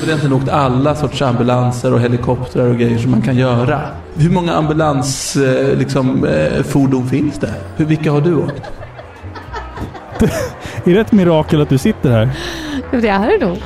På den tiden åkte alla sorts ambulanser och helikoptrar och grejer som man kan göra. Hur många ambulansfordon eh, liksom, eh, fordon finns det? Hur, vilka har du åkt? Är det ett mirakel att du sitter här? Det är det nog.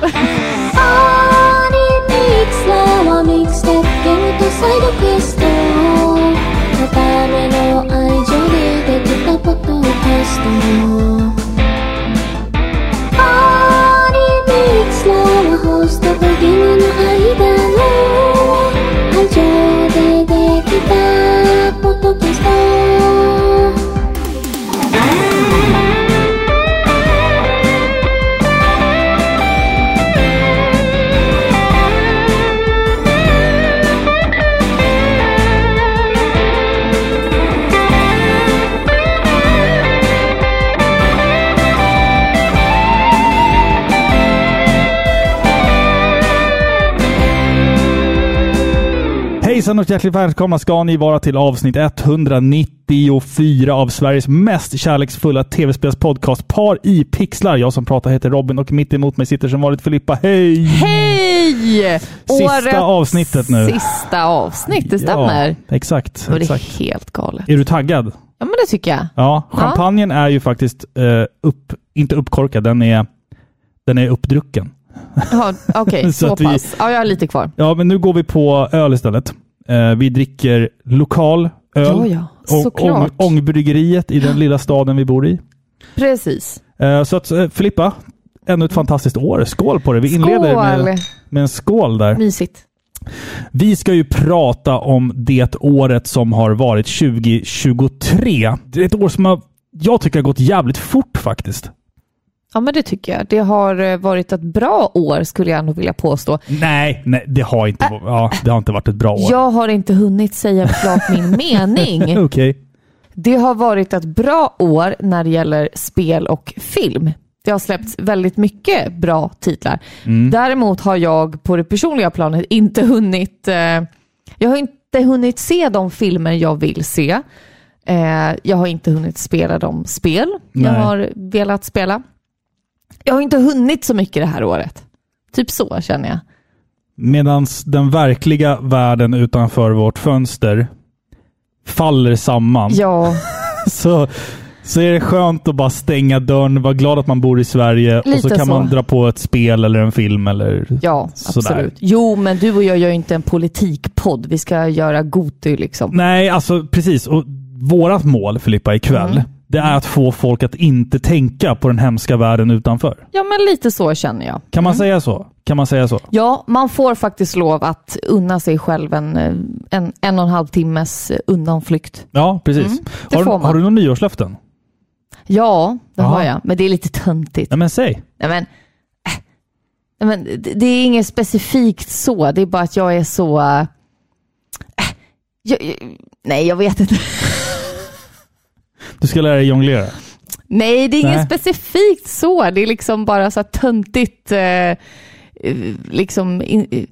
Hejsan och hjärtligt välkomna ska ni vara till avsnitt 194 av Sveriges mest kärleksfulla tv-spelspodcast Par i pixlar. Jag som pratar heter Robin och mitt emot mig sitter som vanligt Filippa. Hej! Hej! Sista avsnittet nu. Sista avsnitt, det stämmer. Ja, exakt. Ja, det är exakt. helt galet. Är du taggad? Ja, men det tycker jag. Ja, champagnen är ju faktiskt eh, upp, inte uppkorkad, den är, den är uppdrucken. Ja, Okej, Så så att vi- pass. Ja, jag har lite kvar. Ja, men nu går vi på öl istället. Eh, vi dricker lokal öl. Ja, ja. Ång- Såklart. Ång, ångbryggeriet i den lilla staden vi bor i. Precis. Eh, Så att eh, Filippa, ännu ett fantastiskt år. Skål på dig! Vi inleder med, Skål! med en skål där. Mysigt. Vi ska ju prata om det året som har varit 2023. Det är ett år som har, jag tycker har gått jävligt fort faktiskt. Ja, men det tycker jag. Det har eh, varit ett bra år skulle jag nog vilja påstå. Nej, nej det, har inte, va- ja, det har inte varit ett bra år. Jag har inte hunnit säga klart min mening. Okej. Det har varit ett bra år när det gäller spel och film. Det har släppts väldigt mycket bra titlar. Mm. Däremot har jag på det personliga planet inte hunnit eh, Jag har inte hunnit se de filmer jag vill se. Eh, jag har inte hunnit spela de spel jag Nej. har velat spela. Jag har inte hunnit så mycket det här året. Typ så känner jag. Medan den verkliga världen utanför vårt fönster faller samman. Ja, så, så är det skönt att bara stänga dörren, vara glad att man bor i Sverige och så Lite kan så. man dra på ett spel eller en film eller... ja Sådär. absolut. Jo, men du och jag gör ju inte en politikpodd. Vi ska göra Goty liksom. Nej, alltså precis. Och vårat mål, Filippa, ikväll, Mm. det är att få folk att inte tänka på den hemska världen utanför. Ja, men lite så känner jag. Kan man säga så? Kan man säga så? Ja, man får faktiskt lov att unna sig själv en, eh, en, en och en halv timmes eh, undanflykt. Ja, precis. Mm. det har, du, får man. har du några nyårslöften? Ja, det Ja. har jag, men det är lite töntigt. Nej, men säg. Nej, men, äh, nej, men det- det är inget specifikt så, det är bara att jag är så... eh, äh, jag, jag, nej, jag vet inte. Du ska lära dig jonglera. Nej, det är inget Nej. specifikt så. Det är liksom bara så här töntigt. Eh, eh, liksom in, eh,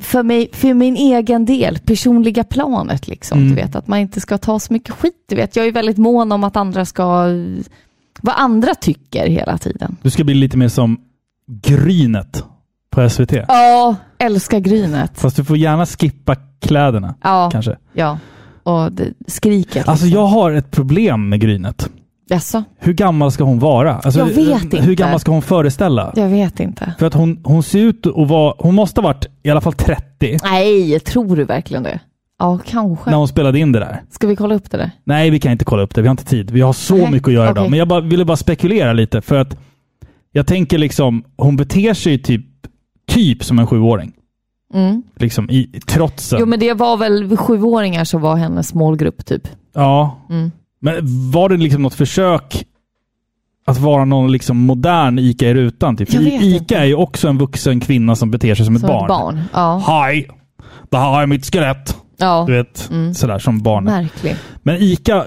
för, mig, för min egen del, personliga planet. Liksom, Mm. du vet, att man inte ska ta så mycket skit. Du vet. Jag är väldigt mån om att andra ska... eh, Vad andra tycker hela tiden. Du ska bli lite mer som Grynet på SVT. Ja, älskar grynet. Fast du får gärna skippa kläderna, Ja, kanske. ja. och det, skriket. Alltså, liksom. jag har ett problem med Grynet. Jaså? Hur gammal ska hon vara? Alltså, Jag vet hur, inte. Hur gammal ska hon föreställa? jag vet inte. För att hon, hon ser ut att vara... Hon måste ha varit i alla fall 30 Nej, tror du verkligen det? Ja, kanske. när hon spelade in det där. Ska vi kolla upp det där? Nej, vi kan inte kolla upp det. Vi har inte tid. Vi har så Nej, mycket att göra okej. idag. Men jag bara, ville bara spekulera lite för att jag tänker liksom, hon beter sig typ, typ som en sjuåring. Mm. Liksom i trotsen. Jo men det var väl sjuåringar som var hennes målgrupp typ. Ja. Mm. Men var det liksom något försök att vara någon liksom modern Ica i rutan? Typ? Jag I- vet Ica inte. är ju också en vuxen kvinna som beter sig som ett Som barn. ett barn. Ja. Hej! Det här är mitt skelett. ja. Du vet, Mm. sådär som barn. Märklig. Men Ica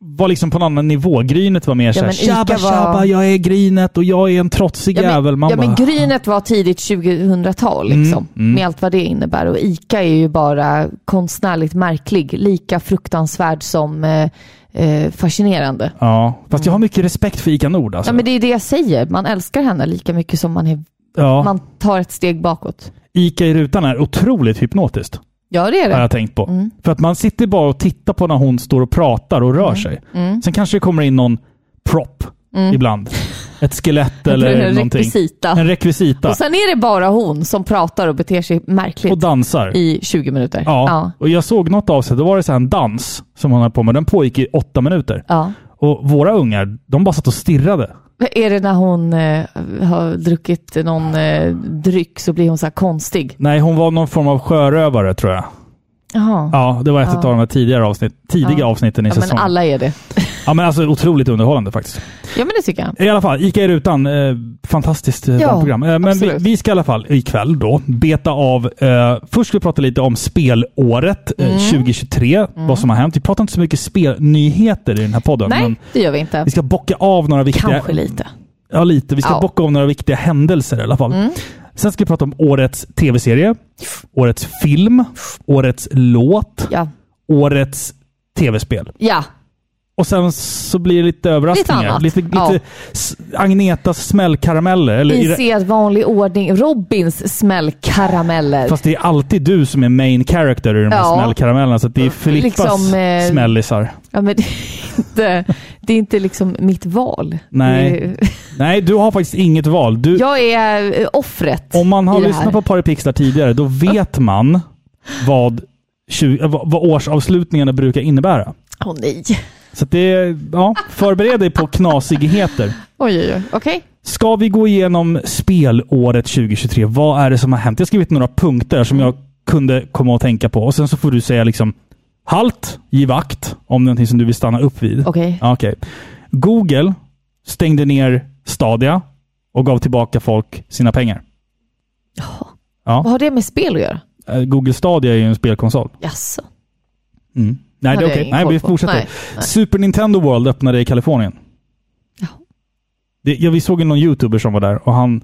var liksom på en annan nivå. Grynet var mer såhär, men Ica tjabba var- tjabba, jag är Grynet och jag är en trotsig Ja, men- jävel. Man ja men bara, Grynet var tidigt 2000-tal liksom. Mm, mm. Med allt vad det innebär. Och ICA är ju bara konstnärligt märklig. Lika fruktansvärd som eh, eh, fascinerande. ja. Fast jag har mycket respekt för Ica Nord alltså. Ja men det är det jag säger. Man älskar henne lika mycket som man är Ja. Man tar ett steg bakåt. Ica i rutan är otroligt hypnotiskt. Ja, det är Har det. jag tänkt på. Mm. För att man sitter bara och tittar på när hon står och pratar och Mm. rör sig. Sen kanske det kommer in någon prop ibland. Ett skelett tror Mm. det är eller en någonting. rekvisita. En rekvisita. Och Och, sen är det bara hon som pratar och beter sig märkligt dansar. i 20 minuter. Ja. Ja. Och jag såg något avsnitt, då var det så här en dans som hon höll på med. Den pågick i åtta minuter. Ja. Och våra ungar, de bara satt och stirrade. Men Är det när hon eh, har druckit någon eh, dryck så blir hon så här konstig? Nej, hon var någon form av sjörövare tror jag. Jaha. Ja, det var ett av de här tidigare avsnitt, tidiga Ja. avsnitten i Ja, men säsongen. alla är det. Ja, men alltså otroligt underhållande faktiskt. Ja, men det tycker jag. I alla fall, Ica i rutan. Eh, fantastiskt eh, Ja, barnprogram. Eh, men vi, absolut. vi ska i alla fall ikväll då beta av. Eh, först ska vi prata lite om spelåret Mm. eh, 2023. Vad som har hänt. Vi pratar inte så mycket spelnyheter i den här podden. Nej, Men det gör vi inte. vi ska bocka av några viktiga... Kanske lite. Ja, lite. Vi ska Ja. Mm. bocka av några viktiga händelser i alla fall. Sen ska vi prata om årets tv-serie, årets film, årets låt, Ja. årets tv-spel. ja. Och sen så blir det lite överraskningar. annat. Lite, lite, Ja. s- Agnetas smällkarameller. Eller, i I det- sedvanlig ordning. Robins smällkarameller. fast det är alltid du som är main character i de här Ja. smällkaramellerna. Så att det är Filippas Liksom, eh, smällisar. Ja, men det, är inte, det är inte liksom mitt val. Nej. Det är- Nej, du har faktiskt inget val. Du, Jag är eh, offret om man har i det lyssnat här. på Paripixlar tidigare, då vet man vad, tju- eh, vad, vad årsavslutningarna brukar innebära. Åh nej. Så att det, ja, förbered dig på knasigheter. Oj, oj, oj. Okej. Ska vi gå igenom spelåret 2023? Vad är det som har hänt? Jag har skrivit några punkter som jag kunde komma att tänka på. Och Sen så får du säga liksom halt, giv akt, om det är någonting som du vill stanna upp vid. Okej. Ja, okej. Google stängde ner Stadia och gav tillbaka folk sina pengar. Vad har det med spel att göra? Eh, Google Stadia är ju en spelkonsol. Jaså? Mm. Nej, det Hade är jag okej. ingen Nej, koll vi på. fortsätter. Nej, nej. Super Nintendo World öppnade i Kalifornien. Ja. Det, ja, vi såg ju någon YouTuber som var där och han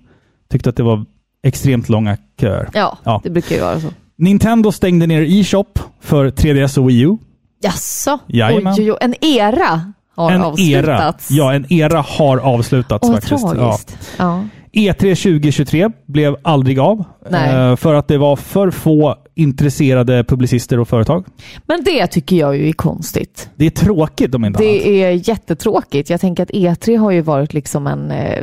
tyckte att det var extremt långa köer. Ja, Ja. det brukar ju vara så. Nintendo stängde ner e-shop för 3DS och Wii U. Jaså? Jajamän. Oj, oj, oj. En era har en avslutats. era. Ja, en era har avslutats Åh, vad faktiskt. Ja. tragiskt. Ja. E3 2023 blev aldrig av. Nej. eh, För att det var för få intresserade publicister och företag. Men det tycker jag ju är konstigt. Det är tråkigt om inte annat. Det är jättetråkigt. Jag tänker att E3 har ju varit liksom en... eh,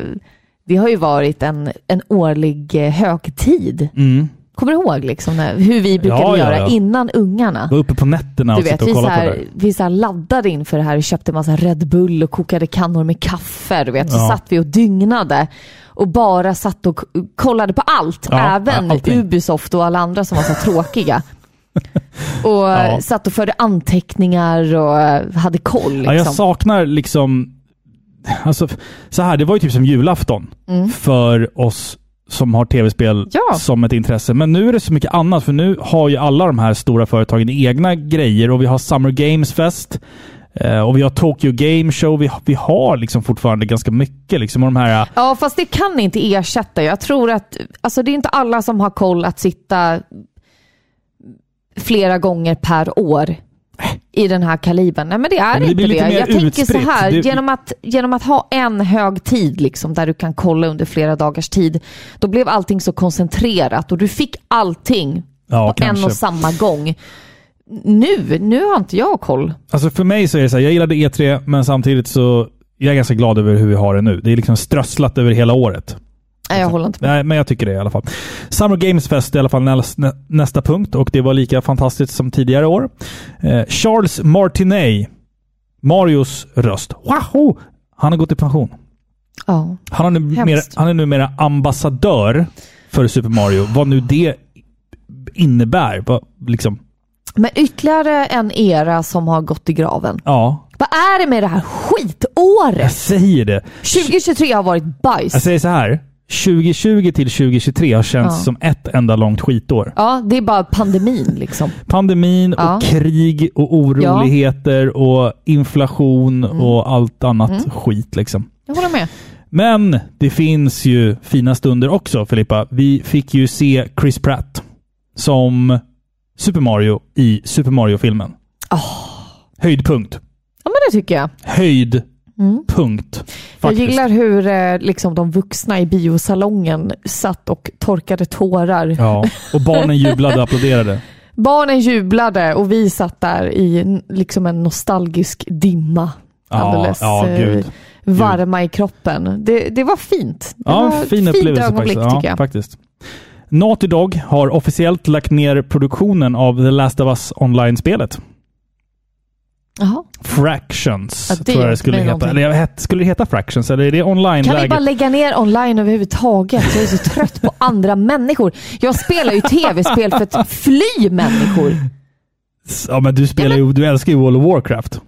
Det har ju varit en, en årlig eh, högtid. Mm. Kommer du ihåg liksom när, hur vi brukade Ja, ja, göra ja. innan ungarna? Var uppe på nätterna Du och vet, sitta vi, och så kolla på det. här, där. vi så här laddade inför det här och köpte massa Red Bull och kokade kannor med kaffe. Du vet. Så Ja. satt vi och dygnade och bara satt och k- kollade på allt. Ja, även allting. Ubisoft och alla andra som var så här tråkiga. Och eh, Ja. satt och förde anteckningar och eh, hade koll. Ja, Liksom. jag saknar liksom... Alltså, så här, det var ju typ som julafton för oss som har tv-spel Mm. Ja. som ett intresse. Men nu är det så mycket annat, för nu har ju alla de här stora företagen egna grejer och vi har Summer Games Fest eh, och vi har Tokyo Game Show. Vi, vi har liksom fortfarande ganska mycket. Liksom, och de här, Ja, fast det kan inte ersätta. Jag tror att, alltså det är inte alla som har koll att sitta flera gånger per år i den här kalibern. Nej men det är men det inte blir det. lite mer Jag tänker så utspritt. här, Det- genom, att, genom att ha en hög tid liksom, där du kan kolla under flera dagars tid, då blev allting så koncentrerat och du fick allting ja, på en kanske. och samma gång. Nu, nu har inte jag koll. Alltså för mig så är det så här, jag gillade E3, men samtidigt så jag är ganska glad över hur vi har det nu. Det är liksom strösslat över hela året. Nej, jag håller inte med. Nej, men jag tycker det i alla fall. Summer Games Fest är i alla fall nä- nä- nästa punkt och det var lika fantastiskt som tidigare år. Eh, Charles Martinet, Marios röst. Wahoo! Han har gått i pension. Ja. Han, har numera, Hemskt. han är numera ambassadör för Super Mario. Vad nu det innebär. Vad, liksom, Men ytterligare en era som har gått i graven. ja, Vad är det med det här skitåret? jag säger det. 2023 har varit bajs. Jag säger så här. 2020 till 2023 har känts Ja. som ett enda långt skitår. Ja, det är bara pandemin liksom. pandemin och Ja. krig och oroligheter och inflation Mm. och allt annat skit. Liksom. Jag håller med. Men det finns ju fina stunder också, Filippa. Vi fick ju se Chris Pratt som Super Mario i Super Mario-filmen. Ah. Höjdpunkt. Ja, men det tycker jag. Höjdpunkt. Mm. Jag Faktiskt. gillar hur eh, liksom, de vuxna i biosalongen satt och torkade tårar. Ja, och barnen jublade och applåderade. Barnen jublade och vi satt där i n- liksom en nostalgisk dimma. Ja, Alldeles ja, eh, gud. varma i kroppen. Det, det var fint. Det Mm. Ja, var en ett fin fint upplevelse ögonblick faktiskt. tycker Ja, jag. faktiskt. Naughty Dog har officiellt lagt ner produktionen av The Last of Us online-spelet. Jaha. Fractions Ja, det tror jag det skulle blir heta. någonting. Eller jag vet, skulle det heta Fractions? Eller är det Kan vi bara online-läget? lägga ner online överhuvudtaget? Jag är så trött på andra människor. Jag spelar ju tv-spel för att fly människor. Ja, men du spelar ju, du älskar ju World of Warcraft.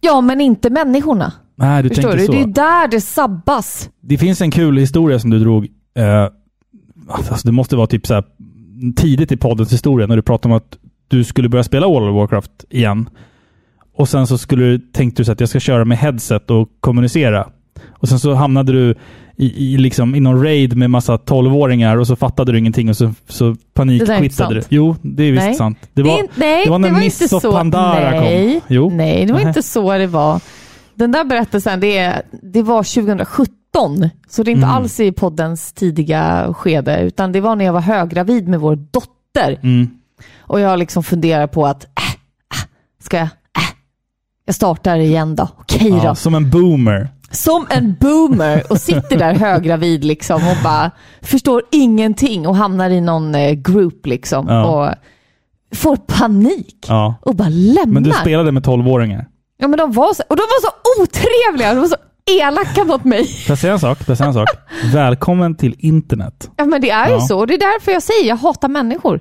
Ja, men inte människorna. Nej, du Förstår tänkte du? så. Det är där det sabbas. Det finns en kul historia som du drog. Eh, alltså det måste vara typ så här tidigt i poddens historia när du pratade om att du skulle börja spela World of Warcraft igen. Och sen så skulle du, tänkte du så att jag ska köra med headset och kommunicera. Och sen så hamnade du i, i, liksom, i någon raid med massa 12-åringar och så fattade du ingenting och så, så Det där är inte panikquittade du. sant. Jo, det är visst Nej. sant. Det var, är inte- nej, det var när det var Mists inte of så. Pandara kom. nej, Jo. Nej, det var Nähä. inte så det var. Den där berättelsen, det, är, det var 2017. Så det är Mm. inte alls i poddens tidiga skede, utan det var när jag var höggravid med vår dotter. Mm. Och jag liksom funderar på att, äh, äh, ska jag, äh, jag startar igen då. Okej då. ja, som en boomer. Som en boomer och sitter där höggravid liksom och bara förstår ingenting och hamnar i någon eh, group liksom Ja. och får panik Ja. och bara lämnar. Men du spelade med 12-åringar. Ja, men de var så, och de var så otrevliga! De var så elaka mot mig. Får jag säga en sak? Får jag säga en sak? Välkommen till internet. Ja, men det är Ja. ju så. Och det är därför jag säger jag hatar människor.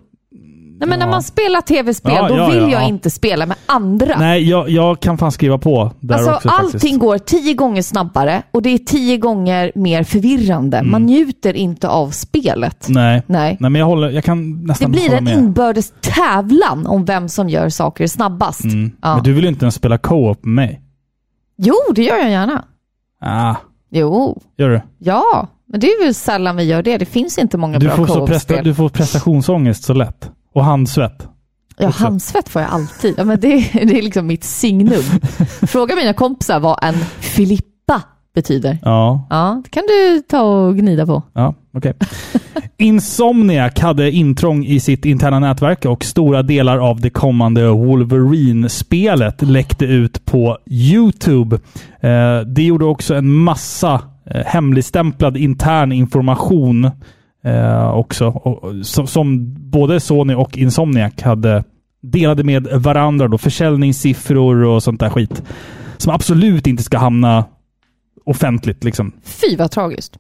Nej, men Ja. När man spelar tv-spel, Ja, då ja, vill ja, jag ja. inte spela med andra. Nej, jag, jag kan fan skriva på där Alltså, också allting faktiskt. går tio gånger snabbare och det är tio gånger mer förvirrande. Man njuter inte av spelet. Nej. Nej. Mm. Nej, men jag, håller, jag kan Det nästan blir hålla en med. inbördes tävlan om vem som gör saker snabbast. Ja. Mm. Men du vill ju inte ens spela co-op med mig. Jo, det gör jag gärna. Ah, Jo, gör du? ja. Men det är väl sällan vi gör det. Det finns inte många Du bra får, så presta, co-op-spel. du får prestationsångest så lätt. Och handsvett. Ja, handsvett får jag alltid. Ja, men det, det är liksom mitt signum. Fråga mina kompisar vad en filippa betyder. Ja, Ja, det kan du ta och gnida på. ja okej. Insomniac hade intrång i sitt interna nätverk och stora delar av det kommande Wolverine-spelet läckte ut på YouTube. Eh, det gjorde också en massa eh, hemligstämplad intern information eh, också, och, och, som, som både Sony och Insomniac hade delade med varandra. Då, försäljningssiffror och sånt där skit. Som absolut inte ska hamna offentligt. Liksom. Fy vad tragiskt.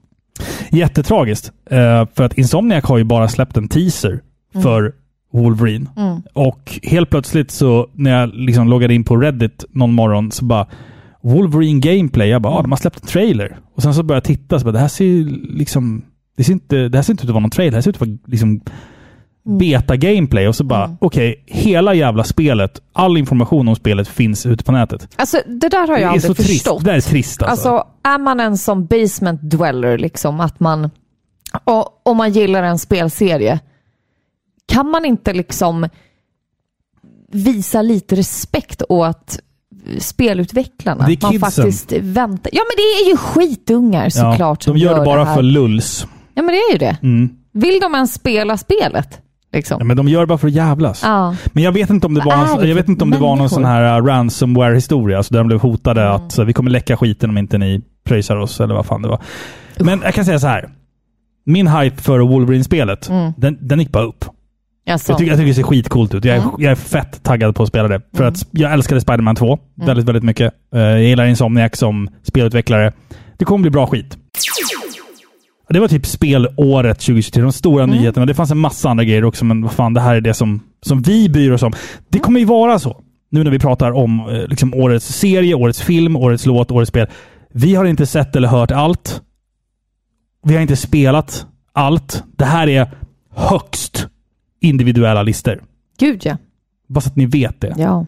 Jättetragiskt. Eh, för att Insomniac har ju bara släppt en teaser Mm. för Wolverine. Och helt plötsligt så när jag liksom loggade in på Reddit någon morgon så bara Wolverine Gameplay. Jag bara, ah, de har släppt en trailer. Och sen så började jag titta så bara, det här ser ju liksom... Det, ser inte, det här ser inte ut att vara någon trailer. Det här ser ut att vara liksom Mm. beta-gameplay. Och så bara, okej, hela jävla spelet, all information om spelet finns ute på nätet. Alltså, det där har jag det är så aldrig trist. förstått. Det där är trist alltså. Alltså, är man en som basement dweller, liksom, att man, och, om man gillar en spelserie, kan man inte liksom visa lite respekt åt spelutvecklarna? Det är Att man kidsen. faktiskt väntar. Ja, men det är ju skitungar såklart. som de gör det bara här. för lulls. Mm. Ja, men det är ju det. Vill de ens spela spelet? Liksom. Ja, men de gör det bara för att jävlas. Ja. Men jag vet inte om det Vad var, någon, är det jag för vet inte om det var någon människor? Mm. sån här uh, ransomware-historia, alltså där de blev hotade att så, vi kommer läcka skiten om inte ni pröjsar oss, eller vad fan det var. Men jag kan säga så här. Min hype för Wolverine-spelet, Mm. den, den gick bara upp. Alltså, Jag tycker, jag tycker det ser skitcoolt ut. Jag är, jag är fett taggad på att spela det. För att jag älskade Spider-Man 2 väldigt, väldigt mycket. Eh, Jag gillar Insomniac som spelutvecklare. Det kommer bli bra skit. Det var typ spelåret 2023. De stora nyheterna. Det fanns en massa andra grejer också, men vad fan, det här är det som, som vi bryr oss om. Det kommer ju vara så. Nu när vi pratar om eh, liksom årets serie, årets film, årets låt, årets spel. Vi har inte sett eller hört allt. Vi har inte spelat allt. Det här är högst individuella listor. Gud ja. Bara så att ni vet det. ja.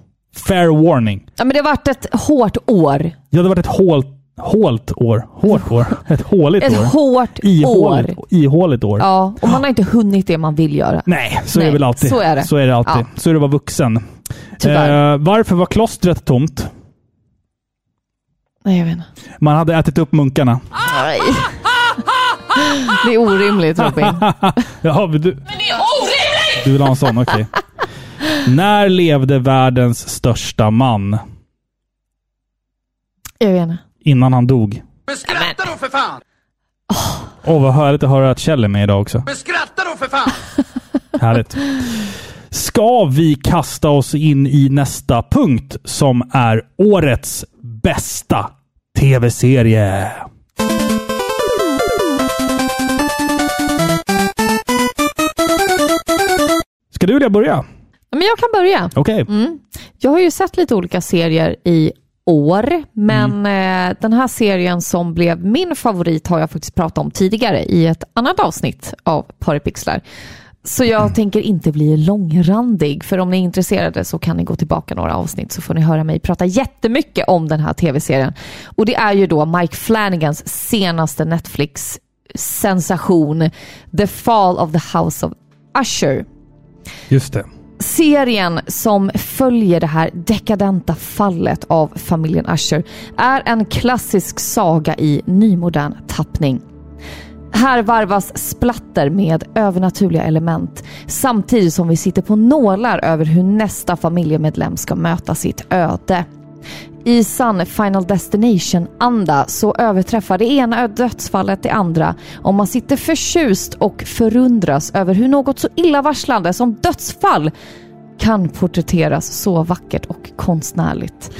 Fair warning. Ja, men det har varit ett hårt år. Ja, det har varit ett hålt, hålt år. Hårt år. Ett håligt Ett år. hårt år. Ihåligt, ihåligt år. Ja, och man har inte hunnit det man vill göra. Nej, så är Nej, det väl alltid. så är det. så är det alltid. Ja. Så är det att vara vuxen. Tyvärr. Eh, varför var klostret tomt? Nej, jag vet inte. Man hade ätit upp munkarna. Nej. Det är orimligt Robin. Jaha, men du, Men det är orimligt! du vill ha en sån? Okej. När levde världens största man? Jag vet inte. Innan han dog. Men skratta då för fan! Åh, vad härligt att höra att Kjell är med idag också. Men skratta då för fan! Härligt. Ska vi kasta oss in i nästa punkt som är årets bästa tv-serie? Ska du vilja börja? Men jag kan börja. Okej. Mm. Jag har ju sett lite olika serier i år, men eh, den här serien som blev min favorit har jag faktiskt pratat om tidigare i ett annat avsnitt av Paripixlar. Så jag tänker inte bli långrandig, för om ni är intresserade så kan ni gå tillbaka några avsnitt så får ni höra mig prata jättemycket om den här tv-serien. Och det är ju då Mike Flanagans senaste Netflix-sensation The Fall of the House of Usher Just det. serien som följer det här dekadenta fallet av familjen Usher är en klassisk saga i nymodern tappning. Här varvas splatter med övernaturliga element samtidigt som vi sitter på nålar över hur nästa familjemedlem ska möta sitt öde. I sann Final Destination-anda så överträffar det ena dödsfallet det andra om man sitter förtjust och förundras över hur något så illavarslande som dödsfall kan porträtteras så vackert och konstnärligt.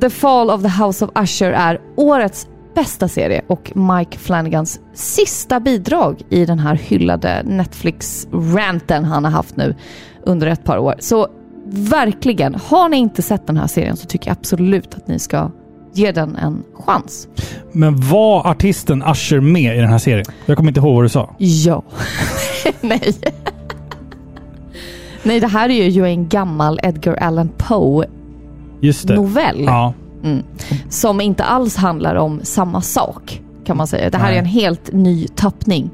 The Fall of the House of Usher är årets bästa serie och Mike Flanagans sista bidrag i den här hyllade Netflix-ranten han har haft nu under ett par år. Så verkligen, har ni inte sett den här serien så tycker jag absolut att ni ska ge den en chans. Men var artisten Usher med i den här serien? Jag kommer inte ihåg vad du sa. Ja. Nej. Nej, det här är ju en gammal Edgar Allan Poe-novell. Just det. Ja. som inte alls handlar om samma sak kan man säga. Det här Nej. är en helt ny tappning.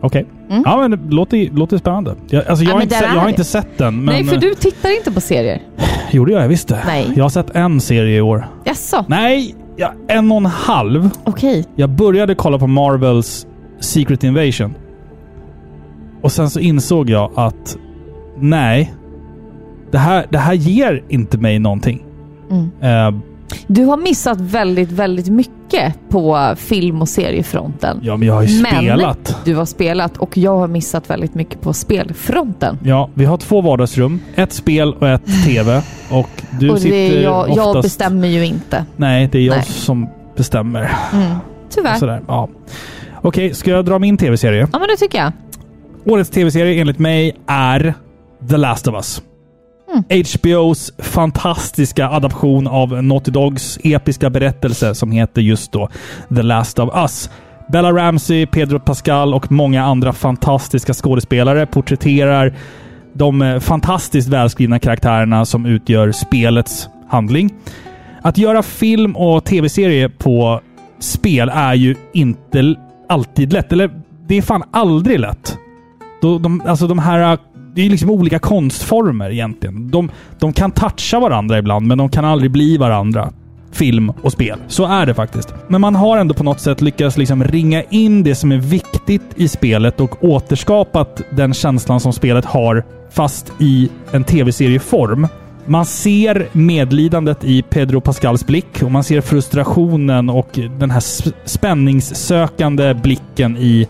Okej. Ja, men det låter, låter spännande. Jag, alltså, jag, Mm. Ja, har inte men där sett, är jag har vi. inte sett den. Men eh, Nej, för du tittar inte på serier. gjorde jag, jag visste. Nej. Jag har sett en serie i år. Jaså? Nej, ja, en och en halv. Okej. Jag började kolla på Marvels Secret Invasion. Och sen så insåg jag att nej, det här, det här ger inte mig någonting. Mm. Eh, Du har missat väldigt, väldigt mycket på film och seriefronten. ja, men jag har ju spelat. Men du har spelat och jag har missat väldigt mycket på spelfronten. Ja, vi har två vardagsrum. Ett spel och ett TV. Och du och det sitter är jag, oftast... jag bestämmer ju inte. Nej, det är jag Nej. Äh. som bestämmer. Tyvärr. Sådär, ja. Okej, ska jag dra min TV-serie? Ja, men det tycker jag. Årets tv-serie enligt mig är The Last of Us. HBOs fantastiska adaption av Naughty Dogs episka berättelse som heter just då The Last of Us. Bella Ramsey, Pedro Pascal och många andra fantastiska skådespelare porträtterar de eh, fantastiskt välskrivna karaktärerna som utgör spelets handling. Att göra film och tv-serie på spel är ju inte l- alltid lätt. Eller det är fan aldrig lätt. Då de, alltså de här... äh, Det är ju liksom olika konstformer egentligen. De, de kan toucha varandra ibland, men de kan aldrig bli varandra. Film och spel. Så är det faktiskt. Men man har ändå på något sätt lyckats liksom ringa in det som är viktigt i spelet och återskapat den känslan som spelet har, fast i en tv-serieform. Man ser medlidandet i Pedro Pascals blick och man ser frustrationen och den här sp- spänningssökande blicken i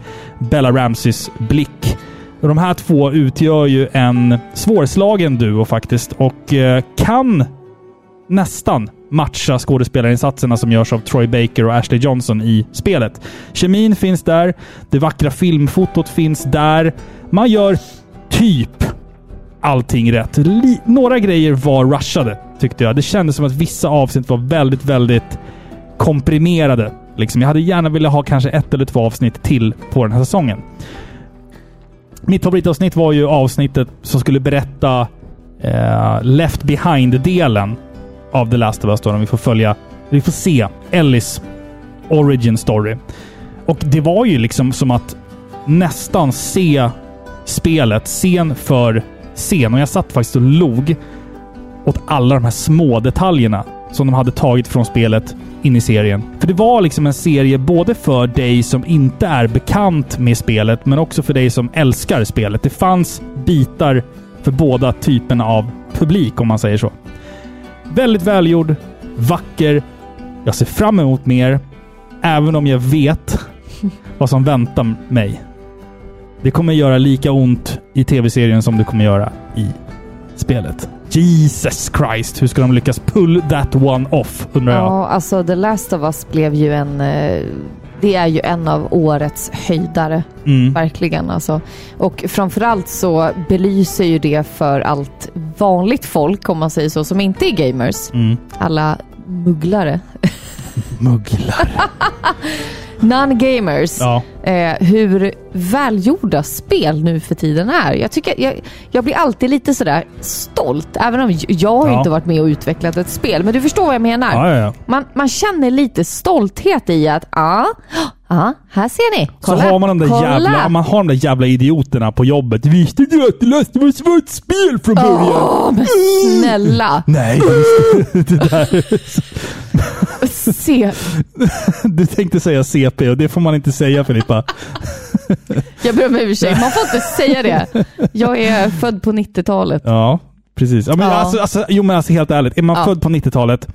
Bella Ramseys blick. Och De här två utgör ju en svårslagen duo faktiskt och eh, kan nästan matcha skådespelarinsatserna som görs av Troy Baker och Ashley Johnson i spelet. Kemin finns där, det vackra filmfotot finns där. Man gör typ allting rätt. Li- några grejer var rushade, tyckte jag. Det kändes som att vissa avsnitt var väldigt, väldigt komprimerade. Liksom. Jag hade gärna velat ha kanske ett eller två avsnitt till på den här säsongen. Mitt favoritavsnitt var ju avsnittet som skulle berätta eh, Left Behind-delen av The Last of Us. Då, när vi får följa, vi får se Ellis origin story. Och det var ju liksom som att nästan se spelet scen för scen. Och jag satt faktiskt och log åt alla de här små detaljerna som de hade tagit från spelet in i serien. För det var liksom en serie både för dig som inte är bekant med spelet, men också för dig som älskar spelet. Det fanns bitar för båda typerna av publik, om man säger så. Väldigt välgjord, vacker. Jag ser fram emot mer, även om jag vet vad som väntar mig. Det kommer göra lika ont i tv-serien som det kommer göra i spelet. Jesus Christ, hur ska de lyckas pull that one off, undrar jag. Ja, alltså The Last of Us blev ju en... eh, Det är ju en av årets höjdare. Mm. Verkligen alltså. Och framförallt så belyser ju det för allt vanligt folk, om man säger så, som inte är gamers. Mm. Alla mugglare. Alltså, Mugglar. Non-gamers. Ja. Eh, hur välgjorda spel nu för tiden är. Jag, tycker, jag, jag blir alltid lite sådär stolt, även om j- jag har Ja. inte varit med och utvecklat ett spel. Men du förstår vad jag menar. Ja, ja, ja. Man, man känner lite stolthet i att, ja, ah, här ser ni. Så Kolla, har man de där, kolla. jävla, man har de där jävla idioterna på jobbet. Visste du att det löste- det var ett svårt spel från början? Åh, men snälla. Nej, Se. du tänkte säga CP och det får man inte säga Filippa. Jag ber om ursäkt, man får inte säga det. Jag är född på 90-talet. Ja, precis. Ja, men Ja. Alltså, alltså, jo men alltså helt ärligt, är man Ja. född på 90-talet,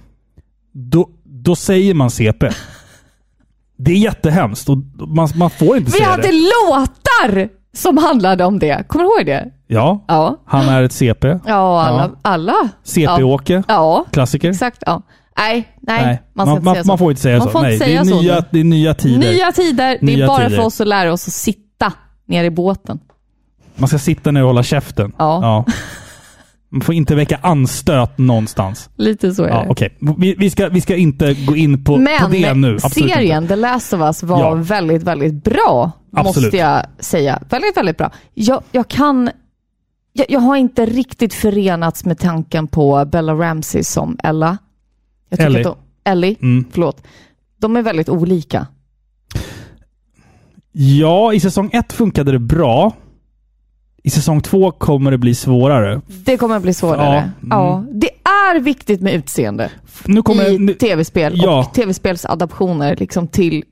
då, då säger man CP. Det är jättehemskt och man, man får inte Vi säga hade det. låtar som handlade om det. Kommer du ihåg det? Ja, Ja. han är ett CP. Ja, alla. Ja. alla. CP-Åke. Ja, Klassiker. exakt. Ja. Nej, nej, Nej, man ska inte säga så. man får inte säga Man så. får inte Nej, säga det, är så nya, nu. det är nya tider. Nya tider. Det Nya är bara tider. för oss att lära oss att sitta ner i båten. Man ska sitta ner och hålla käften. Ja. Man får inte väcka anstöt någonstans. Lite så är Ja, det. Okej, vi, vi, ska, vi ska inte gå in på, på Eh, Men det nu. Absolut serien Inte. The Last of Us var Ja. väldigt, väldigt bra. Absolut. Måste jag säga. Väldigt, väldigt bra. Jag, jag kan... Jag, jag har inte riktigt förenats med tanken på Bella Ramsey som Ella. Jag tycker Ellie. Att de, Ellie, Mm. förlåt. De är väldigt olika. Ja, i säsong ett funkade det bra. I säsong två kommer det bli svårare. Det kommer att bli svårare. Ja, mm. Ja, Det är viktigt med utseende F- Nu kommer... i Nu, tv-spel Ja. och tv-spelsadaptioner liksom till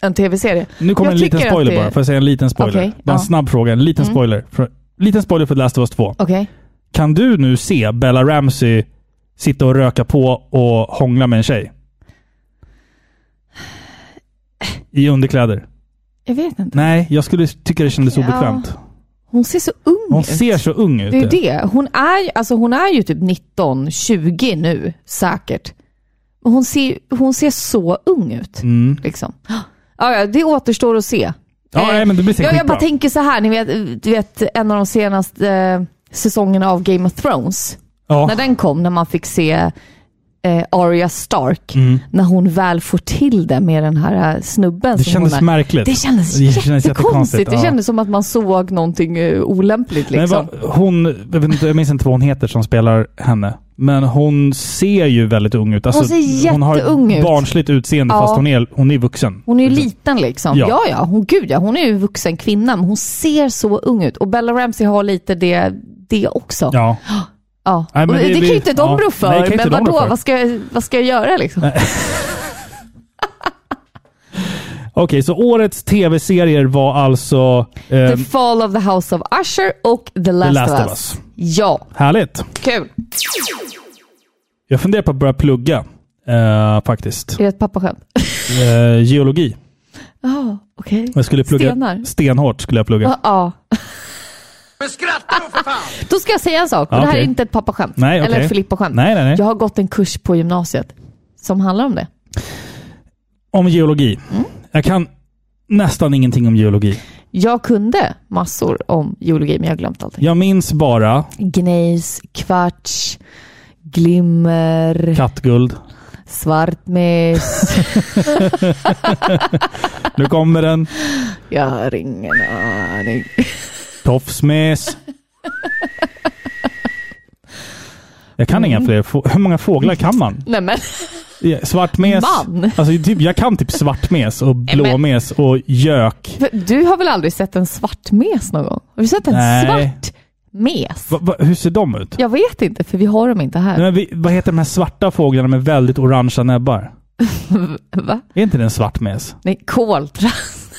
en tv-serie. nu kommer jag en liten tycker att spoiler det- bara. Får jag säga en liten spoiler? Okej, bara en ja. snabb fråga. En liten Mm. spoiler. För, liten spoiler för The Last of Us 2. Okej. Kan du nu se Bella Ramsey sitta och röka på och hångla med en tjej? I underkläder? Jag vet inte. Nej, jag skulle tycka det kändes Ja. obekvämt. Hon ser så ung Hon ut. ser så ung ut. Det är ju det. Hon är, ju- alltså hon är ju typ 19, 20 nu säkert. Men Hon ser, hon ser så ung ut. Mm. Liksom. Ja, ja, det återstår att se. Ja, Eh, nej, men det blir säkert jag, jag bara skitbra. tänker så här, ni vet, du vet en av de senaste eh, säsongerna av Game of Thrones. Ja. När den kom, när man fick se eh, Arya Stark, Mm. när hon väl får till det med den här eh, snubben. Det som kändes hon är. märkligt. Det kändes Det kändes jättekonstigt, jättekonstigt. Det ja. kändes som att man såg någonting eh, olämpligt. Men Liksom. vad- hon, jag, vet inte, jag minns inte vad hon heter som spelar henne. Men hon ser ju väldigt ung ut. Alltså, Hon ser hon har jätteung ett ut. barnsligt utseende Ja. fast hon är, hon är vuxen. Hon är ju liten liksom. Ja. Ja, ja. hon, gud ja, hon är ju en vuxen kvinna, men hon ser så ung ut. Och Bella Ramsey har lite det, det också. Ja. Ja. Nej, men och det det, kan blir- ju inte de ja. rå Nej, det kan för, inte men de rå vadå? för. Eh, Vad ska, jag- vad ska jag göra liksom? Okej, så årets tv-serier var alltså... ehm, The Fall of the House of Usher och The Last, Last of of Us. Us. Ja, Härligt! kul. Jag funderar på att börja plugga. eh, faktiskt. Är det ett pappaskämt? Eh, geologi. Ja, okej. Jag skulle plugga Stenar. stenhårt. skulle jag plugga. Ja, ja. Men skratta då för fan! Då ska jag säga en sak. Och Ja, det här okej. är inte ett pappaskämt. Nej, okej. Eller ett Filippa-skämt. Nej, nej, nej. Jag har gått en kurs på gymnasiet som handlar om det. Om geologi. Mm. Jag kan nästan ingenting om geologi. Jag kunde massor om geologi, men jag har glömt allting. Jag minns bara Gnejs, kvarts, glimmer, kattguld. svartmes. Nu kommer den. Jag har ingen aning. Tofsmes. Jag kan inga fler. få- Hur många fåglar kan man? Nej men, Ja, Svartmes. Man. Alltså, typ, jag kan typ svartmes och blåmes och gök. för du har väl aldrig sett en svartmes någon gång? Har du sett en Nej. svart Mes? Va, va, hur ser de ut? Jag vet inte, för vi har dem inte Nej, här. men vi, vad heter de här svarta fåglarna med väldigt orangea näbbar? Va? Är inte det en svart mes? Nej, koltrast.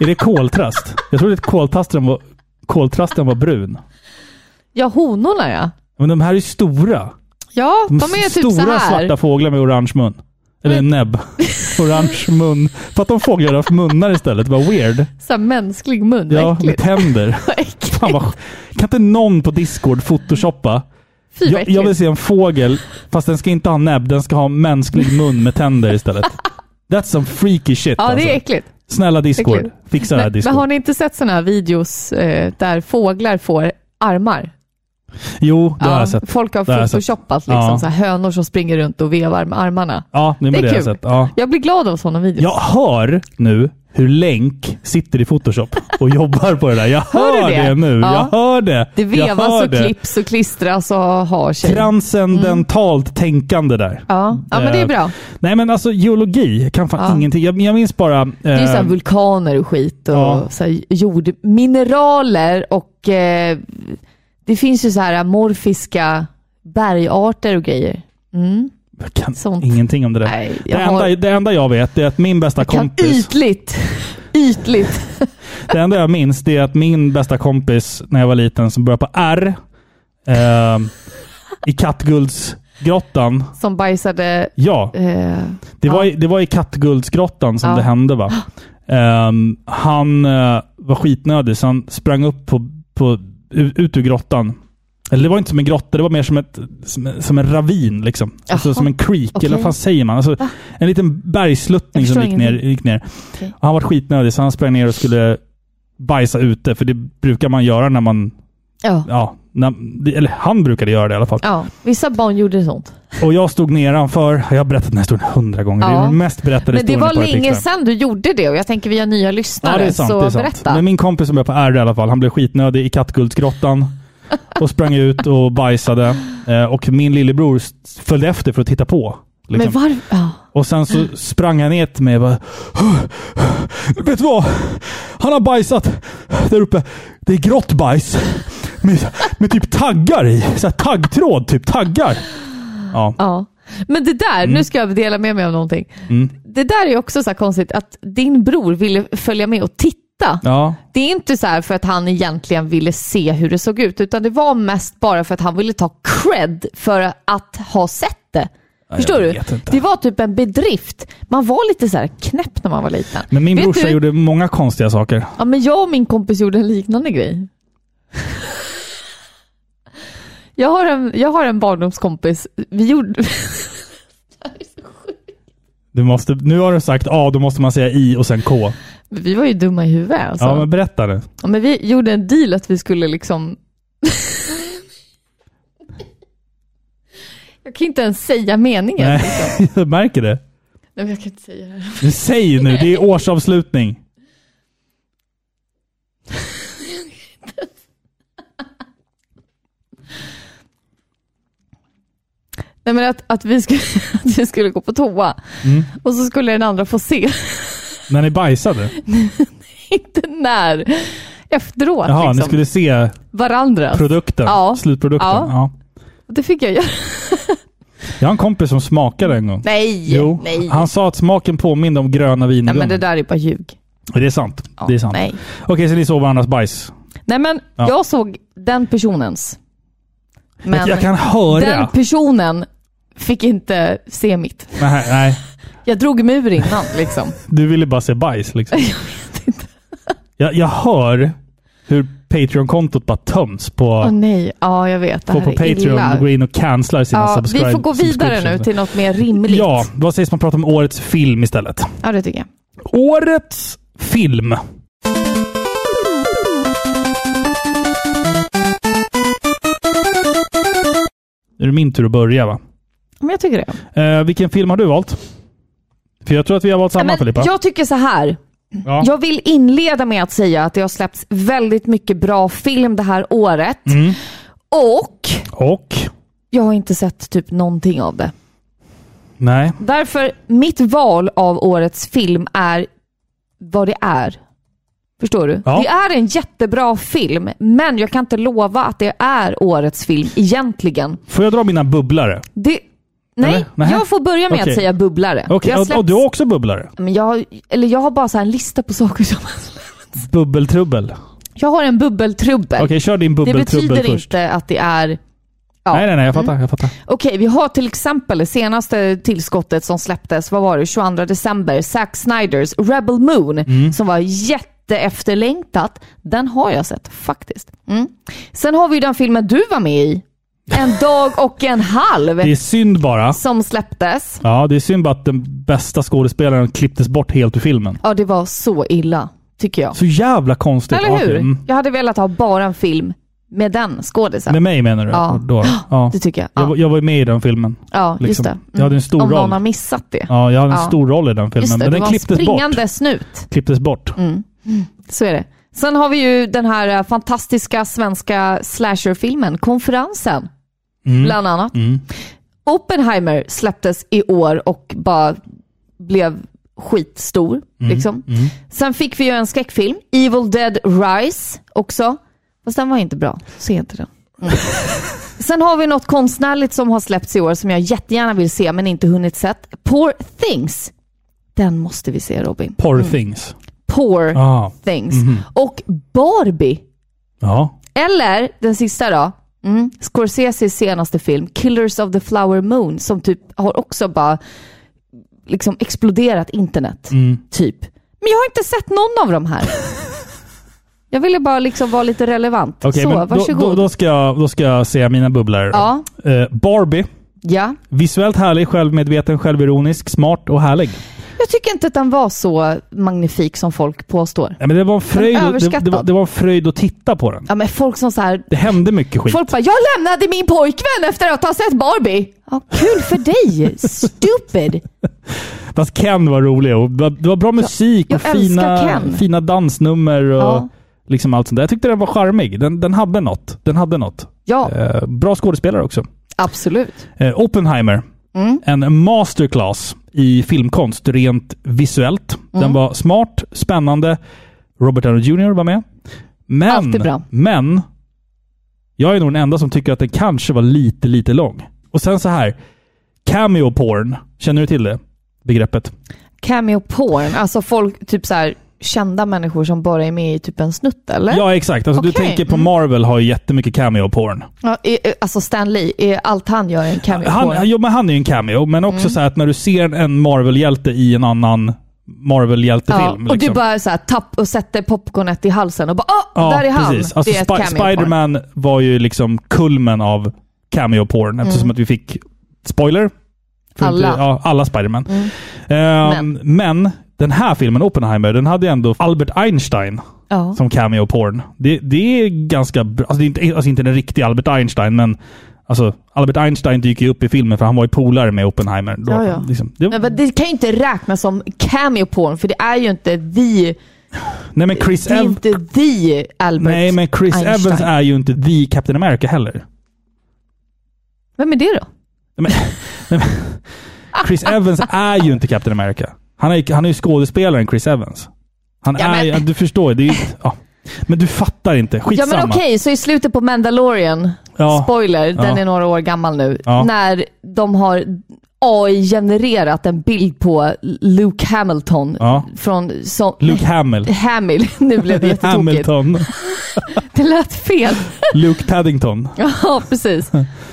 Är det koltrast? Jag trodde att koltrasten var, koltrasten var brun. Ja, honorna ja. Men de här är ju stora. Ja, de, De, är stora typ så här. svarta fåglar med orange mun. Eller näbb. orange mun. Fattar om fåglar har haft munnar istället. Vad weird. Så här mänsklig mun. Ja, Ja, med tänder. Vad äckligt. Fan vad... Kan inte någon på Discord photoshoppa? Fy Jag, vad jag vill äckligt. se en fågel, fast den ska inte ha näbb. Den ska ha mänsklig mun med tänder istället. That's some freaky shit Ja, alltså. det är äckligt. Snälla Discord, äckligt. fixa det här Men, men Discord. har ni inte sett sådana här videos eh, där fåglar får armar? Jo, det har jag sett. folk har Det har jag sett. photoshoppat liksom, Ja. så här, hönor som springer runt och vevar med armarna. Ja, det, det, Det är det har jag kul. sett. Ja. Jag blir glad av sådana videos. Jag hör nu hur Länk sitter i Photoshop och jobbar på det där. Jag Hör du hör det, det? nu. Ja. Jag hör det. Det jag hör vevas och det. klipps och klistras och har sig. Transcendentalt tänkande där. Mm. Ja. ja, Eh, men det är bra. Nej men alltså geologi, jag kan fan Ja. ingenting. Jag, jag minns bara... Eh, Det är ju så här vulkaner och skit och Ja. så här jordmineraler och eh, det finns ju så här morfiska bergarter och grejer. Mm. jag kan sånt. ingenting om det där. Nej, det, jag enda, har, det enda jag vet är att min bästa kan kompis... ytligt, ytligt. Det enda jag minns det är att min bästa kompis när jag var liten som började på R eh, i Kattguldsgrottan. Som bajsade... Ja, Eh, det, Ja. var i, det var i Kattguldsgrottan som Ja. det hände va. Ehm, han eh, var skitnödig så han sprang upp på, på, u- ut ur grottan. Eller det var inte som en grotta, det var mer som, ett, som, som en ravin. Liksom. Alltså Jaha. som en creek, eller vad Okej. fan säger man? Alltså, Va? en liten bergsluttning Jag som gick förstår ner. ingenting. Gick ner. Okej. Han var skitnödig så han sprang ner och skulle bajsa ute, för det brukar man göra när man... ja. Ja, när, eller han brukade göra det i alla fall. ja, vissa barn gjorde sånt. Och jag stod nedanför. Jag har berättat den här historien hundra gånger. Det är Ja. den mest berättade Men det historien var på länge Artiklar. sedan du gjorde det och jag tänker vi har nya lyssnare, Ja, det är sant. så det är sant. berätta. Men min kompis som är på R i alla fall, han blev skitnödig i Kattguldsgrottan och sprang ut och bajsade. Eh, Och min lillebror s- följde efter för att titta på. liksom. Men var, ja. Och sen så sprang han ner till mig och bara, Vet du vad? Han har bajsat där uppe. Det är grått bajs. Med, med typ taggar i. Så här taggtråd, typ taggar. Ja. Ja. Men det där, Mm. nu ska jag dela med mig av någonting. Det där är ju också så här konstigt att din bror ville följa med och titta. ja. Det är inte så här för att han egentligen ville se hur det såg ut, utan det var mest bara för att han ville ta cred för att ha sett det. Förstår du? vet inte. Det var typ en bedrift. Man var lite så här knäpp när man var liten. Men min Vet brorsa du- gjorde många konstiga saker. Ja, men jag och min kompis gjorde en liknande grej. Jag har en, jag har en barndomskompis. Vi gjorde... Du måste, nu har du sagt A, då måste man säga I och sen K. Vi var ju dumma i huvudet. Alltså. Ja, men berätta nu. Ja, men vi gjorde en deal att vi skulle liksom... jag kan inte ens säga meningen. Nej. Nej, jag märker det. men jag kan inte säga det här. Men Säg nu, det är årsavslutning. Nej, men att, att, vi skulle, att vi skulle gå på toa Mm. och så skulle den andra få se. När ni bajsade? inte när. Efteråt Jaha, ni liksom. skulle se Varandra. produkten, Ja. slutprodukten. Ja. Ja. det fick jag göra. Jag har en kompis som smakade en gång. Nej, Jo, nej. han sa att smaken påminde om gröna nej vingummin. men det där är bara ljug. det... är sant. Ja, det är sant. Nej. Okej, så ni såg varandras bajs. Nej men Ja. jag såg den personens. Men jag, jag kan höra. den personen fick inte se mitt. Nej, nej, Jag drog mig ur innan liksom. du ville bara se bajs liksom. Jag vet inte. Jag, jag hör hur Patreon-kontot bara töms på... Åh nej, ja jag vet. Det Folk här på är Patreon illa. går in och cancelar sina Ja, vi subscribe får gå vidare nu subscriptions. till något mer rimligt. Ja, vad sägs man prata om årets film istället? ja det tycker jag. Årets film. Nu är det min tur att börja va? Men jag tycker det. Eh, vilken film har du valt? För jag tror att vi har valt samma men Filippa. jag tycker så här. ja. Jag vill inleda med att säga att det har släppts väldigt mycket bra film det här året. Mm. Och Och? jag har inte sett typ någonting av det. Nej. Därför, mitt val av årets film är vad det är. Förstår du? Ja. Det är en jättebra film, men jag kan inte lova att det är årets film egentligen. Får jag dra mina bubblare? Det... Nej, Eller? Nähä. jag får börja med Okej. att säga bubblare. Okej, Jag, har och, och släppt- du har också bubblare? men jag, har- eller jag har bara så här en lista på saker som... Bubbeltrubbel. Okej, Jag har en bubbeltrubbel. kör din det bubbeltrubbel betyder först. inte att det är... Ja. Nej, nej, nej, jag fattar. Jag fattar. Okej, vi har till exempel det senaste tillskottet som släpptes, vad var det, 22 december, Zack Snyders Rebel Moon, Mm. som var jätteefterlängtat. Den har jag sett faktiskt. Mm. Sen har vi ju den filmen du var med i, En dag och en halv, Det är synd bara. som släpptes. Ja, det är synd bara att den bästa skådespelaren klipptes bort helt ur filmen. Ja, det var så illa, tycker jag. Så jävla konstigt. Eller Ja, okej, hur? mm. Jag hade velat ha bara en film med den skådisen. Med mig menar du? Ja. Då. ja. Det tycker jag. Jag, var- Ja, jag var ju med i den filmen. ja just liksom. det. Mm. Jag hade en stor Om roll. någon har missat det. Ja, jag hade en Ja. stor roll i den filmen, Just det, men det den var en klipptes bort. springande Mm, snut. Klipptes bort. Så är det. Sen har vi ju den här eh, fantastiska svenska slasherfilmen Konferensen. Bland annat. Oppenheimer släpptes i år och bara blev skitstor. Liksom. Sen fick vi ju en skräckfilm, Evil Dead Rise också. Fast den var inte bra. Se inte den. Mm. Sen har vi något konstnärligt som har släppts i år som jag jättegärna vill se men inte hunnit sett. Poor Things. Den måste vi se Robin. Poor things. Poor Ah. things. Och Barbie. Ja. Eller den sista då. Mm. Scorseses senaste film, Killers of the Flower Moon, som typ har också bara liksom exploderat internet. Mm. Typ. Men jag har inte sett någon av de här. jag ville bara liksom vara lite relevant. Okej, Så, men då, varsågod. då, då, ska jag, då ska jag säga mina bubblare. då. Ja, Eh, Barbie. ja. Visuellt härlig, självmedveten, självironisk, smart och härlig. Jag tycker inte att den var så magnifik som folk påstår. Ja, men det, var en fröjd, det, överskattad. det, var, det var en fröjd att titta på den. Ja, men folk som så här Det hände mycket skit. Folk bara, jag lämnade min pojkvän efter att ha sett Barbie. Ja, kul för dig, stupid. Fast Ken var rolig. Och det, var, det var bra musik jag och älskar fina, Ken. fina dansnummer och Ja. liksom allt sånt där. Jag tyckte den var charmig. Den, den hade något. Den hade något. Ja, Eh, bra skådespelare också. absolut. Eh, Oppenheimer. Mm. En masterclass i filmkonst rent visuellt. Mm. Den var smart, spännande. Robert Downey Jr var med. Alltid Men, bra. men jag är nog den enda som tycker att den kanske var lite, lite lång. Och sen så här. Cameo porn. Känner du till det begreppet? Cameo porn, alltså folk, typ så här kända människor som bara är med i typ en snutt eller? Ja, exakt. Alltså, Du Okej. tänker på Mm. Marvel har ju jättemycket cameo porn. Ja, i- i- alltså Stan Lee, i allt han gör är en cameo porn. Han, jo, men han är ju en cameo, men också Mm. så här att när du ser en Marvel-hjälte i en annan Marvel-hjältefilm. ja, och liksom. du bara så här, tapp och sätter popcornet i halsen och bara åh, där är han! precis. Alltså, det är ett Spi- cameo porn. Spiderman var ju liksom kulmen av cameo-porn eftersom att vi fick, spoiler, För Mm. Alla. Mm. ja, alla Spiderman. Ehm, men. den här filmen, Oppenheimer, den hade ju ändå Albert Einstein Ja. som cameo-porn. Det, det är ganska bra. Alltså, det är inte, alltså inte den riktiga Albert Einstein, men Alltså, Albert Einstein dyker ju upp i filmen för han var ju polare med Oppenheimer. Då, Ja, ja. Liksom. Det, Nej, men det kan ju inte räknas som cameo porn för det är ju inte the, nej, men Chris, det är Ev- inte the Albert nej, men Chris Einstein. Evans är ju inte the Captain America heller. Vem är det då? Nej, men, nej, men, Chris Evans är ju inte Captain America. Han är, ju- han är ju skådespelaren Chris Evans. Han Ja, är ju, men- du förstår, det är ju, ja. Men du fattar inte. Ja Skitsamma. men okej, så i slutet på Mandalorian, Ja. spoiler, den Ja. är några år gammal nu, Ja. när de har AI-genererat en bild på Luke Hamilton. Ja. Från, som, Luke Hamill. Hamill. Nu blev det jättetokigt. Hamilton. Det lät fel. Luke Paddington. Ja, precis.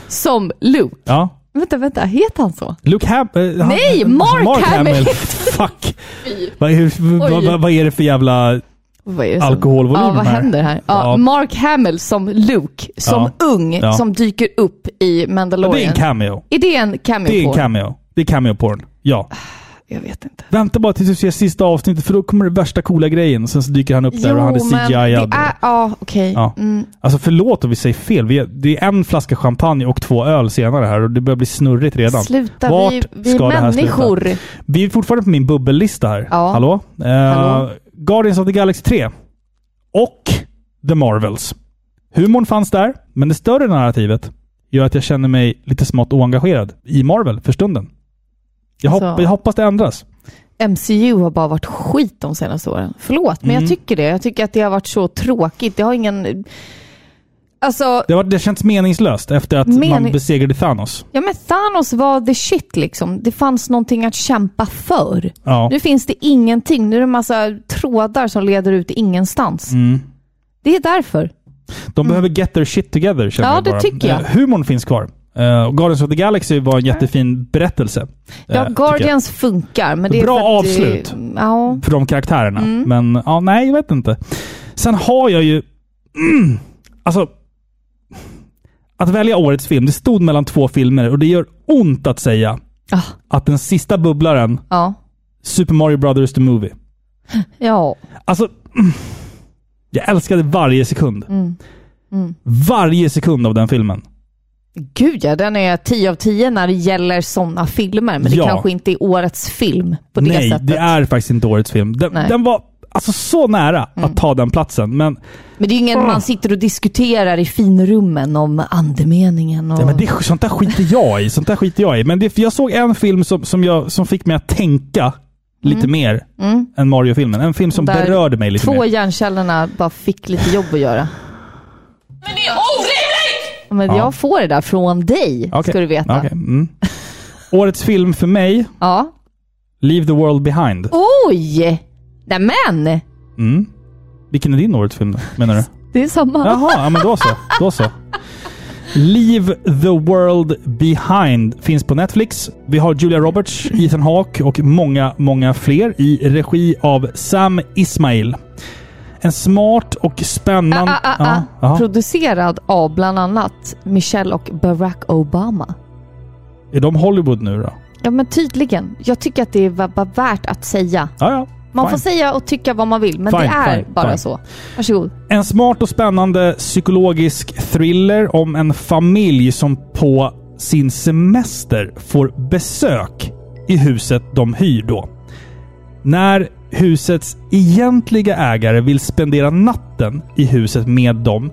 Som Luke. Ja. Vänta, vänta, heter han så? Luke Ham... eh, han- Nej, Mark Hamill. Fuck! Vad är, vad, Oj. vad, vad är det för jävla... Vad är det som- Alkoholvolym Ja, vad här. händer här? Ja, Ja. Mark Hamill som Luke, som ung, Ja. som dyker upp i Det är Mandalorian. en cameo. Är det en cameo? Det är en på? cameo. Det är cameo-porn. Ja. Jag vet inte. Vänta bara tills du ser sista avsnittet för då kommer det värsta coola grejen. Och sen så dyker han upp där och han är men det CGI-ad. är- Ja, okej. Ja. Mm. Alltså förlåt om vi säger fel. Vi är, det är en flaska champagne och två öl senare här och det börjar bli snurrigt redan. Sluta, Vart vi, vi ska det här människor. sluta? Vi är fortfarande på min bubbellista här. Ja. Hallå? Eh, Hallå? Guardians of the Galaxy 3. Och The Marvels. Humorn fanns där, men det större narrativet gör att jag känner mig lite smått oengagerad i Marvel för stunden. Jag, hopp, Så. jag hoppas det ändras. MCU har bara varit skit de senaste åren. Förlåt, men Mm. jag tycker det. Jag tycker att det har varit så tråkigt. Det har ingen... Alltså, Det, var, det känns meningslöst efter att Mening- man besegrade Thanos. ja men Thanos var the shit liksom. Det fanns någonting att kämpa för. Ja. Nu finns det ingenting. Nu är det en massa trådar som leder ut i ingenstans. Mm. Det är därför. De behöver get their shit together, känner Mm. Ja, jag det bara. tycker jag. Eh, humorn finns kvar. Eh, och Guardians of the Galaxy var en jättefin berättelse. eh, Ja, tycker jag. Guardians funkar, men det är Bra för att det- avslut. Ja. för de karaktärerna. Mm. Men ja, nej, jag vet inte. Sen har jag ju... Mm, alltså... Att välja årets film, det stod mellan två filmer och det gör ont att säga Ah, att den sista bubblaren, ja. Super Mario Brothers the Movie. Ja. Alltså... mm, Jag älskade varje sekund. Mm. Varje sekund av den filmen. Gud ja, den är 10 av 10 när det gäller sådana filmer. Men det Ja. kanske inte är årets film på det Nej, sättet. det är faktiskt inte årets film. Den, Nej. Mm. den var alltså så nära att ta den platsen, men, Men det är ju Ah. ingen man sitter och diskuterar i finrummen om andemeningen. Och... nej, men det, är- sånt där skiter jag i. Sånt där skiter jag i. Men det, jag såg en film som, som, jag, som fick mig att tänka lite mer än Mario-filmen. En film som Mm. Där berörde mig lite Två mer. hjärncellerna bara fick lite jobb att göra. Men det är orimligt! Men jag får det där från dig, Okej. ska du veta. Okej, Mm. Årets film för mig, Ja. Leave the World Behind. Oj! Nämen! Mm. Vilken är din årets film då, menar du? Det är samma. Jaha, ja, men då så. Då så. Leave the World Behind finns på Netflix. Vi har Julia Roberts, Ethan Hawke och många, många fler i regi av Sam Ismail. En smart och spännande... Ah, ah, Ja, ah, ah. jaha. Producerad av bland annat Michelle och Barack Obama. Är de Hollywood nu då? Ja men tydligen. Jag tycker att det var bara värt att säga. Ja, ja. Man fine. får säga och tycka vad man vill, men det Fine, är fine, bara fine. så. Varsågod. En smart och spännande psykologisk thriller om en familj som på sin semester får besök i huset de hyr då. När husets egentliga ägare vill spendera natten i huset med dem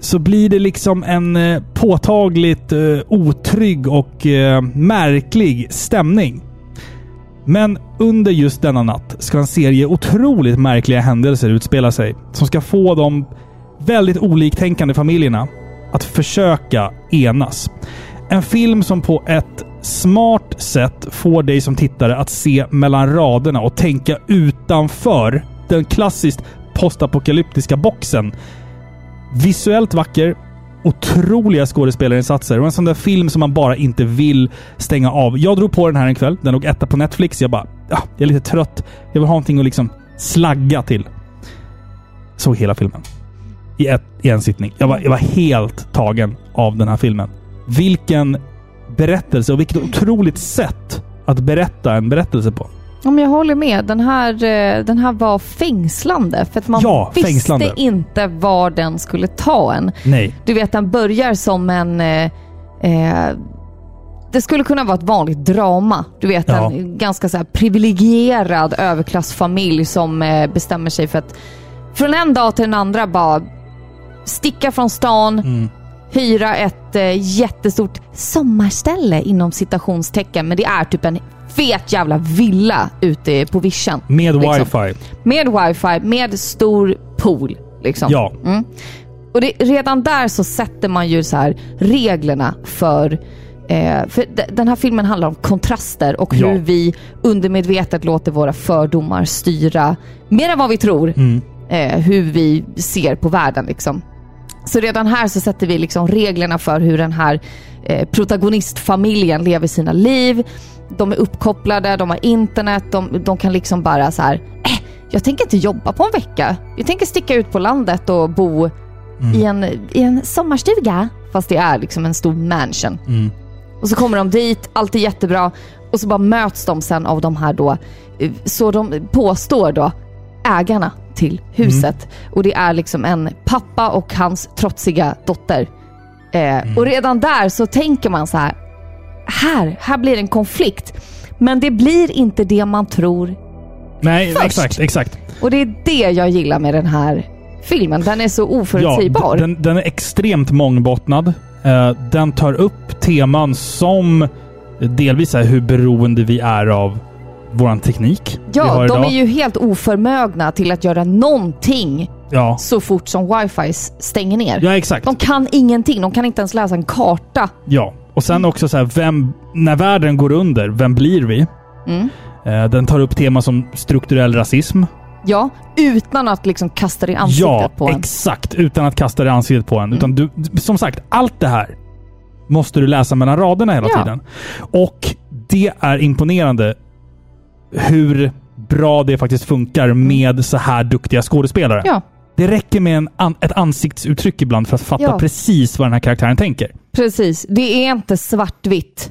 så blir det liksom en eh, påtagligt eh, otrygg och eh, märklig stämning. Men under just denna natt ska en serie otroligt märkliga händelser utspela sig som ska få de väldigt oliktänkande familjerna att försöka enas. En film som på ett smart sätt får dig som tittare att se mellan raderna och tänka utanför den klassiskt postapokalyptiska boxen. Visuellt vacker, otroliga skådespelarinsatser och en sån där film som man bara inte vill stänga av. Jag drog på den här en kväll. Den låg etta på Netflix. Jag bara, ah, jag är lite trött. Jag vill ha någonting att liksom slagga till. Såg hela filmen. I, ett, i en sittning. Jag var, jag var helt tagen av den här filmen. Vilken berättelse och vilket otroligt sätt att berätta en berättelse på. Om jag håller med. Den här, eh, den här var fängslande. För att man Ja, visste fängslande. inte var den skulle ta en. Nej. Du vet, den börjar som en... Eh, eh, det skulle kunna vara ett vanligt drama. Du vet, Ja. en ganska så här privilegierad överklassfamilj som eh, bestämmer sig för att från en dag till den andra bara sticka från stan, Mm. hyra ett eh, jättestort sommarställe inom citationstecken. Men det är typ en fet jävla villa ute på vischan. Med liksom. wifi. Med wifi, med stor pool. Liksom. Ja. Och det, redan där så sätter man ju så här reglerna för Eh, för d- den här filmen handlar om kontraster och Ja. hur vi undermedvetet låter våra fördomar styra mer än vad vi tror eh, hur vi ser på världen. Liksom. Så redan här så sätter vi liksom reglerna för hur den här eh, protagonistfamiljen lever sina liv. De är uppkopplade, de har internet, de, de kan liksom bara så här. Eh, jag tänker inte jobba på en vecka. Jag tänker sticka ut på landet och bo i, en, i en sommarstuga. Fast det är liksom en stor mansion. Och så kommer de dit, allt är jättebra. Och så bara möts de sen av de här då, eh, så de påstår då, ägarna till huset. Och det är liksom en pappa och hans trotsiga dotter. Eh, Och redan där så tänker man så här, här, här blir det en konflikt. Men det blir inte det man tror. Nej, Först. exakt, exakt. Och det är det jag gillar med den här filmen. Den är så oförutsägbar. d- den, den är extremt mångbottnad. Eh, den tar upp teman som delvis är hur beroende vi är av våran teknik vi har Ja, de idag. är ju helt oförmögna till att göra någonting Ja. så fort som wifi stänger ner. ja, exakt. De kan ingenting. De kan inte ens läsa en karta. Ja. Och sen också så här, vem, när världen går under, vem blir vi? Mm. Eh, Den tar upp teman som strukturell rasism. Ja, utan att liksom kasta det i ansiktet Ja, på en. Mm. exakt. Utan att kasta det i ansiktet på en. Utan du, som sagt, allt det här måste du läsa mellan raderna hela Ja. tiden. Och det är imponerande hur bra det faktiskt funkar med så här duktiga skådespelare. Mm. Ja, Det räcker med en an ett ansiktsuttryck ibland för att fatta Ja. precis vad den här karaktären tänker. precis. Det är inte svartvitt.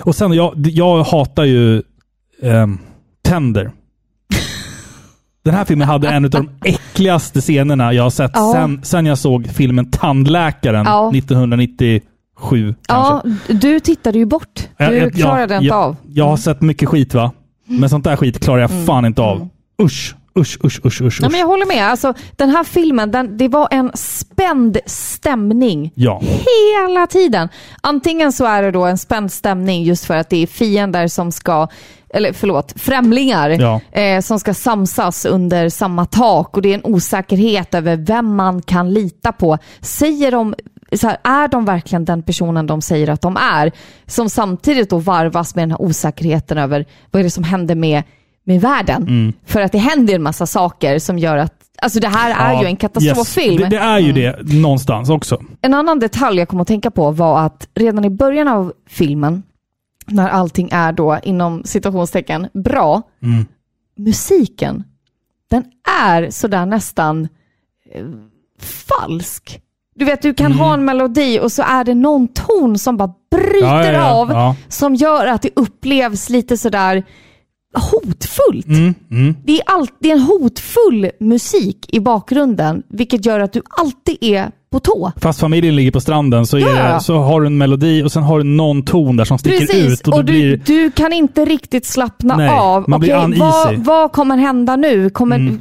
Och sen, jag, jag hatar ju ehm, tänder. Den här filmen hade en av de äckligaste scenerna jag har sett Ja. sen, sen jag såg filmen Tandläkaren Ja. 1997. Ja, Kanske. du tittade ju bort. Jag- Du jag- klarade jag, inte jag, av. Mm. Jag har sett mycket skit va? Men sånt där skit klarar jag fan inte av. Usch, usch, usch, usch, usch. Nej, usch. men jag håller med. Alltså, den här filmen, den, det var en spänd stämning Ja. hela tiden. Antingen så är det då en spänd stämning just för att det är fiender som ska, eller förlåt, främlingar Ja. eh, som ska samsas under samma tak och det är en osäkerhet över vem man kan lita på. Säger de så här, är de verkligen den personen de säger att de är? Som samtidigt då varvas med den här osäkerheten över vad är det som händer med, med världen? Mm. För att det händer en massa saker som gör att, alltså det här är Ja, ju en katastroffilm. Mm. Yes. Det, det är ju det någonstans också. En annan detalj jag kom att tänka på var att redan i början av filmen, när allting är då inom citationstecken bra, Mm. musiken, den är sådär nästan eh, falsk. Du vet, du kan Mm. ha en melodi och så är det någon ton som bara bryter Ja, ja, ja. av, Ja. som gör att det upplevs lite sådär hotfullt. Mm. Det, är allt, det är en hotfull musik i bakgrunden, vilket gör att du alltid är på tå. Fast familjen ligger på stranden så, är Ja. det, så har du en melodi och sen har du någon ton där som sticker Precis, ut. Och, och, då du, blir, du kan inte riktigt slappna Nej, av. man blir Okej, uneasy. Mm. vad, vad kommer hända nu? Kommer,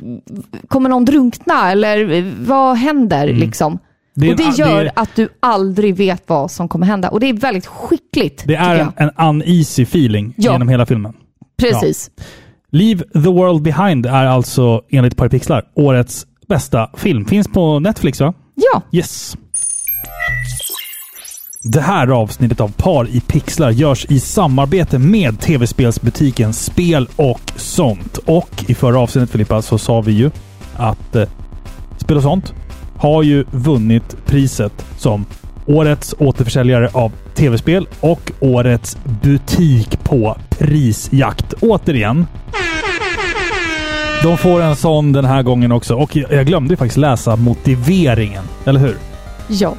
kommer någon drunkna eller eh, vad händer? Liksom? Mm. Det är och det en- gör det är- att du aldrig vet vad som kommer hända. Och det är väldigt skickligt. Det är tycker en, jag. en uneasy feeling Ja. genom hela filmen. Precis. Leave the world behind är alltså enligt Parapixlar årets bästa film. Finns på Netflix va? Ja. Yes. Det här avsnittet av Par i pixlar görs i samarbete med tv-spelsbutiken Spel och sånt. Och i förra avsnittet Filippa så sa vi ju att eh, Spel och sånt har ju vunnit priset som Årets återförsäljare av tv-spel och Årets butik på prisjakt. Återigen. De får en sån den här gången också och jag jag glömde ju faktiskt läsa motiveringen, eller hur? ja.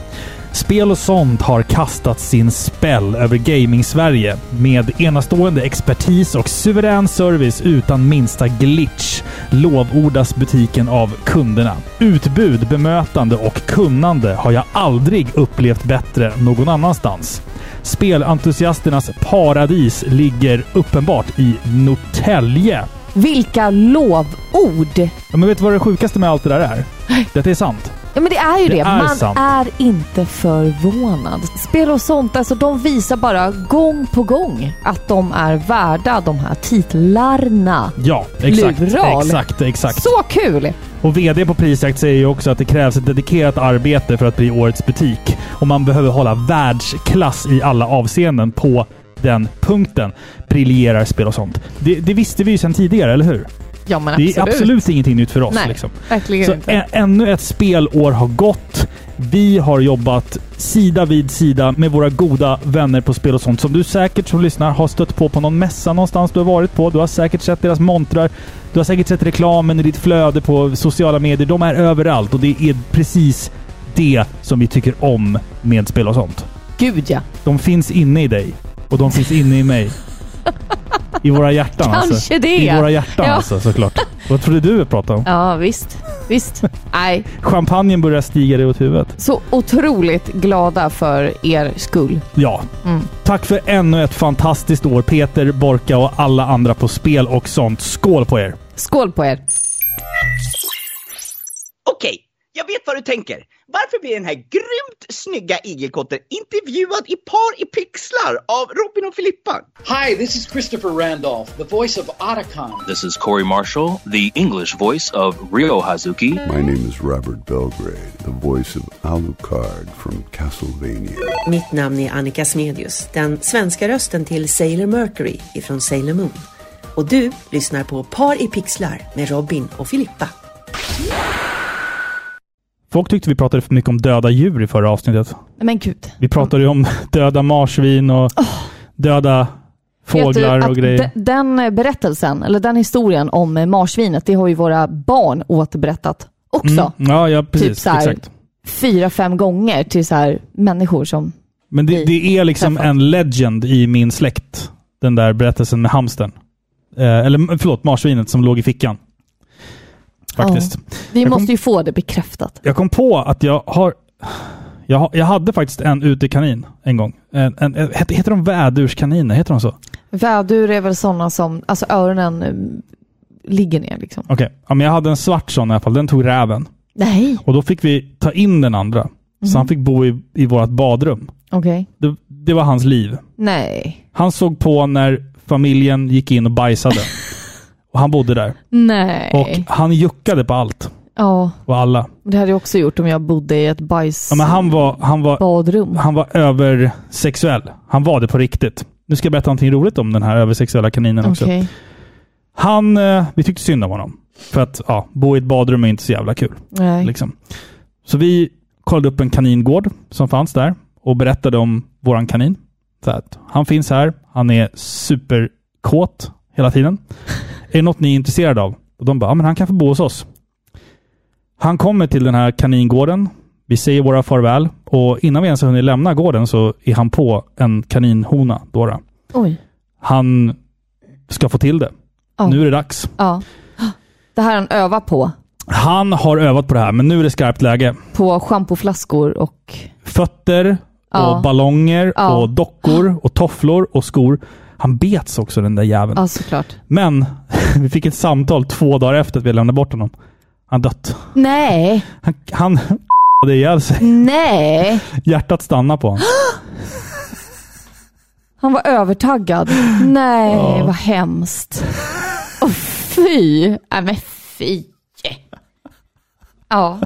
Spel och sånt har kastat sin spell över gaming-Sverige med enastående expertis och suverän service utan minsta glitch lovordas butiken av kunderna. Utbud, bemötande och kunnande har jag aldrig upplevt bättre någon annanstans. Spelentusiasternas paradis ligger uppenbart i Norrtälje. Vilka lovord! Ja, Men vet du vad det sjukaste med allt det där är? Det är sant. Ja, men det är ju det. Det är Man sant. är inte förvånad. Spel och sånt, alltså de visar bara gång på gång att de är värda de här titlarna. Ja, exakt. Lural. Exakt, exakt. Så kul! Och VD på Prisjakt säger ju också att det krävs ett dedikerat arbete för att bli årets butik. Och man behöver hålla världsklass i alla avseenden på den punkten. Briljerar spel och sånt. Det, det visste vi ju sedan tidigare, eller hur? Ja men Det är absolut ingenting nytt för oss. Nej, Liksom. verkligen Så inte. ä- ännu ett spelår har gått. Vi har jobbat sida vid sida med våra goda vänner på spel och sånt som du säkert som lyssnar har stött på på någon mässa någonstans du har varit på. Du har säkert sett deras montrar. Du har säkert sett reklamen i ditt flöde på sociala medier. De är överallt och det är precis det som vi tycker om med spel och sånt. Gud ja. De finns inne i dig och de finns inne i mig. I våra hjärtan alltså. Kanske det. I våra hjärtan Ja. alltså såklart. Vad trodde du jag pratade om? Ja visst. Visst. Nej, Champagnen börjar stiga dig åt huvudet. så otroligt glada för er skull. Ja. Mm. Tack för ännu ett fantastiskt år Peter, Borka och alla andra på spel och sånt. Skål på er! Skål på er! Okej, jag vet vad du tänker. Varför blir den här grymt snygga igelkotten intervjuad i par i pixlar av Robin och Filippa? Hi, this is Christopher Randolph, the voice of Otacon. This is Corey Marshall, the English voice of Ryo Hazuki. My name is Robert Belgrade, the voice of Alucard from Castlevania. Mitt namn är Annika Smedius, den svenska rösten till Sailor Mercury ifrån Sailor Moon. Och du lyssnar på Par i pixlar med Robin och Filippa. Folk tyckte vi pratade för mycket om döda djur i förra avsnittet. Nej, Men gud. Vi pratade ju om döda marsvin och döda Vet fåglar du och att grejer. de- Den eh, berättelsen, eller den historien om eh, marsvinet, det har ju våra barn återberättat också. Typ Mm. Ja, ja, precis. så här- Exakt. Fyra, fem gånger till så här människor som... Men det, vi det är liksom träffat. en legend i min släkt, den där berättelsen med hamstern. Eh, eller förlåt, marsvinet som låg i fickan. Faktiskt. Vi Jag kom- måste ju få det bekräftat. Jag kom på att jag har... Jag, har- jag hade faktiskt en utekanin en gång. En, en, en, heter heter de vädurskaniner? Heter de så? Vädur är väl sådana som, alltså öronen eh, ligger ner liksom. Okej. Ja, men jag hade en svart sån i alla fall. Den tog räven. Nej, Och då fick vi ta in den andra. Så han fick bo i, i vårt badrum. okej. Det, det var hans liv. Nej. Han såg på när familjen gick in och bajsade. och han bodde där. Nej. Och han juckade på allt Ja, och alla. det hade jag också gjort om jag bodde i ett Ja, men han var, han var, bajsbadrum. han var översexuell. Han var det på riktigt. Nu ska jag berätta någonting roligt om den här översexuella kaninen också. Okej. Han, eh, vi tyckte synd om honom. För att ja, bo i ett badrum är inte så jävla kul. Nej. Liksom. Så vi kollade upp en kaningård som fanns där och berättade om våran kanin. Så att han finns här, han är superkåt hela tiden. är det något ni är intresserade av? Och de bara, ja men han kan få bo hos oss. Han kommer till den här kaningården. Vi säger våra farväl och innan vi ens har hunnit lämna gården så är han på en kaninhona. Dora. Oj. Han ska få till det. Ja. Nu är det dags. Ja. Det här han övar på. Han har övat på det här, men nu är det skarpt läge. På schampoflaskor och... fötter Ja. och ballonger Ja. och dockor och tofflor och skor. Han bets också den där jäveln. Ja, såklart. Men vi fick ett samtal två dagar efter att vi lämnade bort honom. Han dött. Nej, Han, han hade ihjäl sig. nej. Hjärtat stannade på honom. Han var övertaggad. Nej, vad hemskt. Åh fy. Nej, men fy. Ja.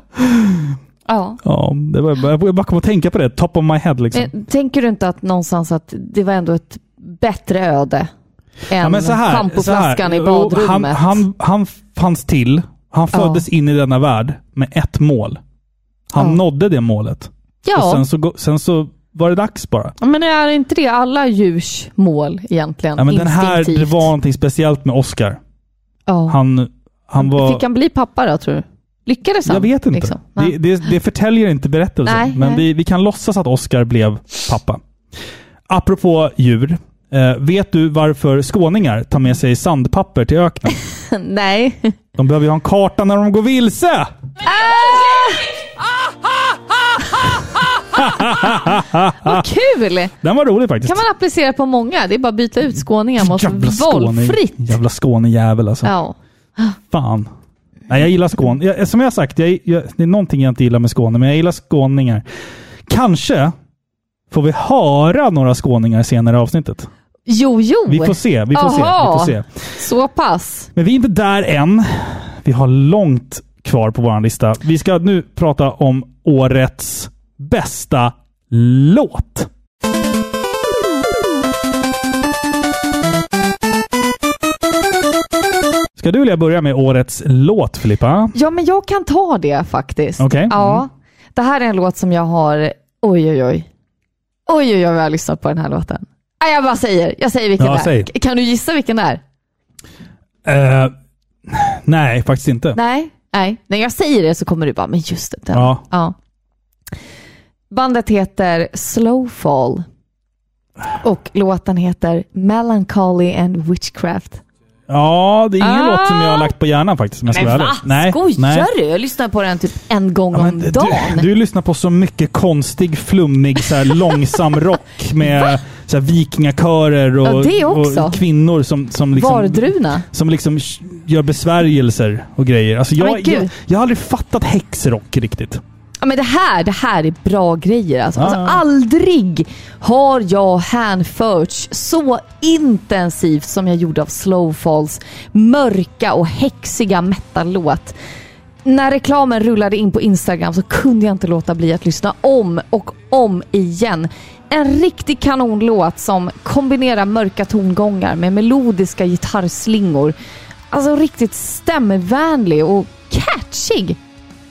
Ja. Ja, det var, jag började bara komma att tänka på det. Top of my head liksom. Men, tänker du inte att någonstans att det var ändå ett bättre öde än Ja, men så här, schampoflaskan så här. i badrummet? Han, han, han fanns till. Han Ja. föddes in i denna värld med ett mål. Han Ja. nådde det målet. Och ja, sen, så, gå- sen så var det dags bara. men är inte det alla djurs mål egentligen? Ja, men den här, Instinktivt. det var någonting speciellt med Oscar. Ja. Han, han var... Fick han bli pappa då, tror du? Lyckades han? jag vet inte. liksom? Det, Nej. det, det förtäljer inte berättelsen. Nej, men nej. Vi, vi kan låtsas att Oscar blev pappa. Apropå djur. Eh, vet du varför skåningar tar med sig sandpapper till öknen? Nej. De behöver ju ha en karta när de går vilse! Vad kul! Den var rolig faktiskt. kan man applicera på många. Det är bara att byta ut skåningar mot Skåne- valfritt. Jävla Skånejävel alltså. Ja. Fan. Nej, jag gillar Skåne. Jag, eh, som jag har sagt, jag, jag, det är någonting jag inte gillar med Skåne, men jag gillar skåningar. Kanske får vi höra några skåningar senare i avsnittet. Jo, jo. Vi får se. Vi får, se, vi får Aha. se. Så pass. Men vi är inte där än. Vi har långt kvar på vår lista. Vi ska nu prata om årets bästa låt. Ska du vilja börja med årets låt, Filippa? Ja, men jag kan ta det faktiskt. Okej. Mm. Ja. Det här är en låt som jag har... Oj, oj, oj. Oj, oj, oj vad jag har lyssnat på den här låten. Nej, jag bara säger. Jag säger vilken Ja, det är. säg. Kan du gissa vilken det är? Eh, nej, faktiskt inte. Nej. Nej. När jag säger det så kommer du bara, men just det. Den. Ja. Bandet heter Slowfall och låten heter Melancholy and Witchcraft. Ja, det är ingen Ah. låt som jag har lagt på hjärnan faktiskt. om Jag ska Men vara ärlig. va? Nej, Skojar Eh, nej. du? Jag lyssnar på den typ en gång Ja, men om du, dagen. du lyssnar på så mycket konstig, flummig, så här långsam rock med så här vikingakörer Ja, och, det också. och kvinnor som, som liksom... Vardruna. Som liksom gör besvärjelser och grejer. Alltså Ja, jag, men gud. jag, jag har aldrig fattat häxrock riktigt. Ja, men det, här, det här är bra grejer alltså. Ja, alltså ja. aldrig har jag hänförts så intensivt som jag gjorde av Slowfalls mörka och häxiga metal-låt. När reklamen rullade in på Instagram så kunde jag inte låta bli att lyssna om och om igen. En riktig kanonlåt som kombinerar mörka tongångar med melodiska gitarrslingor. Alltså riktigt stämvänlig och catchig.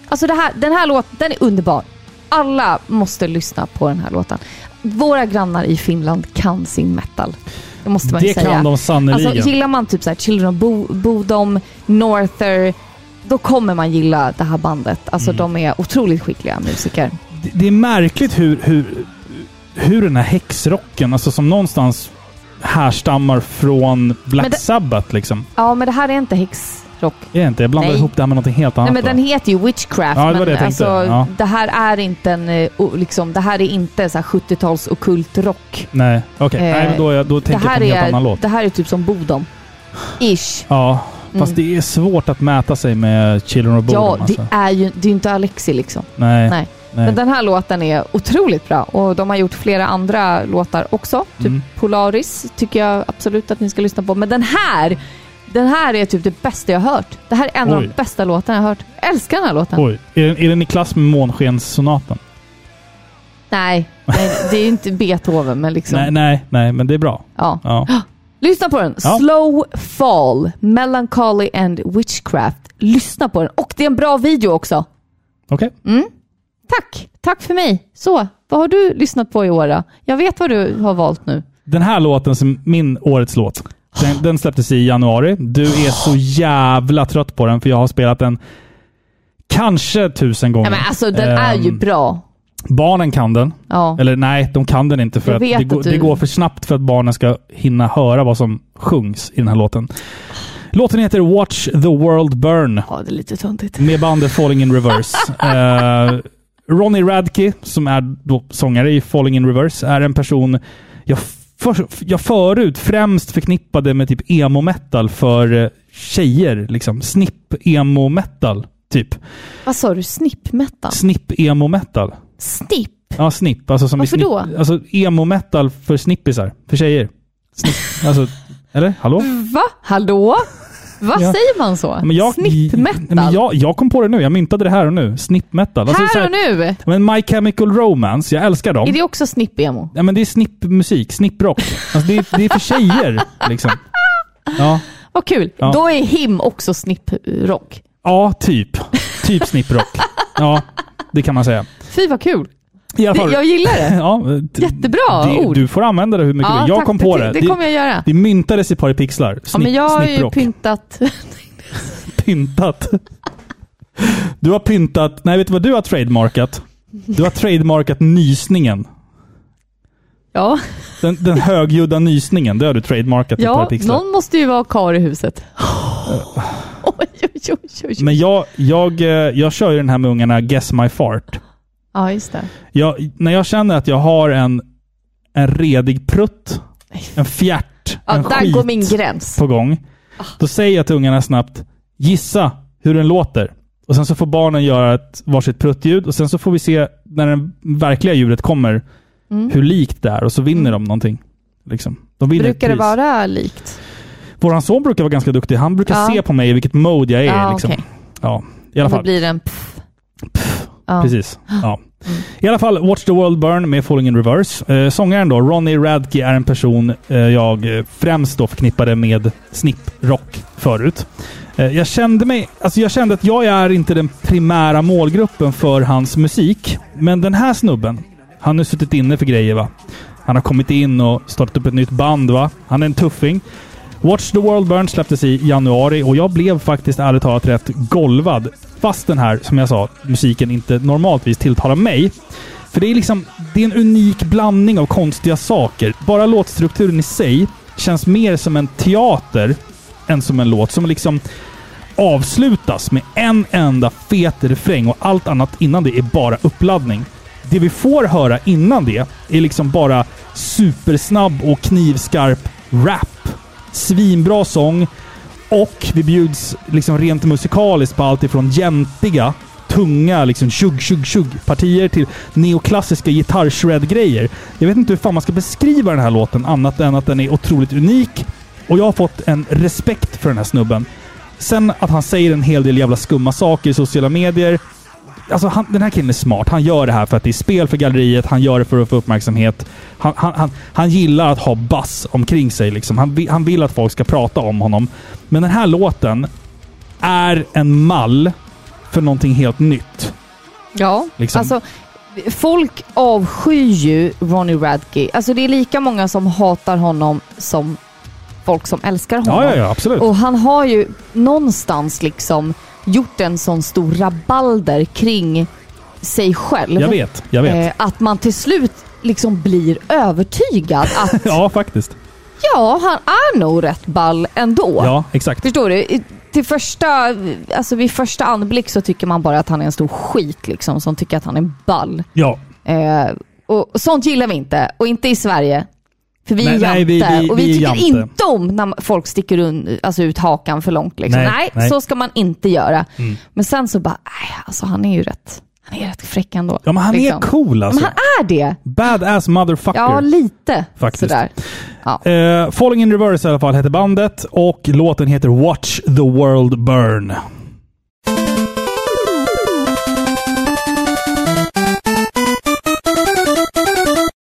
Alltså det här, den här låten, den är underbar. Alla måste lyssna på den här låten. Våra grannar i Finland kan sin metal. Det måste man ju Det säga. kan de sannerligen. Alltså gillar man typ så här Children of Bo- Bodom, Norther, då kommer man gilla det här bandet. Alltså Mm. de är otroligt skickliga musiker. Det- det är märkligt hur, hur, hur den här häxrocken, alltså som någonstans härstammar från Black Men det- Sabbath liksom. Ja, men det här är inte häxrock. Är det inte? Jag blandar Nej. ihop det här med något helt Nej, annat. men den va? heter ju Witchcraft, Ja, det var men det jag tänkte. alltså, Ja. det här är inte en eh, o- liksom, det här är inte så här 70-tals ockultrock. Nej, okej. Eh, Nej, men då, är jag- då Det tänker jag här, på en helt annan är, låt. det här är typ som Bodom. Ish. Ja, fast Mm. det är svårt att mäta sig med Children of Bodom. Ja, det alltså. är ju det är ju inte Alexi liksom. Nej. nej. nej. Men den här låten är otroligt bra och de har gjort flera andra låtar också. Typ Mm. Polaris tycker jag absolut att ni ska lyssna på. Men den här, den här är typ det bästa jag har hört. Det här är en av de Oj. bästa låtarna jag har hört. Jag älskar den här låten. Oj, är den, är den i klass med Månskenssonaten? Nej, nej, det är ju inte Beethoven men liksom. Nej, nej, nej, men det är bra. Ja. Ja. Lyssna på den. Ja. Slow Fall, Melancholy and Witchcraft. Lyssna på den. Och det är en bra video också. Okej. Tack! Tack för mig. Så, vad har du lyssnat på i år då? Jag vet vad du har valt nu. Den här låten, som min årets låt, den, den släpptes i januari. Du är så jävla trött på den, för jag har spelat den kanske tusen gånger. Ja, men alltså den är ju Ehm, bra. Barnen kan den. Ja. Eller nej, de kan den inte, för Jag att vet det, går, att du- det går för snabbt för att barnen ska hinna höra vad som sjungs i den här låten. Låten heter Watch the World Burn. Ja, det är lite töntigt. Med bandet Falling in Reverse. Eh, Ronnie Radke, som är då sångare i Falling in Reverse, är en person jag, för, jag förut främst förknippade med typ emo-metal för eh, tjejer. Liksom. Snipp-emo-metal, typ. Vad sa du? Snippmätta? Snipp-emo-metal. Snipp? Ja, snipp. Alltså som Varför i snipp, då? Alltså emo-metal för snippisar, för tjejer. Snipp, alltså, eller? Hallå? Va? Hallå? Vad Ja. säger man så? Men jag- Snippmetal? Men jag, jag kom på det nu. Jag myntade det här och nu. Snipp-metal. Alltså, så här här- och nu! Men My Chemical Romance, jag älskar dem. Är det också snipp-emo? Ja, men det är snippmusik, snipprock. Alltså det, är, det är för tjejer. Liksom. Ja. Vad kul! Ja. Då är him också snipprock. ja, typ. Typ snipprock. Ja, det kan man säga. Fy vad kul! I alla Det, fall, jag gillar det! ja, t- Jättebra det, ord. Du får använda det hur mycket du vill. Jag tack. kom på det. Det, det kommer jag göra. det myntades i Pari Pixlar. Ja, Snipp, men jag har ju snipprock. pyntat... Pyntat. Du har pyntat... Nej, vet du vad du har trademarkat? Du har trademarkat nysningen. Ja, Den, den högljudda nysningen, det har du trademarkat i Pari ja Pixlar. någon måste ju vara kar i huset. Oj, oj, oj, oj, oj. Men jag, jag, eh, jag kör ju den här med ungarna Guess My Fart. Ja, just det. Jag, när jag känner att jag har en, en redig prutt, en fjärt, Ja, en där skit går min gräns. Ah. på gång. Då säger jag till ungarna snabbt, gissa hur den låter. Och sen så får barnen göra ett varsitt pruttljud och sen så får vi se när det verkliga ljudet kommer, Mm. hur likt det är. Och så vinner de någonting. Liksom. De vinner ett Brukar det pris. vara likt? Vår son brukar vara ganska duktig. Han brukar Ja. se på mig i vilket mode jag är. Ja, liksom. okej. ja, i alla Då fall. blir det en pff. Ja. Precis. Ja. I alla fall, Watch the World Burn med Falling in Reverse. Eh, sångaren då, Ronnie Radke, är en person eh, jag eh, främst då förknippade med snipprock förut. Eh, jag kände mig... Alltså jag kände att jag är inte den primära målgruppen för hans musik. Men den här snubben, han har ju suttit inne för grejer va. Han har kommit in och startat upp ett nytt band va. Han är en tuffing. Watch the World Burn släpptes i januari och jag blev faktiskt ärligt talat rätt golvad. Fast den här, som jag sa, musiken inte normaltvis tilltalar mig. För det är liksom, det är en unik blandning av konstiga saker. Bara låtstrukturen i sig känns mer som en teater än som en låt som liksom avslutas med en enda fet refräng och allt annat innan det är bara uppladdning. Det vi får höra innan det är liksom bara supersnabb och knivskarp rap. Svinbra sång och vi bjuds liksom rent musikaliskt på allt ifrån jäntiga, tunga liksom tjugg, tjugg, tjugg partier till neoklassiska gitarrshred-grejer. Jag vet inte hur fan man ska beskriva den här låten annat än att den är otroligt unik och jag har fått en respekt för den här snubben. Sen att han säger en hel del jävla skumma saker i sociala medier. Alltså han, den här killen är smart. Han gör det här för att det är spel för galleriet. Han gör det för att få uppmärksamhet. Han, han, han, han gillar att ha bass omkring sig. Liksom. Han, vi- han vill att folk ska prata om honom. Men den här låten är en mall för någonting helt nytt. Ja, Liksom. alltså folk avskyr ju Ronny Radke. Alltså det är lika många som hatar honom som folk som älskar honom. Ja, ja, ja absolut. Och han har ju någonstans liksom gjort en sån stor rabalder kring sig själv. jag vet, jag vet. Eh, att man till slut liksom blir övertygad att Ja, faktiskt. ja, han är nog rätt ball ändå. Ja, exakt. Förstår du? I- Till första, alltså vid första anblick så tycker man bara att han är en stor skit liksom, som tycker att han är ball. Ja, Eh, och och sånt gillar vi inte. Och inte i Sverige. För vi är Nej, jante. nej, vi- vi- och vi, vi är tycker jante. inte om när man- folk sticker un, alltså ut hakan för långt. Liksom. Nej, Nej, nej. Mm. så ska man inte göra. Men sen så bara, nej, alltså han är ju rätt, han är rätt fräck ändå. ja men han liksom. är cool alltså. Men han är det. Badass motherfucker. Ja, lite Faktiskt. sådär. Ja. Eh, Falling in Reverse i alla fall heter bandet och låten heter Watch the World Burn.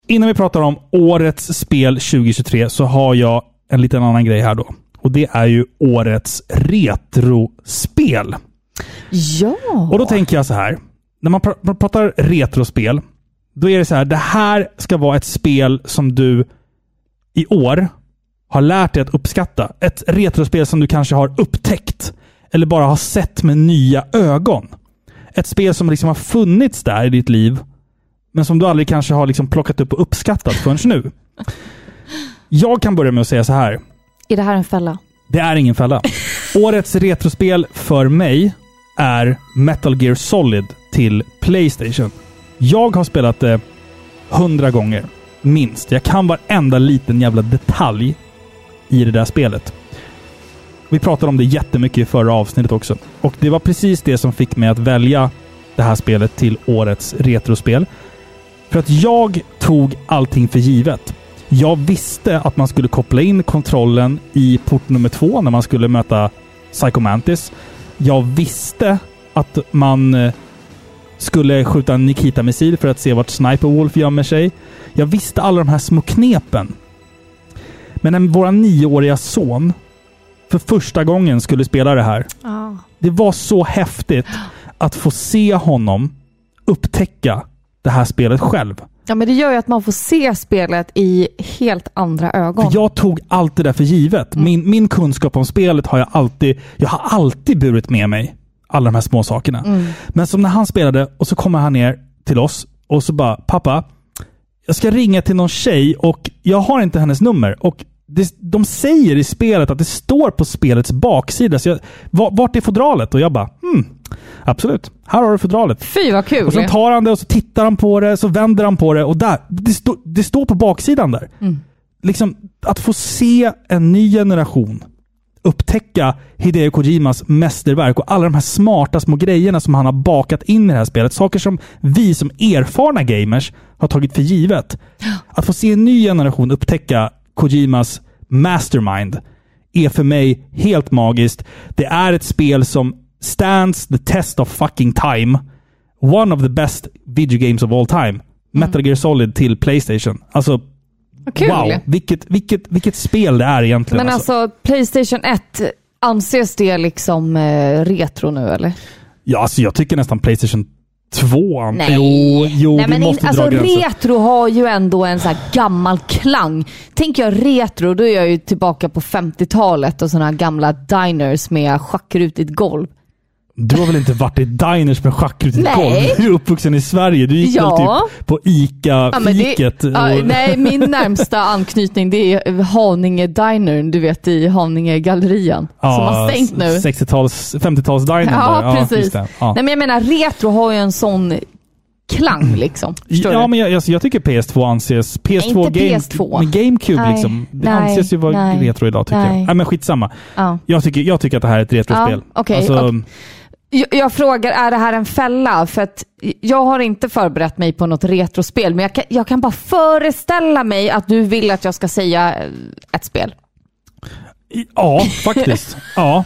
Innan vi pratar om årets spel 2023 så har jag en liten annan grej här då. Och det är ju årets retrospel. ja. Och då tänker jag så här. När man, pr- man pratar retrospel, då är det så här. Det här ska vara ett spel som du i år har lärt dig att uppskatta. Ett retrospel som du kanske har upptäckt. Eller bara har sett med nya ögon. Ett spel som liksom har funnits där i ditt liv, men som du aldrig kanske har liksom plockat upp och uppskattat förrän nu. Jag kan börja med att säga så här. Är det här en fälla? Det är ingen fälla. Årets retrospel för mig är Metal Gear Solid till Playstation. Jag har spelat det hundra gånger. Minst. Jag kan varenda liten jävla detalj i det där spelet. Vi pratade om det jättemycket i förra avsnittet också. Och det var precis det som fick mig att välja det här spelet till årets retrospel. För att jag tog allting för givet. Jag visste att man skulle koppla in kontrollen i port nummer två när man skulle möta Psycho Mantis. Jag visste att man eh, skulle skjuta en Nikita-missil för att se vart Sniper Wolf gömmer sig. Jag visste alla de här små knepen. Men när vår nioåriga son för första gången skulle spela det här. Det var så häftigt att få se honom upptäcka det här spelet själv. Ja, men det gör ju att man får se spelet i helt andra ögon. För jag tog allt det där för givet. Min, min kunskap om spelet har jag alltid, jag har alltid burit med mig. Alla de här små sakerna. Men som när han spelade och så kommer han ner till oss och så bara, pappa, jag ska ringa till någon tjej och jag har inte hennes nummer. Och det, de säger i spelet att det står på spelets baksida. Så jag, va- vart är fodralet? Och jag bara, hmm, absolut. Här har du fodralet. Fy vad kul! Och sen tar han det och så tittar han på det, så vänder han på det och där. Det, stå, det står på baksidan där. Liksom, att få se en ny generation upptäcka Hideo Kojimas mästerverk och alla de här smarta små grejerna som han har bakat in i det här spelet. Saker som vi som erfarna gamers har tagit för givet. Att få se en ny generation upptäcka Kojimas mastermind är för mig helt magiskt. Det är ett spel som stands the test of fucking time one of the best video games of all Mm. time. Metal Gear Solid till Playstation. Alltså, Vad kul! wow. Vilket, vilket, vilket spel det är egentligen. Men alltså. alltså, Playstation 1, anses det liksom eh, retro nu eller? Ja, alltså jag tycker nästan Playstation 2. Nej. Jo, jo Nej, vi men in, måste alltså, dra gränser. retro har ju ändå en så här gammal klang. Tänker jag retro, då är jag ju tillbaka på 50-talet och sådana här gamla diners med schackrutigt golv. Du har väl inte varit i diners med schackrutigt Nej. golv? Du är uppvuxen i Sverige. Du gick Ja. väl typ på Ja, men det, ICA-fiket? ja, och- nej, min närmsta anknytning det är Haninge Dinern, du vet i Haninge Gallerian. som har stängt nu. 60-tals, 50-tals-dinern. ja, där. precis. just det. Ja. Nej, men jag menar, retro har ju en sån klang liksom. Förstår Mm. Ja, du? men jag, alltså, jag tycker PS2 anses... PS2 Inte Game, PS2. Men GameCube Nej, liksom. Det nej, anses ju vara nej, retro idag tycker nej. jag. Nej, men skitsamma. Ja. Jag tycker, jag tycker att det här är ett retrospel. Alltså, Ja, okej, okej. Jag, jag frågar, är det här en fälla? För att jag har inte förberett mig på något retrospel, men jag kan, jag kan bara föreställa mig att du vill att jag ska säga eh, ett spel. ja, faktiskt. Ja.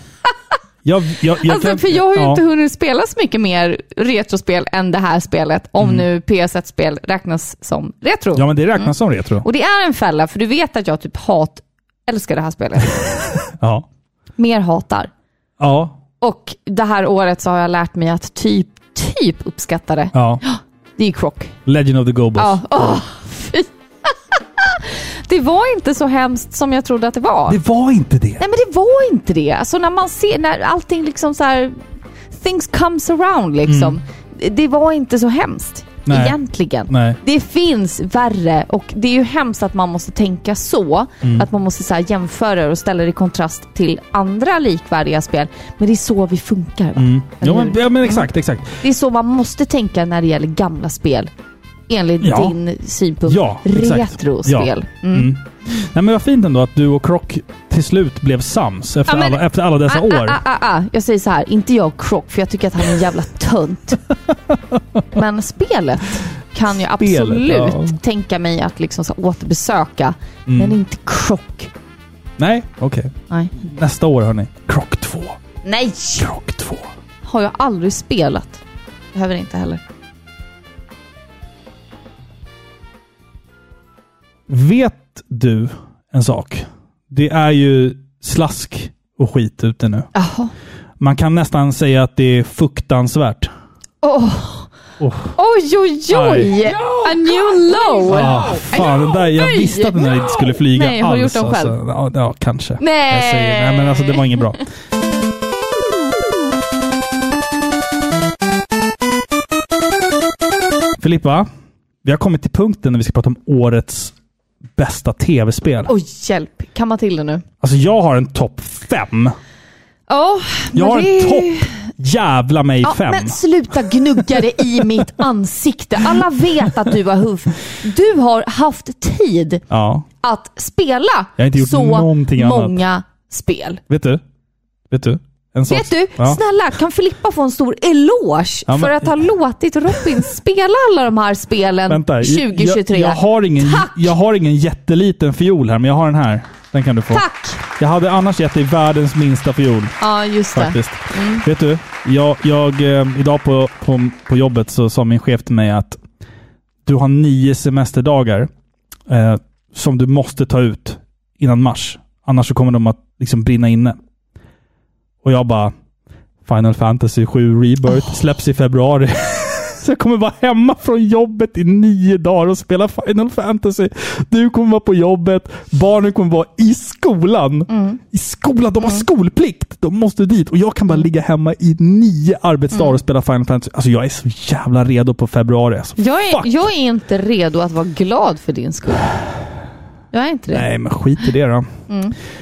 Jag, jag, jag alltså, kan- för jag har ju ja. inte hunnit spela så mycket mer retrospel än det här spelet, om nu PS1-spel räknas som retro. Mm. Ja, men det räknas som retro. Och det är en fälla, för du vet att jag typ hat, älskar det här spelet. Ja. Mer hatar. Ja. Och det här året så har jag lärt mig att typ, typ uppskatta det. Ja. Det är krock. Legend of the Gobos. Ja. Åh, fy. det var inte så hemskt som jag trodde att det var. Det var inte det. Nej men det var inte det. Alltså när man ser, när allting liksom så här, things comes around liksom. Det var inte så hemskt. Mm. Nej. Egentligen. Nej. Det finns värre och det är ju hemskt att man måste tänka så. Mm. Att man måste så här jämföra och ställa det i kontrast till andra likvärdiga spel. Men det är så vi funkar. Va? Mm. Ja, men, Eller ja, men exakt, exakt. Det är så man måste tänka när det gäller gamla spel. Enligt Ja. din synpunkt. Ja, exakt. Retrospel. Ja. Mm. Nej, men vad fint ändå att du och Croc till slut blev sams efter, Ja, men- alla, efter alla dessa år. Ah, ah, ah, ah. Jag säger så här, inte jag och Croc, för jag tycker att han är en jävla tönt. Men spelet kan jag Spelet, absolut ja. tänka mig att liksom så återbesöka. Mm. Men inte Croc. Nej, okej. Nej. Nästa år hörni. Croc 2. Nej! Croc 2. Har jag aldrig spelat. Behöver inte heller. Vet du en sak? Det är ju slask och skit ute nu. Jaha. Man kan nästan säga att det är fruktansvärt. Åh, Oh. Oj, oj, oj! Aj. A new low! Ah, fan, den där, jag Nej. visste att den där inte skulle flyga Nej, har alls. du gjort dem själv? Alltså. Ja, ja, kanske. Nej. Jag säger, nej, men alltså det var inget bra. Filippa, vi har kommit till punkten när vi ska prata om årets bästa tv-spel. Oj, hjälp. Kamma till det nu. Alltså jag har en topp fem. Ja, Jag men har det- en topp jävla mig Ja, fem. men sluta gnugga det i mitt ansikte. Alla vet att du har huff. Du har haft tid Ja, att spela Jag har inte gjort så någonting annat. många spel. vet du? Vet du? En sak. Vet du, Ja. snälla kan Filippa få en stor eloge Ja, men- för att ha låtit Robin spela alla de här spelen Vänta, jag- 2023? Jag, jag, har ingen, Tack! jag har ingen jätteliten fiol här, men jag har den här. Den kan du få. Tack! Jag hade annars gett dig världens minsta fiol. Ja, just det. Faktiskt. Mm. Vet du, jag, jag, eh, idag på, på, på jobbet så sa min chef till mig att du har nio semesterdagar eh, som du måste ta ut innan mars. Annars så kommer de att liksom brinna inne. Och jag bara, Final Fantasy 7 Rebirth släpps i februari. så jag kommer vara hemma från jobbet i nio dagar och spela Final Fantasy. Du kommer vara på jobbet, barnen kommer vara i skolan. I skolan, de har skolplikt! De måste dit. Och jag kan bara ligga hemma i nio arbetsdagar och spela Final Fantasy. Alltså jag är så jävla redo på februari. Alltså. Jag är, Fuck! jag är inte redo att vara glad för din skull. Jag är inte det. Nej, men skit i det då.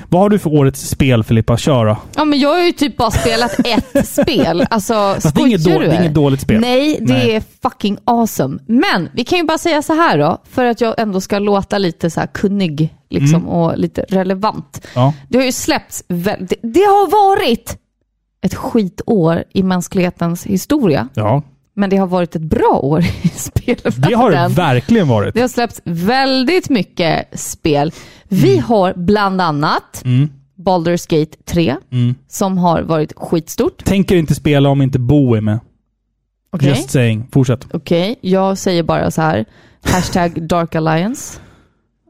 Vad har du för årets spel Filippa? Kör då. Ja, men jag har ju typ bara spelat ett spel. Alltså, Fast det är inget skojar dåligt- du, det är eller? inget dåligt spel. Nej, det Nej. är fucking awesome. Men vi kan ju bara säga så här då, för att jag ändå ska låta lite så här kunnig liksom, Mm. och lite relevant. Ja. Det har ju släppts väl, det, det har varit ett skitår i mänsklighetens historia, ja. men det har varit ett bra år i spelvärlden. Det har det verkligen varit. Det har släppts väldigt mycket spel. Vi har bland annat Baldur's Gate 3, som har varit skitstort. Tänker inte spela om inte Bo är med. Okej, Just saying. Fortsätt. Okej, jag säger bara så här. Hashtag Dark Alliance.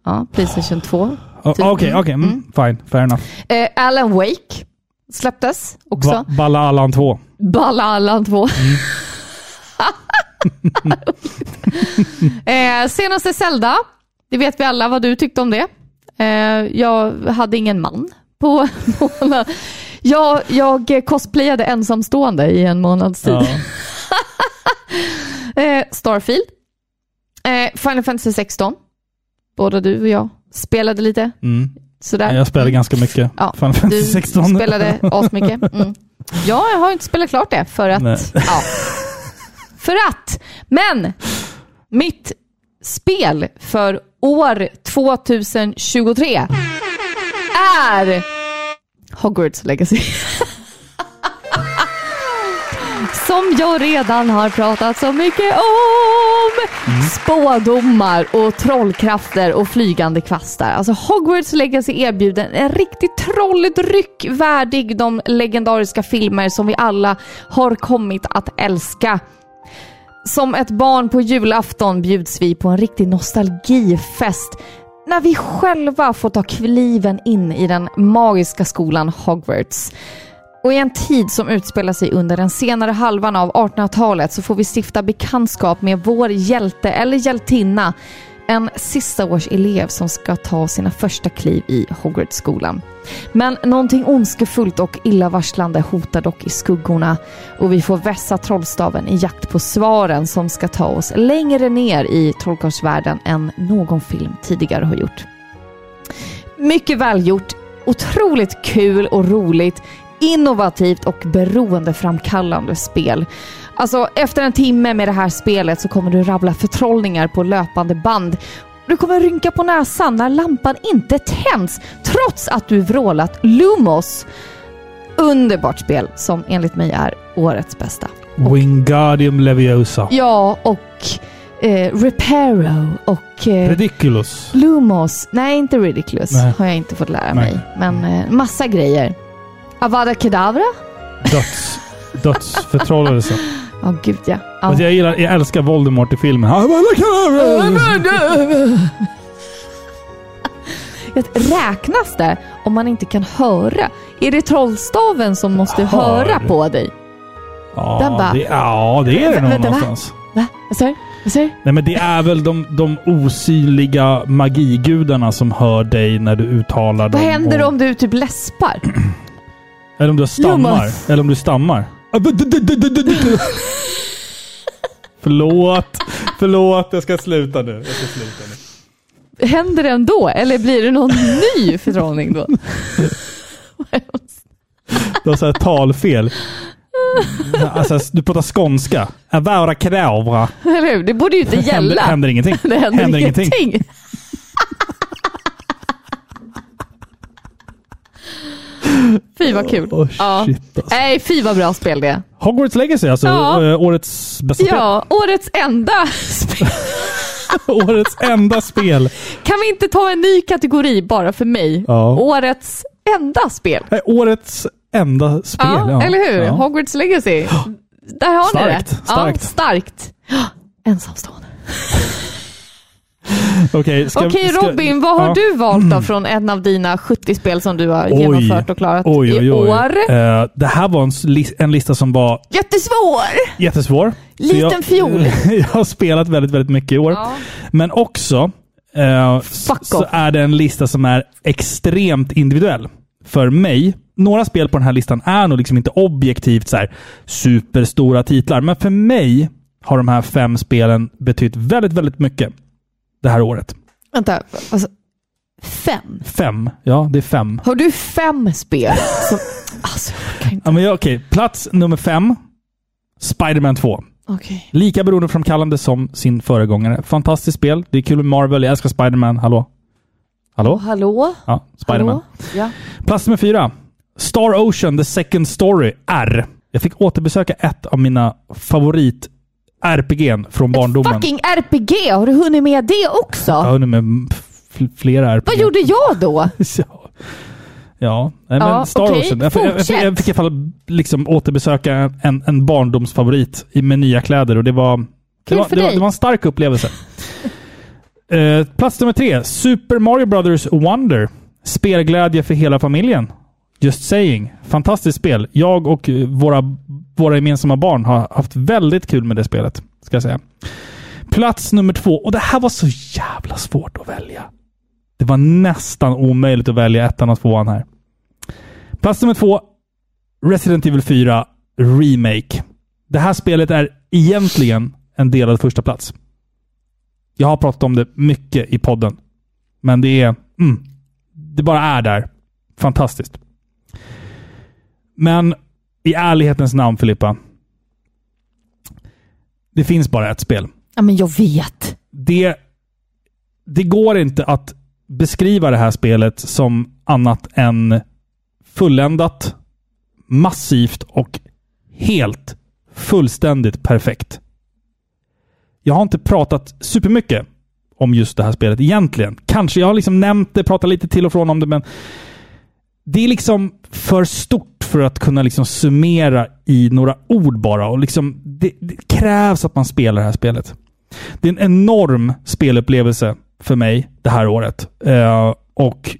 Ja, Playstation 2. Ja, Okej, okej. mm, Fine. Fair enough. Eh, Alan Wake släpptes också. Ba Balla Allan 2. Balla Allan 2. Mm. eh, senaste Zelda. Det vet vi alla vad du tyckte om det. Eh, jag hade ingen man på månaden. Jag, jag cosplayade ensamstående i en månads tid. Ja. Eh, Starfield. Eh, Final Fantasy 16. Både du och jag spelade lite. Mm. Sådär. Jag spelade ganska mycket. Ja, Final Fantasy Du 16. spelade asmycket. Mm. Ja, jag har inte spelat klart det för Nej. att... Ja. För att! Men mitt spel för år 2023 är Hogwarts Legacy. Som jag redan har pratat så mycket om. Spådomar och trollkrafter och flygande kvastar. Alltså Hogwarts Legacy erbjuder en riktigt trolldryck värdig de legendariska filmer som vi alla har kommit att älska. Som ett barn på julafton bjuds vi på en riktig nostalgifest när vi själva får ta kliven in i den magiska skolan Hogwarts. Och i en tid som utspelar sig under den senare halvan av 1800-talet så får vi stifta bekantskap med vår hjälte eller hjältinna. En sista års elev som ska ta sina första kliv i Hogwarts-skolan. Men någonting ondskefullt och illavarslande hotar dock i skuggorna och vi får vässa trollstaven i jakt på svaren som ska ta oss längre ner i trollkarlsvärlden än någon film tidigare har gjort. Mycket välgjort, otroligt kul och roligt, innovativt och beroendeframkallande spel. Alltså efter en timme med det här spelet så kommer du rabbla förtrollningar på löpande band. Du kommer rynka på näsan när lampan inte tänds trots att du vrålat Lumos. Underbart spel som enligt mig är årets bästa. Wingardium Leviosa. Ja, och eh, Reparo och eh, Ridiculous. Lumos. Nej, inte Ridiculous Nej. har jag inte fått Nej. lära mig. Men eh, massa grejer. Avada Kedavra? Döds... Dödsförtrollelse. Ja, gud ja. ja. Och Alltså, Jag, gillar, jag älskar Voldemort i filmen. Han bara, "Look at her!" Vet, Räknas det om man inte kan höra? Är det trollstaven som måste Hör. höra på dig? Den Ja, bara- det, ja, det är det nog Vänta, va? någonstans. Va? Vad sa du? Vad sa du? Nej, men det är väl de, de osynliga magigudarna som hör dig när du uttalar Vad dem. händer och- om du typ läspar? Eller om du stammar. Lumos. Eller om du stammar. Förlåt. Förlåt, jag ska sluta nu. Jag ska sluta nu. Händer det ändå? Eller blir det någon ny förtrollning då? Du har så här talfel. Alltså, du pratar skånska. Avara kedavra. Eller hur? Det borde ju inte Händer, gälla. händer ingenting. Det händer, ingenting. fy vad kul. Åh, shit, ja. alltså. Nej, fy vad bra spel det är. Hogwarts Legacy alltså. Ja. eh, Årets bästa Ja, årets enda spel. spel. Årets enda spel. Kan vi inte ta en ny kategori bara för mig? Ja. Årets enda spel. Nej, Eh, Årets enda spel. Ja, ja. eller hur? Ja. Hogwarts Legacy. Där har ni det. Starkt, starkt. Ja, starkt. Ja, Ensamstående. Okej, ska- Okej ska- Robin, vad har ja. Mm. du valt då från en av dina 70 spel som du har genomfört och klarat oj, oj, oj. i år? Eh, det här var en, s- lis- en lista som var Jättesvår! jättesvår. Så Liten fiol. jag har spelat väldigt, väldigt mycket i år. Ja. Men också eh, s- Fuck så off. är det en lista som är extremt individuell. För mig, några spel på den här listan är nog liksom inte objektivt så här, superstora titlar, men för mig har de här fem spelen betytt väldigt, väldigt mycket det här året. Vänta, alltså, fem? Fem. Ja, det är fem. Har du fem spel? Som, alltså, jag kan inte. Ja, men jag, okej. Plats nummer fem, Spider-Man 2. Okej. Lika beroendeframkallande som sin föregångare. Fantastiskt spel. Det är kul med Marvel. Jag älskar Spider-Man. Hallå? Hallå? Hallå? Ja, Spiderman. Hallå? Ja. Plats nummer fyra. Star Ocean The Second Story R. Jag fick återbesöka ett av mina favorit RPG'n från barndomen. Fucking RPG! Har du hunnit med det också? Jag har hunnit med fl- flera RPG. Vad gjorde jag då? Ja. Ja, nej, men Ja, Star okej. Ocean. Jag, fick- jag, fick- jag Fortsätt. fick i alla fall liksom återbesöka en, en barndomsfavorit i- med nya kläder och det var, det Kul var, för det var, dig. det var en stark upplevelse. Eh, plats nummer tre. Super Mario Brothers Wonder. Spelglädje för hela familjen. Just saying. Fantastiskt spel. Jag och eh, våra, våra gemensamma barn har haft väldigt kul med det spelet. Ska jag säga. Plats nummer två. Och det här var så jävla svårt att välja. Det var nästan omöjligt att välja ettan och tvåan här. Plats nummer två. Resident Evil 4 Remake. Det här spelet är egentligen en delad första plats. Jag har pratat om det mycket i podden. Men det är... Mm, det bara är där. Fantastiskt. Men i ärlighetens namn, Filippa. Det finns bara ett spel. Ja, men jag vet. Det, det går inte att beskriva det här spelet som annat än fulländat, massivt och helt fullständigt perfekt. Jag har inte pratat supermycket om just det här spelet egentligen. Kanske, jag har liksom nämnt det, pratat lite till och från om det, men det är liksom för stort för att kunna liksom summera i några ord bara. Och liksom, det, det krävs att man spelar det här spelet. Det är en enorm spelupplevelse för mig det här året. Eh, och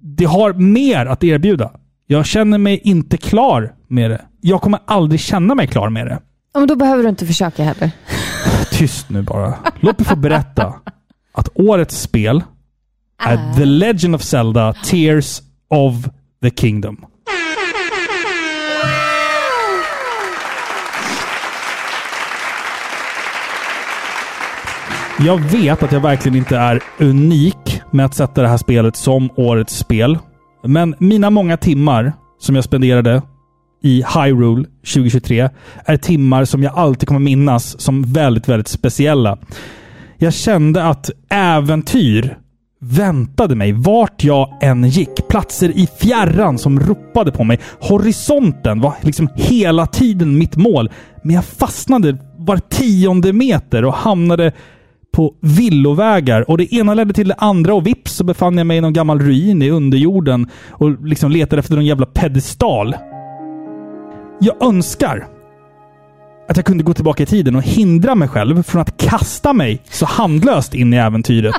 det har mer att erbjuda. Jag känner mig inte klar med det. Jag kommer aldrig känna mig klar med det. Ja, men då behöver du inte försöka heller. Tyst nu bara. Låt mig få berätta att årets spel är The Legend of Zelda Tears of the Kingdom. Jag vet att jag verkligen inte är unik med att sätta det här spelet som årets spel. Men mina många timmar som jag spenderade i Hyrule 2023 är timmar som jag alltid kommer minnas som väldigt, väldigt speciella. Jag kände att äventyr väntade mig vart jag än gick. Platser i fjärran som ropade på mig. Horisonten var liksom hela tiden mitt mål. Men jag fastnade var tionde meter och hamnade på villovägar och det ena ledde till det andra och vips så befann jag mig i någon gammal ruin i underjorden och liksom letade efter någon jävla pedestal. Jag önskar att jag kunde gå tillbaka i tiden och hindra mig själv från att kasta mig så handlöst in i äventyret.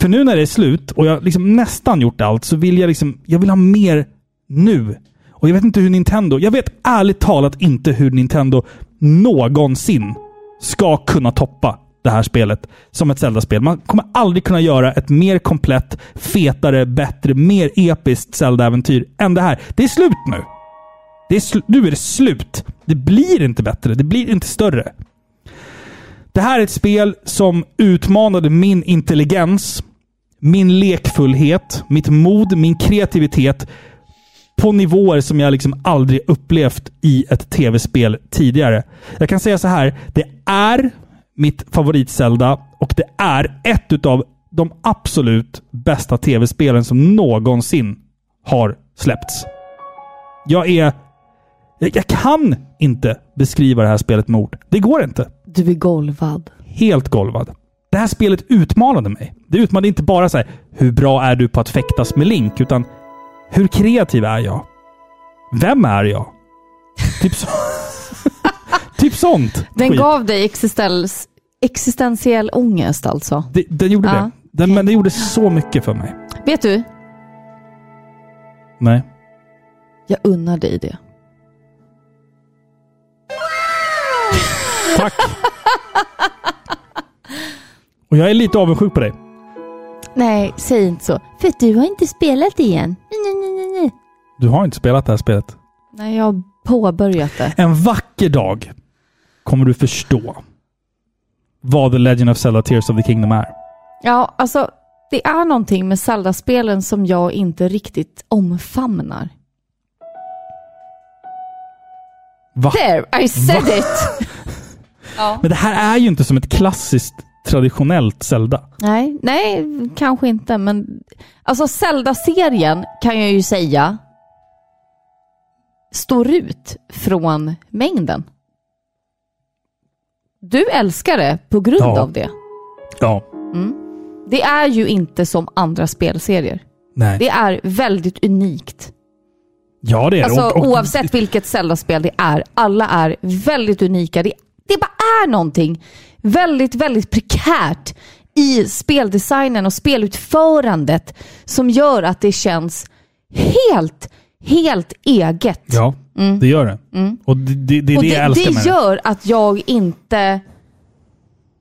För nu när det är slut och jag liksom nästan gjort allt så vill jag liksom, jag vill ha mer nu. Och jag vet inte hur Nintendo, jag vet ärligt talat inte hur Nintendo någonsin ska kunna toppa det här spelet som ett Zelda-spel. Man kommer aldrig kunna göra ett mer komplett, fetare, bättre, mer episkt Zelda-äventyr än det här. Det är slut nu! Det är sl nu är det slut! Det blir inte bättre, det blir inte större. Det här är ett spel som utmanade min intelligens, min lekfullhet, mitt mod, min kreativitet på nivåer som jag liksom aldrig upplevt i ett tv-spel tidigare. Jag kan säga så här, det är mitt favorit-Zelda och det är ett utav de absolut bästa tv-spelen som någonsin har släppts. Jag är... Jag, jag kan inte beskriva det här spelet med ord. Det går inte. Du är golvad. Helt golvad. Det här spelet utmanade mig. Det utmanade inte bara så här, hur bra är du på att fäktas med Link, utan hur kreativ är jag? Vem är jag? typ så. Typ sånt. Den skit. gav dig existens, existentiell ångest alltså. Det, den gjorde Ja, det. Den, okej. Men det gjorde så mycket för mig. Vet du? Nej. Jag unnar dig det. Tack. Och jag är lite avundsjuk på dig. Nej, säg inte så. För du har inte spelat igen. Nej, nej, nej, nej. Du har inte spelat det här spelet. Nej, jag har påbörjat det. En vacker dag kommer du förstå vad The Legend of Zelda Tears of the Kingdom är. Ja, alltså det är någonting med Zelda-spelen som jag inte riktigt omfamnar. Va? There, I said it! ja. Men det här är ju inte som ett klassiskt traditionellt Zelda. Nej, nej, kanske inte, men alltså Zelda-serien kan jag ju säga står ut från mängden. Du älskar det på grund Ja. av det. Ja. Det är ju inte som andra spelserier. Nej. Det är väldigt unikt. ja, det är det. Alltså Och- och- oavsett vilket Zelda-spel det är, alla är väldigt unika. Det, det bara är någonting väldigt, väldigt prekärt i speldesignen och spelutförandet som gör att det känns helt, helt eget. Ja, det gör det. Och det, det, det är Mm. och det, jag det, älskar med det det. gör att jag inte...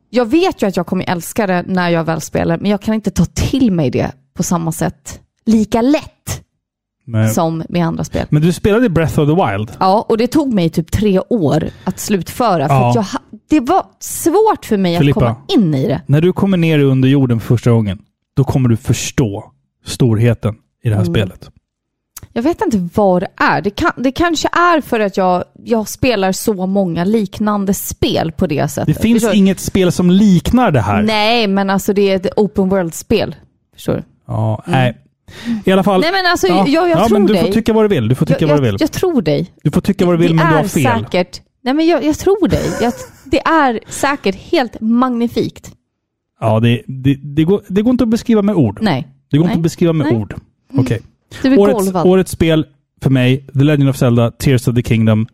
Jag vet ju att jag kommer älska det när jag väl spelar, men jag kan inte ta till mig det på samma sätt lika lätt Nej. som med andra spel. Men du spelade Breath of the Wild. Ja, och det tog mig typ tre år att slutföra. För Ja. att jag, ha- det var svårt för mig Filippa. att komma in i det. När du kommer ner under jorden för första gången, då kommer du förstå storheten i Mm. det här spelet. Jag vet inte vad det är. Det, kan, det kanske är för att jag, jag spelar så många liknande spel på det Det sättet. finns Förstår du? inget spel som liknar det här. Nej, men alltså det är ett open world-spel. Förstår du? Ja, nej. I alla fall. Mm. Nej, men alltså, jag- jag ja, tror men du dig. får tycka vad du vill. Du får tycka jag, vad du vill. jag, jag tror dig. du får tycka vad du vill, det men du är har fel. säkert... Nej, men jag, jag tror dig. Jag, det är säkert helt magnifikt. Ja, det, det, det, går, det går inte att beskriva med ord. Nej, Det går Nej. inte att beskriva med Nej. Mm. ord. Okej. du är Årets, golvad. årets spel för mig, The Legend of Zelda, Tears of the Kingdom.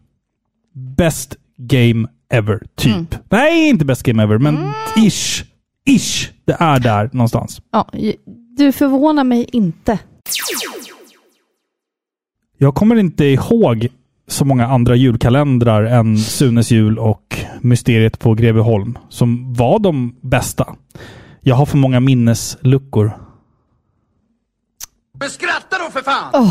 Best game ever, typ. Mm. Nej, inte best game ever, men ish. Ish. Det är där någonstans. Ja, du förvånar mig inte. Jag kommer inte ihåg så många andra julkalendrar än Sunes jul och Mysteriet på Greveholm, som var de bästa. Jag har för många minnesluckor. Men skratta då för fan!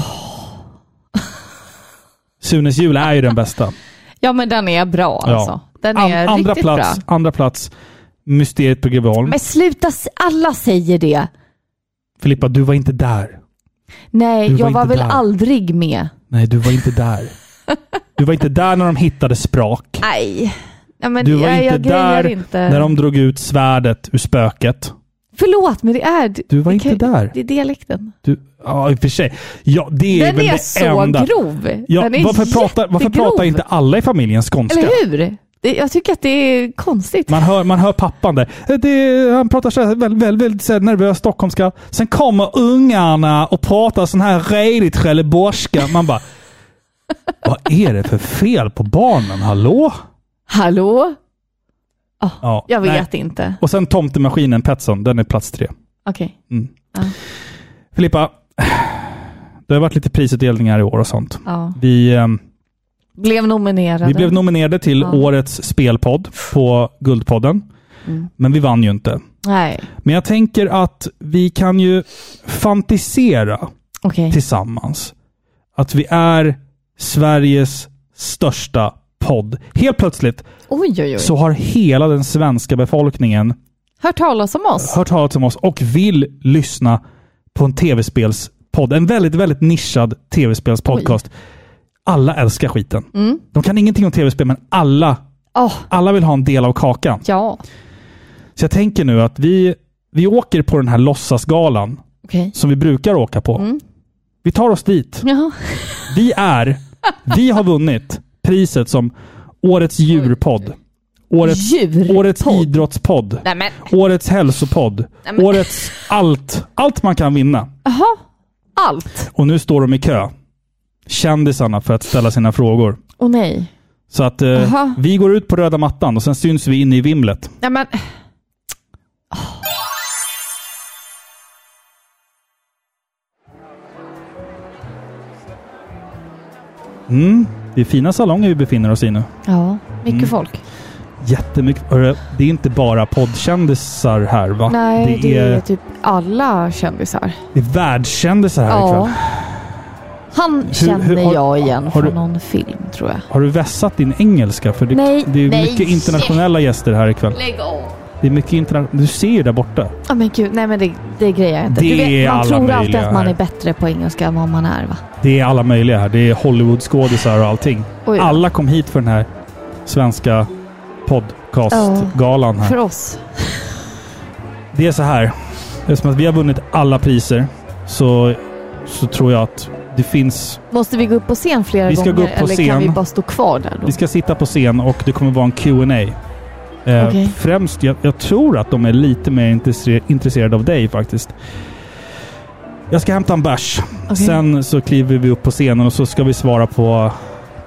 Sunes jul är ju den bästa. Ja, men den är bra Ja. alltså. Den An- är andra, riktigt plats, bra. andra plats, Mysteriet på Greveholm. Men sluta, s- alla säger det. Filippa, du var inte där. Nej, Du var jag var inte väl där. aldrig med. Nej, du var inte där. Du var inte där när de hittade sprak. Nej. Ja, men Du var jag, inte jag grejar där inte. när de drog ut svärdet ur spöket. Förlåt, men det är... Du var det inte där. Det är dialekten. Du, ja, i och för sig. Ja, det är Den väl är det så enda. grov. Ja, den är varför, pratar, varför jättegrov. pratar inte alla i familjen skånska? Eller hur? Det, jag tycker att det är konstigt. Man hör, man hör pappan där. Eh, Det, han pratar så här väldigt, väldigt, väldigt så här nervös stockholmska. Sen kommer ungarna och pratar sån här redigt trelleborgska. Man bara... Vad är det för fel på barnen? Hallå? Hallå? Ja, Jag nej. vet inte. Och sen tomtemaskinen, Petson, den är plats tre. Okej. Filippa, det har varit lite prisutdelningar i år och sånt. Ja. Vi, ehm, Blev nominerade. vi blev nominerade till Ja. årets spelpodd på Guldpodden, Mm. men vi vann ju inte. Nej, Men jag tänker att vi kan ju fantisera okej. tillsammans att vi är Sveriges största podd. Helt plötsligt Oj, oj, oj. så har hela den svenska befolkningen Hört talas om oss? hört talas om oss och vill lyssna på en tv-spelspodd. En väldigt, väldigt nischad tv-spelspodcast. Alla älskar skiten. De kan ingenting om tv-spel, men alla, Åh, alla vill ha en del av kakan. ja. Så jag tänker nu att vi, vi åker på den här låtsasgalan Okej. som vi brukar åka på. Mm. Vi tar oss dit. Jaha. Vi är, vi har vunnit priset som Årets djurpodd. Årets, Djurpodd? årets idrottspodd. Nej men, Årets hälsopodd. men- Årets allt. Allt man kan vinna. jaha. Allt? Och nu står de i kö. Kändisarna för att ställa sina frågor. Åh nej. Så att eh, Aha. vi går ut på röda mattan och sen syns vi inne i vimlet. Nej men, Det är fina salonger vi befinner oss i nu. ja. Mycket Mm. folk. Jättemycket. Hörru, Det är inte bara poddkändisar här va? Nej, det, är, typ alla kändisar. det är världskändisar här ikväll. Han känner hur- har- jag igen har från du- någon film tror jag. Har du vässat din engelska? För det, Nej, det är nej. mycket internationella gäster här ikväll. Lägg av. Det är mycket internationella. Du ser ju där borta. Ja men gud, nej men det, det grejer jag inte. Det du är vet, man alla tror alltid möjliga att man här. är bättre på engelska än vad man är va? Det är alla möjliga här. Det är Hollywoodskådisar och allting. Oj då. Alla kom hit för den här svenska podcastgalan För här. oss. Det är så här. Eftersom att vi har vunnit alla priser så, så tror jag att det finns... Måste vi gå upp på scen flera Vi ska gånger gå upp på eller scen. kan vi bara stå kvar där då? Vi ska sitta på scen och det kommer vara en Q&A. Eh, Okej. Främst, jag, jag tror att de är lite mer intresse- intresserade av dig faktiskt. Jag ska hämta en bärs. Okej. Sen så kliver vi upp på scenen och så ska vi svara på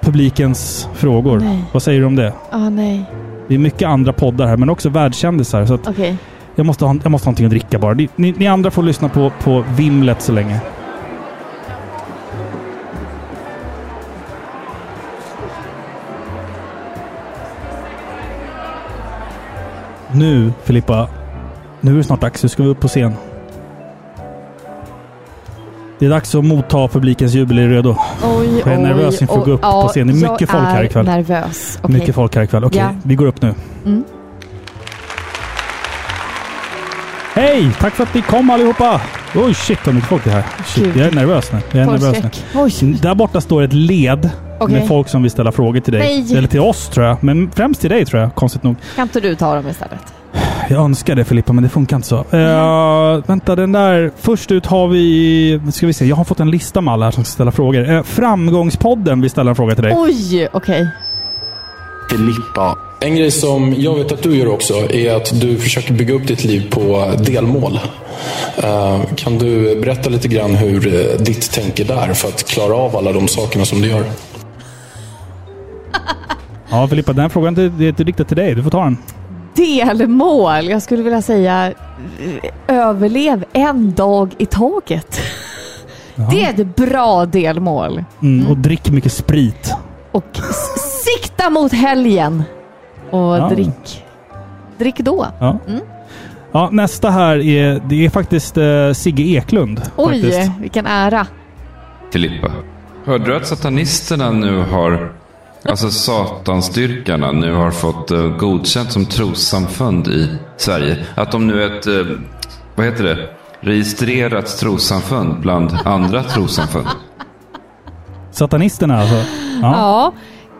publikens frågor. Nej. Vad säger du om det? Ah, nej. Det är mycket andra poddar här, men också världskändisar. Så att Okej. jag, måste ha, jag måste ha någonting att dricka bara. Ni, ni, ni andra får lyssna på, på vimlet så länge. Nu, Filippa. Nu är det snart dags. Nu ska vi upp på scen. Det är dags att motta publikens jubel. Är du redo? Oj, Jag är nervös inför att gå upp på scen. Det är mycket folk här ikväll. Jag är nervös. Okej. Mycket folk här ikväll. Okej, Ja. vi går upp nu. Mm. Hej! Tack för att ni kom allihopa! Oj shit vad mycket folk det är här. Shit, Gud. jag är nervös nu. Jag är nervös nu. Folkskräck. Oj. Där borta står ett led Okej. med folk som vill ställa frågor till dig. Nej. Eller till oss tror jag. Men främst till dig tror jag, konstigt nog. Kan inte du ta dem istället? Jag önskar det Filippa, men det funkar inte så. Mm. Eh, vänta, den där... Först ut har vi... Ska vi se, jag har fått en lista med alla här som ska ställa frågor. Eh, framgångspodden vill ställa en fråga till dig. Oj, okej. Filippa. En grej som jag vet att du gör också är att du försöker bygga upp ditt liv på delmål. Eh, Kan du berätta lite grann hur eh, ditt tänker där för att klara av alla de sakerna som du gör? Ja Filippa, den här frågan är det är inte riktad till dig. Du får ta den. Delmål. Jag skulle vilja säga eh, överlev en dag i taget. Det är ett bra delmål. Mm, och drick mycket sprit. Och s- sikta mot helgen. Och Ja. drick. Drick då. Ja. Ja, nästa här är, det är faktiskt eh, Sigge Eklund. Oj, Faktiskt. vilken ära. Filippa. Hörde du att satanisterna nu har, alltså satanstyrkarna nu har fått eh, godkänt som trossamfund i Sverige? Att de nu är ett, eh, vad heter det, registrerat trossamfund bland andra trossamfund? Satanisterna alltså. Ja. Ja.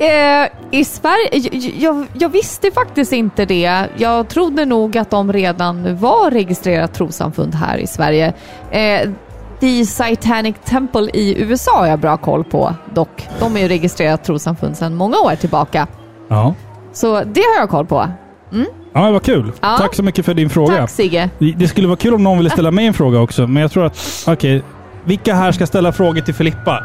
Eh, I Sverige, jag, jag, jag visste faktiskt inte det. Jag trodde nog att de redan var registrerat trossamfund här i Sverige. Eh, The Satanic Temple i USA har jag bra koll på dock. De är ju registrerat trossamfund sedan många år tillbaka. Ja. Så det har jag koll på. ja, men vad kul. Ja. Tack så mycket för din fråga. Tack Sigge. Det skulle vara kul om någon ville ställa mig en fråga också, men jag tror att... Okej. Vilka här ska ställa frågor till Filippa?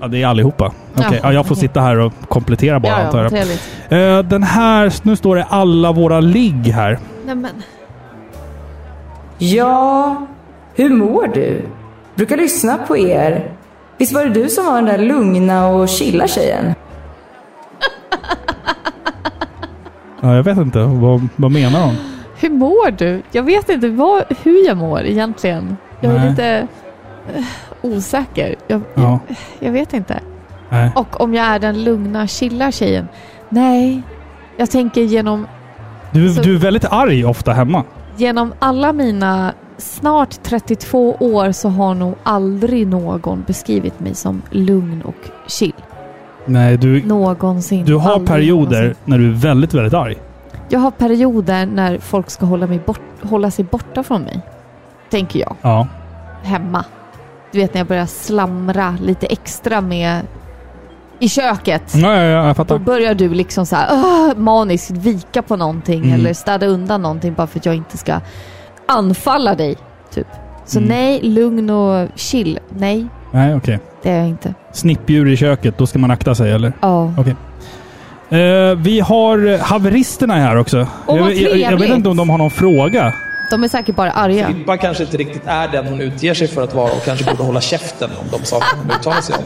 Ja, det är allihopa. Okej, Ja, ja, jag får okej. sitta här och komplettera bara Ja, ja, antar jag. trevligt. Eh, Den här... Nu står det alla våra ligg här. Nämen. Ja, hur mår du? Brukar lyssna på er. Visst var det du som var den där lugna och chilla tjejen? Ja, jag vet inte. Vad, vad menar hon? Hur mår du? Jag vet inte vad, hur jag mår egentligen. Jag är Nej. lite eh, osäker. Jag, Ja. jag vet inte. Nej. Och om jag är den lugna, chilla tjejen? Nej, jag tänker genom, Du, Så- du är väldigt arg ofta hemma. genom alla mina snart 32 år så har nog aldrig någon beskrivit mig som lugn och chill. Nej, du, Någonsin. du har Aldrig alltså. perioder någonsin. när du är väldigt, väldigt arg. Jag har perioder när folk ska hålla, mig bort, hålla sig borta från mig. Tänker jag. Ja. hemma. Du vet när jag börjar slamra lite extra med i köket. Ja, ja, ja, jag Då fattar. börjar du liksom så här, "Åh", maniskt vika på någonting Mm. eller städa undan någonting bara för att jag inte ska anfalla dig. Typ. Så Mm. nej, lugn och chill. Nej, Nej, okej. det är jag inte. Snippdjur i köket, då ska man akta sig eller? Ja. Okej. Eh, vi har haveristerna här också. Åh, vad jag, jag, jag vet trevligt. inte om de har någon fråga. De är säkert bara arga. Filippa kanske inte riktigt är den hon utger sig för att vara och kanske borde hålla käften om de saker hon uttalar sig om.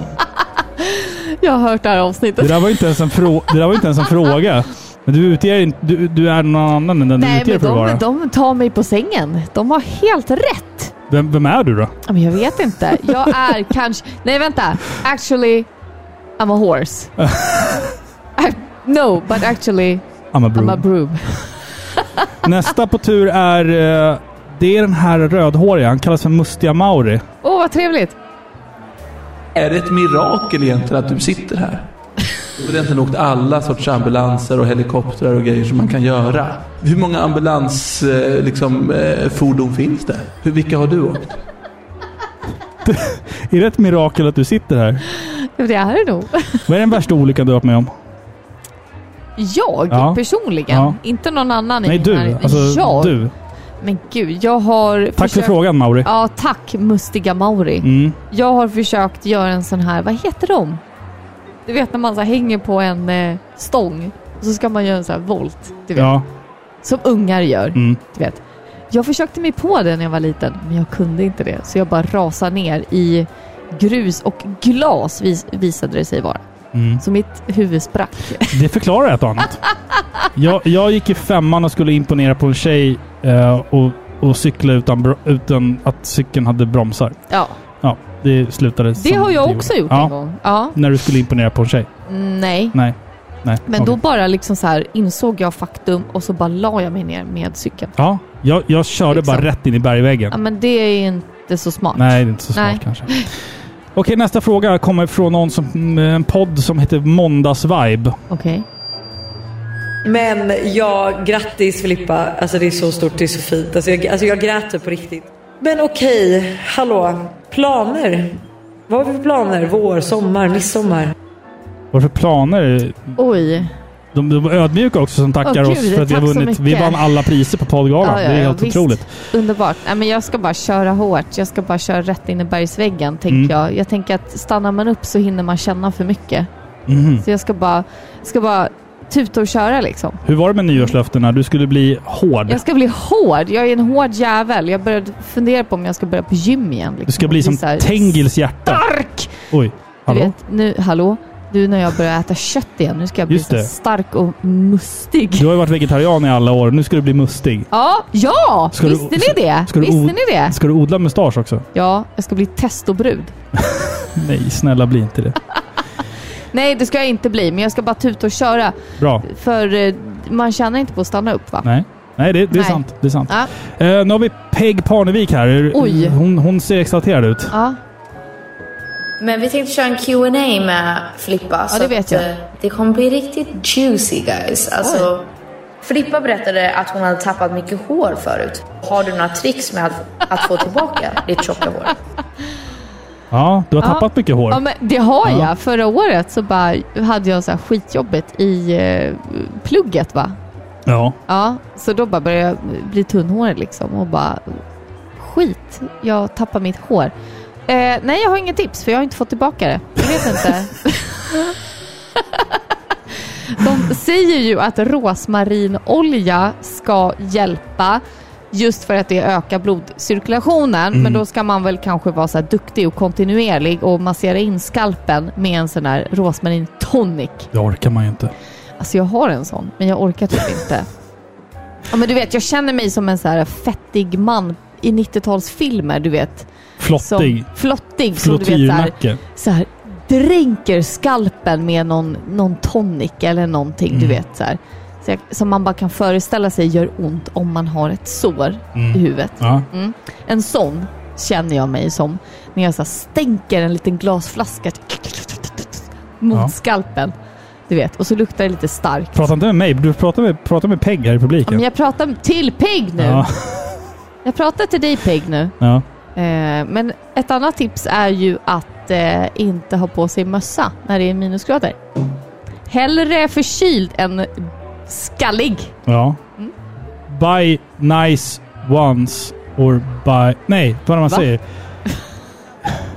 Jag har hört det här Det avsnittet. där var ju inte ens en, frå- det där var ju inte ens en fråga. Men du, utger, inte- du, du är någon annan än den du Nej, utger men för att vara. de, de tar mig på sängen. De har helt rätt. Vem, vem är du då? Ja, Men jag vet inte. Jag är kanske... Nej, vänta. Actually, I'm a horse. I, no, but actually, I'm a broom. I'm a broom. Nästa på tur är... eh, det är den här rödhåriga. Han kallas för Mustiga Mauri. Åh, vad trevligt. Är det ett mirakel egentligen att du sitter här? Du har egentligen åkt alla sorts ambulanser och helikoptrar och grejer som man kan göra. Hur många ambulansfordon liksom, eh, fordon finns det? Hur, vilka har du åkt? Är det ett mirakel att du sitter här? Ja, men Det är det nog. Vad är den värsta olyckan du har varit med om? Jag Ja. personligen? Ja. Inte någon annan Nej, i du. närheten. Alltså, jag? du. Men gud, jag har Tack för frågan Mauri. Ja, tack mustiga Mauri. Mm. Jag har försökt göra en sån här, vad heter de? Du vet när man så här hänger på en eh, stång och så ska man göra en sån här volt. Du vet. Ja. Som ungar gör. Mm. Du vet. Jag försökte mig på det när jag var liten, men jag kunde inte det. Så jag bara rasade ner i grus och glas vis- visade det sig vara. Mm. Så mitt huvud sprack. Det förklarar ett och annat. Jag, jag gick i femman och skulle imponera på en tjej eh, och och cyklade utan, bro- utan att cykeln hade bromsar. Ja. Ja, det slutade Det som har jag gjorde. också gjort ja. en gång. Ja. När du skulle imponera på en tjej? Nej. Nej. Nej. Men okej. då bara liksom så här insåg jag faktum och så bara la jag mig ner med cykeln. Ja, jag, jag körde bara Liksom. rätt in i bergväggen. Ja, men det är inte så smart. Nej, det är inte så smart Nej. kanske. Okej, nästa fråga kommer från någon som, en podd som heter Måndagsvibe. Okej. Men ja, grattis Filippa. Alltså det är så stort, det är så fint. Alltså jag, alltså jag grät typ på riktigt. Men okej, hallå. Planer? Vad har vi för planer? Vår, sommar, midsommar? Vad för planer? Oj. De, de var ödmjuka också som tackar Åh, oss gud, för att vi har tack så vunnit. Vi mycket. vann alla priser på poddgalan. det är helt visst. otroligt. Underbart. Nej, men jag ska bara köra hårt. Jag ska bara köra rätt in i bergsväggen, tänker Mm. jag. Jag tänker att stannar man upp så hinner man känna för mycket. Mhm. Så jag ska bara, ska bara tuta och köra liksom. Hur var det med nyårslöftena? Du skulle bli hård. Jag ska bli hård. Jag är en hård jävel. Jag började fundera på om jag ska börja på gym igen. Liksom. Du ska bli Och som så här- Tengils hjärta. Stark! Oj. Du Hallå? Ah! vet, nu, hallå? Du, när jag börjar äta kött igen, nu ska jag bli Just så det. stark och mustig. Du har ju varit vegetarian i alla år. Nu ska du bli mustig. Ja, ja! Ska du- Visste ni det? ska du Visste o- ni det? Ska du odla mustasch också? Ja, jag ska bli testobrud. Nej, snälla bli inte det. Nej, det ska jag inte bli, men jag ska bara tuta och köra. Bra. För eh, man tjänar inte på att stanna upp va? Nej, Nej det, det är Nej. sant. Det är sant. Ja. Eh, nu har vi Peg Parnevik här. Oj. Hon, hon ser exalterad ut. Ja. Men vi tänkte köra en Q&A med Filippa. Ja, så det vet att, jag. eh, Det kommer bli riktigt juicy guys. Alltså, Filippa berättade att hon hade tappat mycket hår förut. Har du några tricks med att, att få tillbaka ditt tjocka hår? Ja, du har Ja. tappat mycket hår. Ja, men det har Ja. jag. Förra året så bara hade jag så här skitjobbigt i eh, plugget va? Ja. Ja, så då bara började jag bli tunnhårig liksom och bara skit, jag tappar mitt hår. Eh, nej, jag har inget tips för jag har inte fått tillbaka det. Jag vet inte. De säger ju att rosmarinolja ska hjälpa just för att det ökar blodcirkulationen. Mm. Men då ska man väl kanske vara så här duktig och kontinuerlig och massera in skalpen med en sån här rosmarin tonic. Det orkar man ju inte. Alltså jag har en sån, men jag orkar typ inte. Ja, men du vet, jag känner mig som en så här fettig man i 90-talsfilmer, du vet. Flottig. Som, flottig. Som du vet så här, Flottyrnacke. så här, dränker skalpen med någon, någon tonic eller någonting, du Mm. vet. Så här. Så jag, som man bara kan föreställa sig gör ont om man har ett sår Mm. i huvudet. Ja. Mm. En sån känner jag mig som när jag så här stänker en liten glasflaska typ, mot Ja. skalpen. Du vet, och så luktar det lite starkt. Prata inte med mig. Du pratar med, pratar med Peg här i Ja, publiken. Men jag pratar till Peg nu. Ja. Jag pratar till dig Peg nu. Ja. Eh, men ett annat tips är ju att eh, inte ha på sig mössa när det är minusgrader. Hellre förkyld än skallig. ja. Mm. Buy nice once or buy... Nej, vad är det man Va? säger?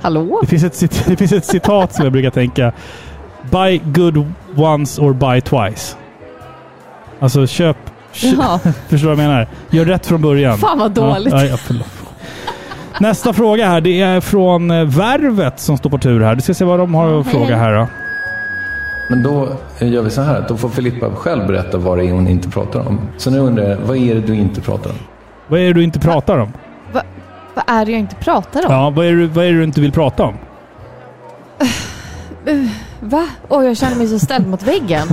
Hallå? Det finns, ett, cit- det finns ett citat som jag brukar tänka. Buy good once or buy twice. Alltså köp... köp Ja. förstår du vad jag menar? Gör rätt från början. Fan, vad dåligt. Ja, ja, förlåt. Nästa fråga här. Det är från eh, Värvet som står på tur här. Du ska se vad de har att hej, fråga hej. här då. Men då gör vi så här att då får Filippa själv berätta vad det är hon inte pratar om. Så nu undrar jag, vad är det du inte pratar om? Vad är det du inte pratar om? Va, vad är det jag inte pratar om? Ja, vad är det, vad är det du inte vill prata om? Uh, va? Åh, jag känner mig så ställd mot väggen.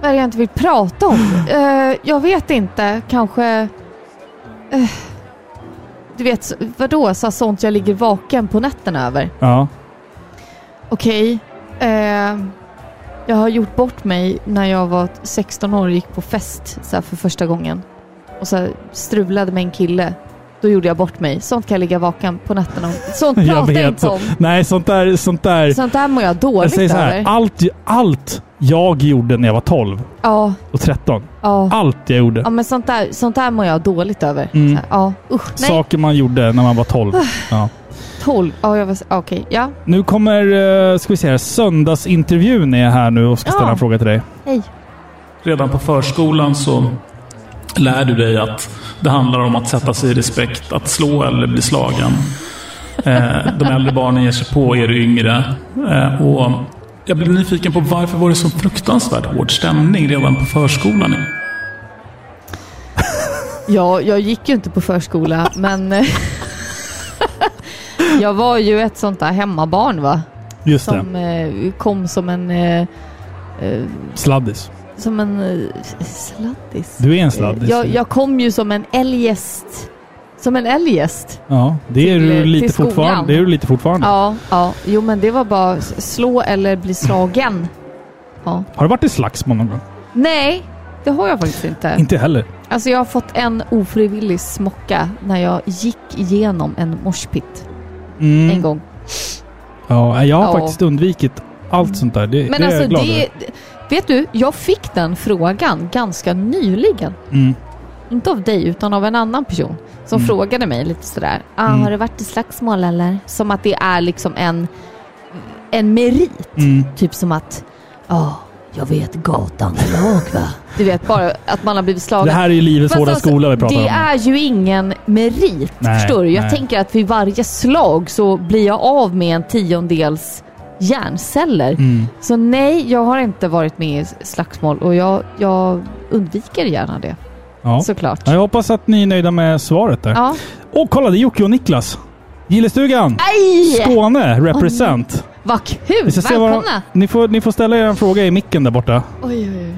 Vad är det jag inte vill prata om? Eh, jag vet inte. Kanske... eh, du vet, så- vadå? Så sånt jag ligger vaken på nätterna över. Ja. Okej. eh, jag har gjort bort mig när jag var 16 år och gick på fest så här, för första gången. Och så här, strulade med en kille. Då gjorde jag bort mig. Sånt kan jag ligga vaken på nätterna om. Sånt pratar Jag jag, vet. inte om. Nej, sånt där... Sånt där... Sånt där mår jag jag dåligt säger så här. ah. över. Allt, allt jag gjorde när jag var 12 Ja, och 13. ja. Allt jag gjorde. Ja, men sånt där, sånt där mår jag dåligt över. Mm. Så här, ja, usch. Nej, Saker man gjorde när man var Ah. 12. Ja. 12. Ja, jag var... ja, Okej, ja. Nu kommer eh, ska vi se här, söndagsintervjun är här nu och ska Ja. ställa en fråga till dig. Hej. Redan på förskolan så lär du dig att det handlar om att sätta sig i respekt, att slå eller bli slagen. Eh, De äldre barnen ger sig på er yngre. Eh, Och jag blev nyfiken på varför var det så fruktansvärt hård stämning redan på förskolan? Ja, jag gick ju inte på förskola, men eh, jag var ju ett sånt där hemmabarn va? Just det. som eh, kom som en... Eh, eh, Sladdis. som en eh, sladdis. Du är en sladdis. Jag, jag kom ju som en eljest. Som en eljest. Ja, det är, du till lite skolan. fortfarande, det är du lite fortfarande. Ja, ja. Jo men det var bara s- slå eller bli slagen. Ja. Har du varit i slagsmål någon gång? Nej, det har jag faktiskt inte. Inte heller. Alltså jag har fått en ofrivillig smocka när jag gick igenom en morspit Mm. en gång. Ja, jag har Ja. faktiskt undvikit allt sånt där. Det, Men det är alltså jag glad det... över. Vet du, jag fick den frågan ganska nyligen. Mm. Inte av dig, utan av en annan person som Mm. frågade mig lite sådär. Ah, Mm. Har det varit i slagsmål eller? Som att det är liksom en, en merit. Mm. Typ som att, ja, jag vet gatan lag va? Du vet, bara att man har blivit slagen. Det här är ju livets Fast hårda skola vi pratar alltså, det om. är ju ingen merit. Nej, förstår du? Jag nej. tänker att vid varje slag så blir jag av med en tiondels hjärnceller. Mm. Så nej, jag har inte varit med i slagsmål och jag, jag undviker gärna det. Ja. Såklart. Ja, jag hoppas att ni är nöjda med svaret där. Ja. Åh, kolla! Det är Jocke och Niklas. Gillestugan! Aj! Skåne represent. Vad kul! Vi ska se vad de- Välkomna! ni, får, ni får ställa er en fråga i micken där borta. Oj, oj, oj.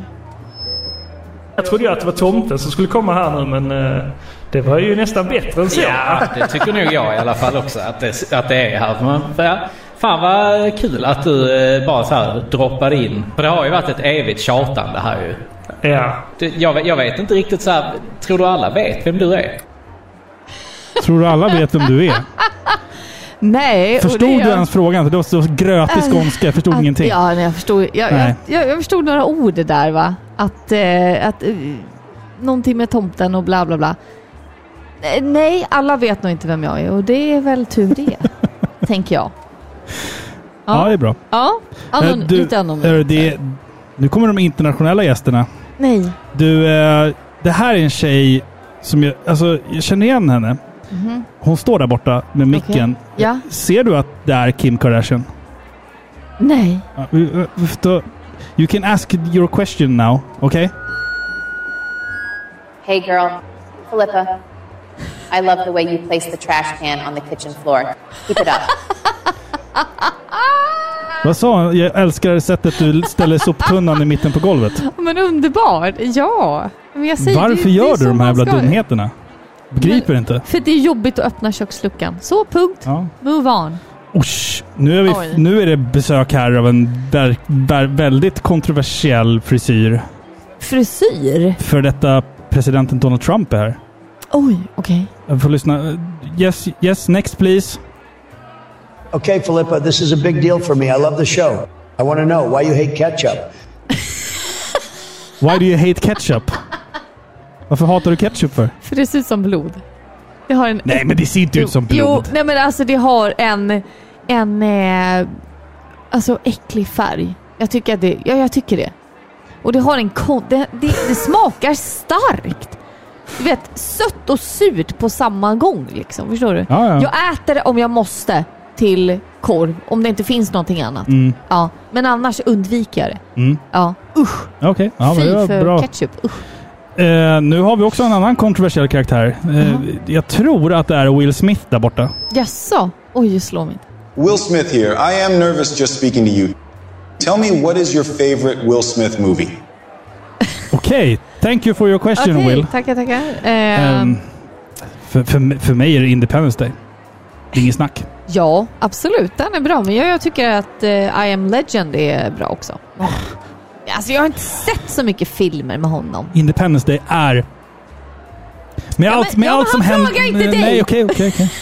Jag trodde ju att det var tomten som skulle komma här nu men eh, det var ju nästan bättre än så. Ja, det tycker nog jag i alla fall också att det, att det är här. Men, fa- fan vad kul att du eh, bara så här droppade in. För det har ju varit ett evigt tjatande här ju. Ja. Det, jag, vet- jag vet inte riktigt så här, tror du alla vet vem du är? Tror du alla vet vem du är? Nej, och Förstod det du är- ens frågan? För det var så grötig skånska. Jag förstod Äh, att, ingenting. Ja, nej, jag, förstod, jag, jag, Nej. jag, jag förstod några ord där va. Att, eh, att eh, någonting med tomten och bla bla bla. Eh, Nej, alla vet nog inte vem jag är och det är väl tur det. tänker jag. Ja, det är bra. Ja, anon, Eh, du, lite annorlunda. hörru, det, nu kommer de internationella gästerna. Nej. Du, eh, det här är en tjej som jag, alltså, jag känner igen henne. Mhm. Hon står där borta med micken. Ja. Ser du att det är Kim Kardashian? Nej. Ja, vi- vi- vi får ta- You can ask your question now, okay? Hey girl, Philippa, I love the way you place the trash can on the kitchen floor. Keep it up. Vad sa hon? Jag älskar sättet du ställer soptunnan i mitten på golvet. Men underbart. Ja. Men jag säger, Varför det, det är gör så du de här man jävla ska- dumheterna? Begriper inte. För det är jobbigt att öppna köksluckan. Så, punkt. Ja. Move on. Usch, nu är, vi, Oj. nu är det besök här av en ver, ver, väldigt kontroversiell frisyr. Frisyr? För detta presidenten Donald Trump är här. Oj, okej. Jag får lyssna. Yes, yes, next please. Okay, Philippa, this is a big deal for me. I love the show. I want to know why you hate ketchup. Why do you hate ketchup? Varför hatar du ketchup för? För det ser ut som blod. Det har en... Nej, men det ser inte ut som blod. Jo, nej men alltså det har en... En... Eh, alltså äcklig färg. Jag tycker att det. Ja, jag tycker det. Och det har en... kon- Det, det, det smakar starkt. Du vet, sött och surt på samma gång liksom. Förstår du? Ja, ja. Jag äter det om jag måste till korv. Om det inte finns någonting annat. Mm. Ja, men annars undviker jag det. Mm. Ja, usch. Okej, ja, men Fy det var för bra. ketchup. Usch. Eh, nu har vi också en annan kontroversiell karaktär. Eh, Jag tror att det är Will Smith där borta. Jaså? Oj, slå mig inte. Will Smith here. I am nervous just speaking to you. Tell me what is your favorite Will Smith movie? Okej, thank you for your question Okej, Will. tackar, tackar. Ehm, Ehm, för, för, m- för mig är det Independence Day. Det är inget snack. Ja, absolut. Den är bra. Men jag, jag tycker att eh, I am legend är bra också. Alltså jag har inte sett så mycket filmer med honom. Independence Day är... Med allt, med ja, men allt som han händer... frågar inte dig. Nej, okej, okej, okej.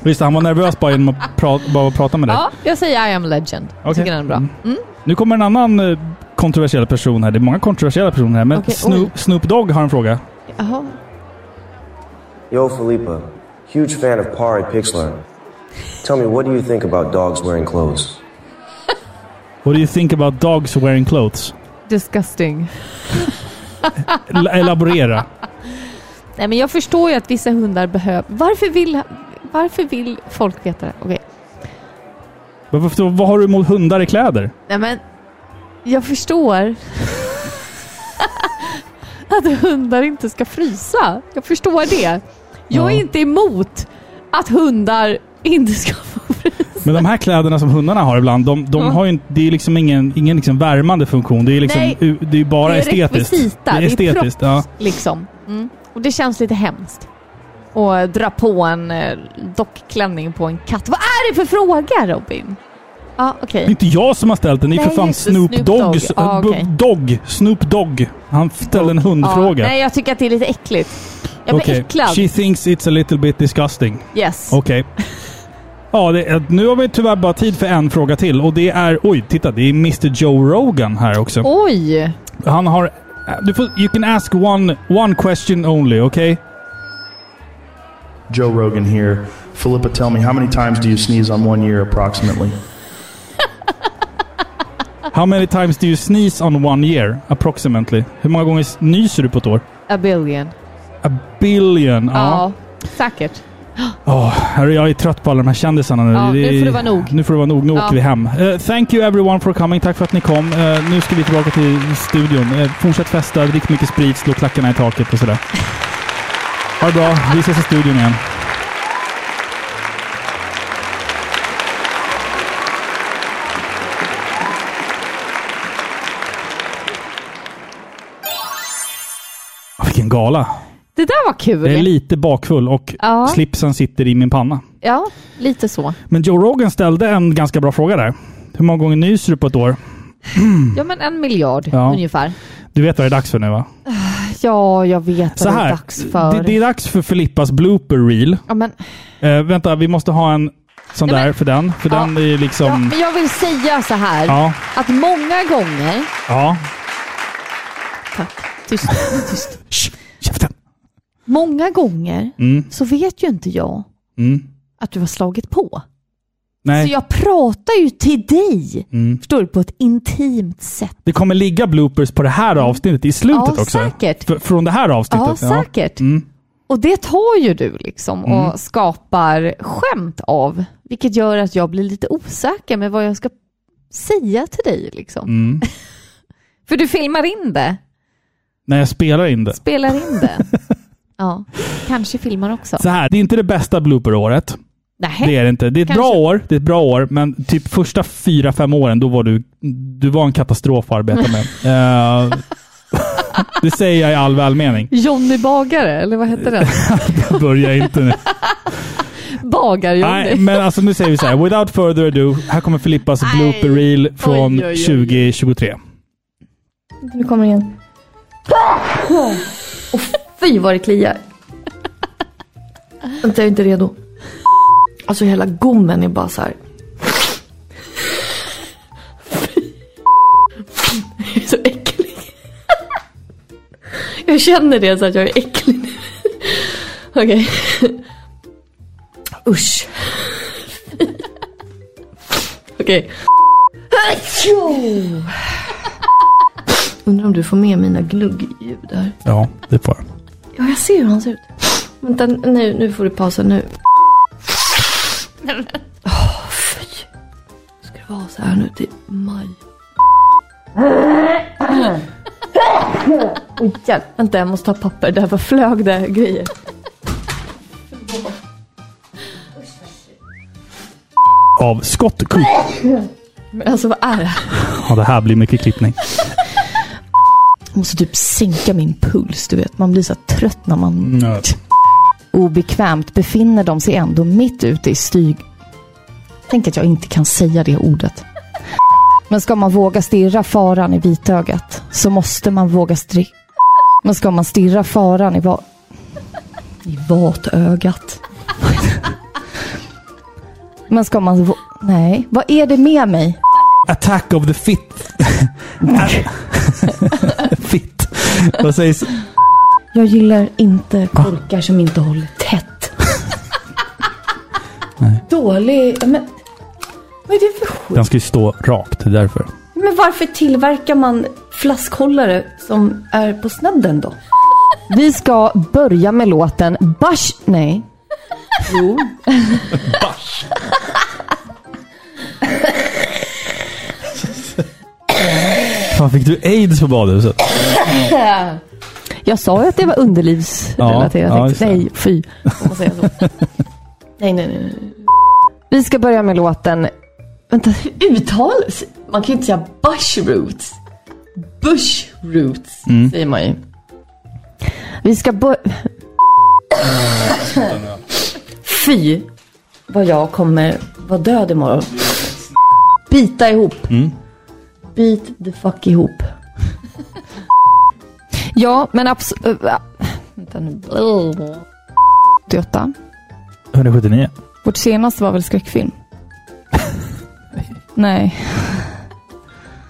Visst, han var nervös bara genom att pra, bara prata med dig. Ja, jag säger I am legend. Jag Okej. tycker den är bra. Mm. Nu kommer en annan eh, kontroversiell person här. Det är många kontroversiella personer här, men Okej, oj. Snoop, Snoop Dogg har en fråga. Jaha. Yo, Philippa, huge fan of Pari Pixler. Tell me, what do you think about dogs wearing clothes? What do you think about dogs wearing clothes? Disgusting. L- elaborera. Nej, men jag förstår ju att vissa hundar behöver... Varför vill, varför vill folk veta det? Okej. Varför- så Vad har du emot hundar i kläder? Nej men, jag förstår. att hundar inte ska frysa. Jag förstår det. Jag är Ja. inte emot att hundar inte ska få frysa. Men de här kläderna som hundarna har ibland, de, de Ja. har ju, inte- det är liksom ingen, ingen liksom värmande funktion. Det är, liksom, Nej, u- det är bara det är estetiskt. Rekvisita. Det är estetiskt, props, ja. liksom. Mm. Och det känns lite hemskt. Och dra på en eh, dockklänning på en katt. Vad är det för fråga Robin? Ja, okej. Det är inte jag som har ställt den. Det är för Nej, fan just det, Snoop, Snoop Dogg. Dogg. Ja, B- okej. Dogg. Snoop Dogg. Han ställde en hundfråga. Ja, nej, jag tycker att det är lite äckligt. Jag blir Okej. äcklad. She thinks it's a little bit disgusting. Yes. Okej. Ja, det, är- nu har vi tyvärr bara tid för en fråga till och det är... Oj, titta. Det är Mr Joe Rogan här också. Oj! Han har... Du får, you can ask one, one question only, okej? Joe Rogan here. Philippa, tell me, how many times do you sneeze on one year approximately? How many times do you sneeze on one year, approximately? Hur många gånger s- nyser du på ett år? A billion. A billion. Ja. Ja, säkert. Åh, herre, jag är trött på alla de här kändisarna nu. Ja, Det är- nu får det vara nog. Nu får det vara nog. Nu Ja. åker vi hem. Eh, thank you everyone for coming. Tack för att ni kom. Eh, nu ska vi tillbaka till studion. Eh, fortsätt festa, drick mycket sprit, slå klackarna i taket och sådär. Ha det bra. Vi ses i studion igen. Ah, Vilken gala. Det där var kul. Jag är lite bakfull och Ja. slipsen sitter i min panna. Ja, lite så. Men Joe Rogan ställde en ganska bra fråga där. Hur många gånger nyser du på ett år? Ja, men en miljard Ja. ungefär. Du vet vad det är dags för nu va? Ja, jag vet Så vad Alltså, det är här, dags för. Det, det är dags för Filippas blooper reel. Ja, men, Eh, vänta, vi måste ha en sån där för den. För den är ju ja, liksom... men jag vill säga så här. Ja. Att många gånger... Ja. Tack. Tyst. tyst. många gånger Mm, så vet ju inte jag mm. att du har slagit på. Nej. Så jag pratar ju till dig. Mm. Förstår du? På ett intimt sätt. Det kommer ligga bloopers på det här avsnittet i slutet Mm. Ja, också. säkert. F- från det här avsnittet. Ja, säkert. Mm. Och det tar ju du liksom och Mm. skapar skämt av. Vilket gör att jag blir lite osäker med vad jag ska säga till dig. Liksom. Mm. För du filmar in det, När jag spelar in det. spelar in det. ja, kanske filmar också. Så här, det är inte det bästa blooperåret. Nähä. Det är det inte. Det är ett Kanske. bra år, det är ett bra år, men typ första fyra, fem åren, då var du, du var en katastrof att arbeta med. Eh, det säger jag i all välmening. Johnny Bagare, eller vad hette den? Börja inte nu. Nej, Bagar-Johnny. men alltså nu säger vi så här. Without further ado, här kommer Filippas blooper reel från Oj, oj, oj. 2023. Nu kommer det igen. Och fy vad det kliar. Vänta, jag är inte redo. Alltså hela gommen är bara så här. Jag är så äcklig. Jag känner det så att jag är äcklig nu. Okej. Usch. Okej. Undrar om du får med mina gluggljud här. Ja, det får jag. Ja, jag ser hur han ser ut. Vänta, nu, nu får du pausa nu. Åh, fy. Ska det vara så här nu till maj? Oj, hjälp. Vänta, jag måste ha papper. Där var flög det grejer. Av Scott Cook. Men alltså, vad är det här? Ja, det här blir mycket klippning. Jag måste typ sänka min puls, du vet. Man blir så här trött när man... Obekvämt befinner de sig ändå mitt ute i styg... Tänk att jag inte kan säga det ordet. Men ska man våga stirra faran i vitögat så måste man våga stri... Men ska man stirra faran i va... I vatögat. Men ska man... vå- Nej, vad är det med mig? Attack of the fit. fit. Vad sägs? Jag gillar inte korkar som inte håller tätt. Dålig... Men, vad är det för skit? Den ska ju stå rakt, det är därför. Men varför tillverkar man flaskhållare som är på snedden då? Vi ska börja med låten Bash... Nej. Jo. Fan, fick du aids på badhuset? Jag sa ju att det var underlivsrelaterat. Ja, ja, Jag just tänkte, det. nej, fy. Får man säga så? Nej, nej, nej. nej. Vi ska börja med låten... Vänta, hur uttalas... Man kan ju inte säga bushroots. Bushroots, Mm. säger man ju. Vi ska börja... Fy, vad jag kommer vara död imorgon. Bita ihop. Mm. Beat the fuck ihop. Ja, men absolut... Vänta nu. 88. 179. Vårt senaste var väl skräckfilm? nej,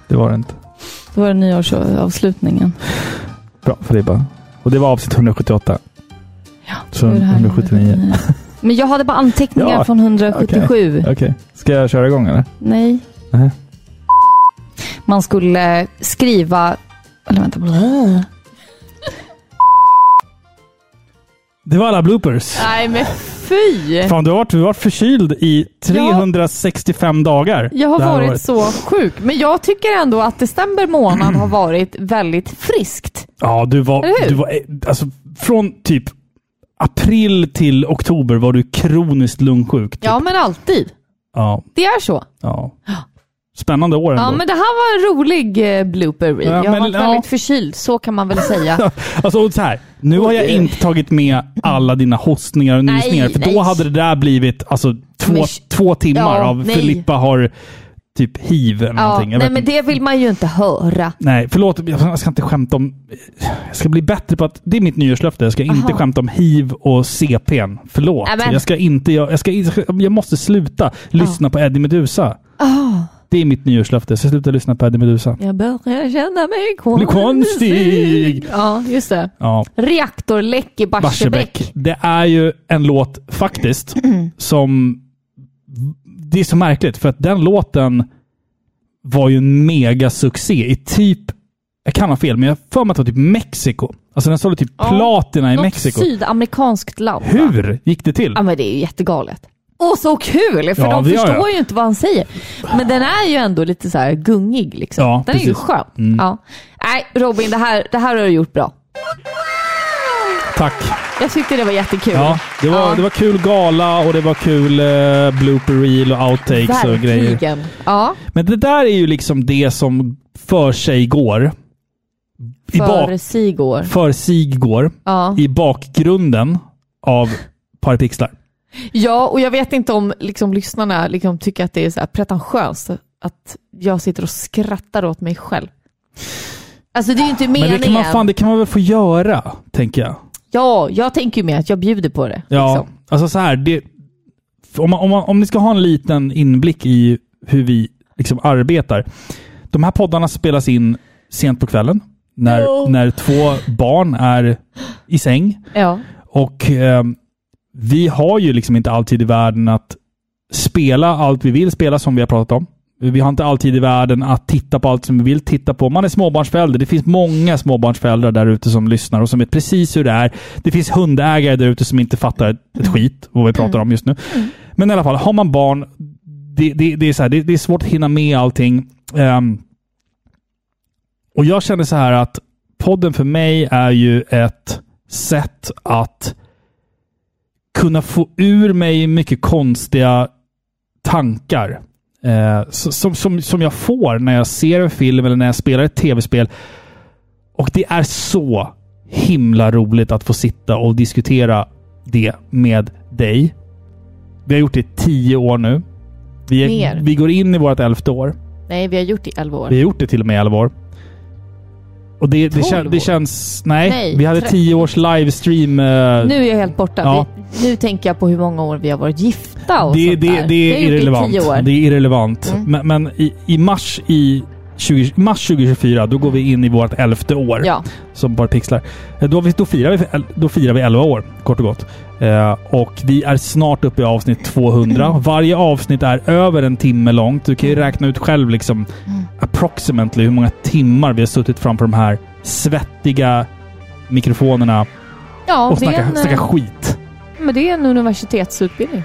Det var det inte. det var nyårsavslutningen. Bra Filippa. Och det var avsnitt 178. Ja, Så det är det här 179. Men jag hade bara anteckningar Ja, från 177. Okej. Ska jag köra igång eller? Nej. Nej. Man skulle skriva... Eller vänta. blä. Det var alla bloopers. Nej, men fy! Fan, du har varit, du har varit förkyld i 365 dagar. Jag har det här varit året. så sjuk, men jag tycker ändå att december månad har varit väldigt friskt. Ja, du Eller var... hur? Du var eh, alltså, från typ april till oktober var du kroniskt lungsjuk. Ja, men alltid. Ja. Det är så. ja. Spännande år ändå. Ja, men det här var en rolig eh, blooper reel. Ja, jag har men- varit ja. väldigt förkyld, så kan man väl säga. Alltså och så här, nu har jag inte tagit med alla dina hostningar och Nej, nysningar, för då nej. hade det där blivit alltså, två, Men sh- två timmar Ja, av nej. Filippa har typ hiv eller Ja, någonting. Jag nej, vet men inte. det vill man ju inte höra. nej, förlåt. Jag jag ska inte skämta om... Jag ska bli bättre på att... Det är mitt nyårslöfte. Jag ska inte Aha. skämta om hiv och CPn. Förlåt. Amen. Jag ska inte... Jag, jag, ska, jag måste sluta lyssna på Eddie Meduza. Ah, Det är mitt nyårslöfte. Jag ska sluta lyssna på Eddie Meduza. jag börjar känna mig Bli konstig. konstig! Ja, just det. Ja. Reaktorläck i Barsebäck. Barsebäck. Det är ju en låt faktiskt som... Det är så märkligt för att den låten var ju en mega succé i typ... Jag kan ha fel, men jag har för mig att det var typ Mexiko. Alltså den sålde typ platina i Något Mexiko. sydamerikanskt land. va? Hur gick det till? Ja, men det är ju jättegalet. Och så kul! För Ja, de det gör förstår jag. ju inte vad han säger. Men den är ju ändå lite så här gungig. Liksom. Ja, den är ju precis. skön. Mm. Ja. Nej, Robin, det här, det här har du gjort bra. Tack. Jag tyckte det var jättekul. Ja, det, var, det var kul gala och det var kul eh, blooper reel och outtakes och grejer. Verkligen. Ja. Men det där är ju liksom det som för sig går. I bak- För Sigor. för sig går Ja. i bakgrunden av Parapixlar. ja, och jag vet inte om liksom, lyssnarna liksom, tycker att det är så här pretentiöst att jag sitter och skrattar åt mig själv. Alltså det är ju inte meningen. Men det kan, man, fan, det kan man väl få göra, tänker jag. Ja, jag tänker ju mer att jag bjuder på det. liksom. Ja, alltså så här. Det, om, man, om, man, om ni ska ha en liten inblick i hur vi liksom arbetar. De här poddarna spelas in sent på kvällen. När, Ja. när två barn är i säng. Ja. Och ehm, vi har ju liksom inte alltid i världen att spela allt vi vill spela som vi har pratat om. Vi har inte alltid i världen att titta på allt som vi vill titta på. Man är småbarnsförälder. Det finns många småbarnsföräldrar där ute som lyssnar och som vet precis hur det är. Det finns hundägare där ute som inte fattar ett- ett skit vad vi pratar om just nu. Men i alla fall, har man barn, det, det, det, är, så här, det, det är svårt att hinna med allting. Ehm, och jag känner så här att podden för mig är ju ett sätt att kunna få ur mig mycket konstiga tankar. Eh, s- som, som, som jag får när jag ser en film eller när jag spelar ett tv-spel. Och det är så himla roligt att få sitta och diskutera det med dig. Vi har gjort det i tio år nu. Vi, är, Mer. vi går in i vårt elfte år. Nej, vi har gjort det i 11 år. Vi har gjort det till och med i 11 år. Och det, det, kän, Tolv det år? känns... Nej, Nej, vi hade tre- 10 års livestream. eh, Nu är jag helt borta. Ja. Vi, nu tänker jag på hur många år vi har varit gifta och det, sånt det, där. det Vi är har gjort irrelevant. I typ tio år. Mm. Det är irrelevant. Men, men i, i, mars, i 20, mars 2024, då går vi in i vårt elfte år. Ja. Som bara pixlar. Eh, Då, har vi- då, firar vi, då firar vi 11 år, kort och gott. Eh, och vi är snart uppe i avsnitt 200. Mm. Varje avsnitt är över en timme långt. Du kan ju räkna ut själv liksom Mm. approximately hur många timmar vi har suttit framför de här svettiga mikrofonerna Ja, och det är snacka, en, snacka eh, skit. Men det är en universitetsutbildning.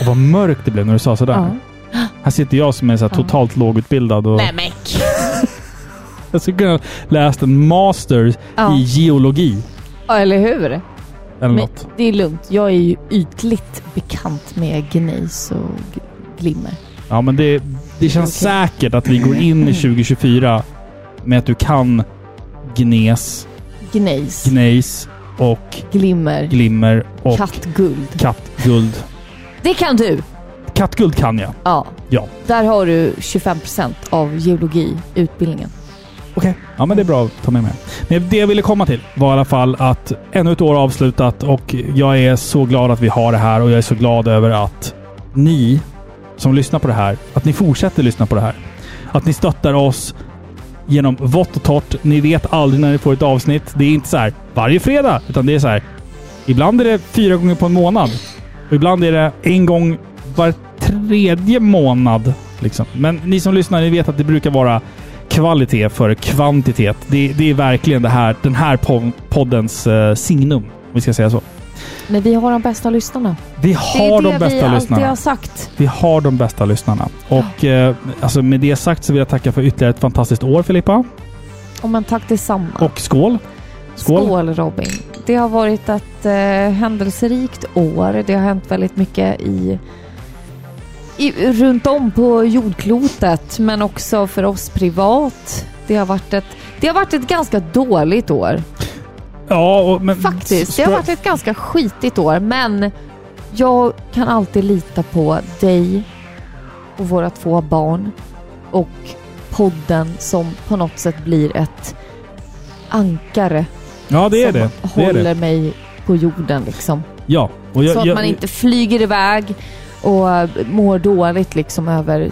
Och vad mörkt det blev när du sa sådär. Ja. Här sitter jag som är så här Ja. totalt lågutbildad och... Nej men Jag skulle kunna läst en master Ja. i geologi. Ja, eller hur? Eller Men något. det är lugnt. Jag är ju ytligt bekant med gneis och g- glimmer. Ja, men det, det känns säkert att vi går in i 2024 med att du kan gnes, Gneis, gneis och glimmer, glimmer och kattguld. kattguld. Det kan du! Kattguld kan jag. Ja. Ja. Där har du 25% av geologiutbildningen. Ja, men det är bra att ta med mig. Men det jag ville komma till var i alla fall att ännu ett år avslutat och jag är så glad att vi har det här och jag är så glad över att ni som lyssnar på det här, att ni fortsätter lyssna på det här. Att ni stöttar oss genom vått och torrt. Ni vet aldrig när ni får ett avsnitt. Det är inte så här varje fredag, utan det är så här. Ibland är det fyra gånger på en månad. Och ibland är det en gång var tredje månad. Liksom. Men ni som lyssnar, ni vet att det brukar vara kvalitet före kvantitet. Det, det är verkligen det här, den här pod- poddens eh, signum, om vi ska säga så. Men vi har de bästa lyssnarna. Vi har de det är det bästa vi alltid lyssnarna. har sagt. Vi har de bästa lyssnarna. Och eh, alltså med det sagt så vill jag tacka för ytterligare ett fantastiskt år Filippa. Och men tack detsamma. Och skål! Skål! Skål Robin. Det har varit ett eh, händelserikt år. Det har hänt väldigt mycket i, i, runt om på jordklotet, men också för oss privat. Det har varit ett, det har varit ett ganska dåligt år. Ja, och, men, Faktiskt. Det har varit ett ganska skitigt år, men jag kan alltid lita på dig och våra två barn och podden som på något sätt blir ett ankare Ja, det är som det. det, är håller det. mig på jorden liksom. Ja. Och jag, så att jag, man inte flyger iväg och eh, mår dåligt liksom över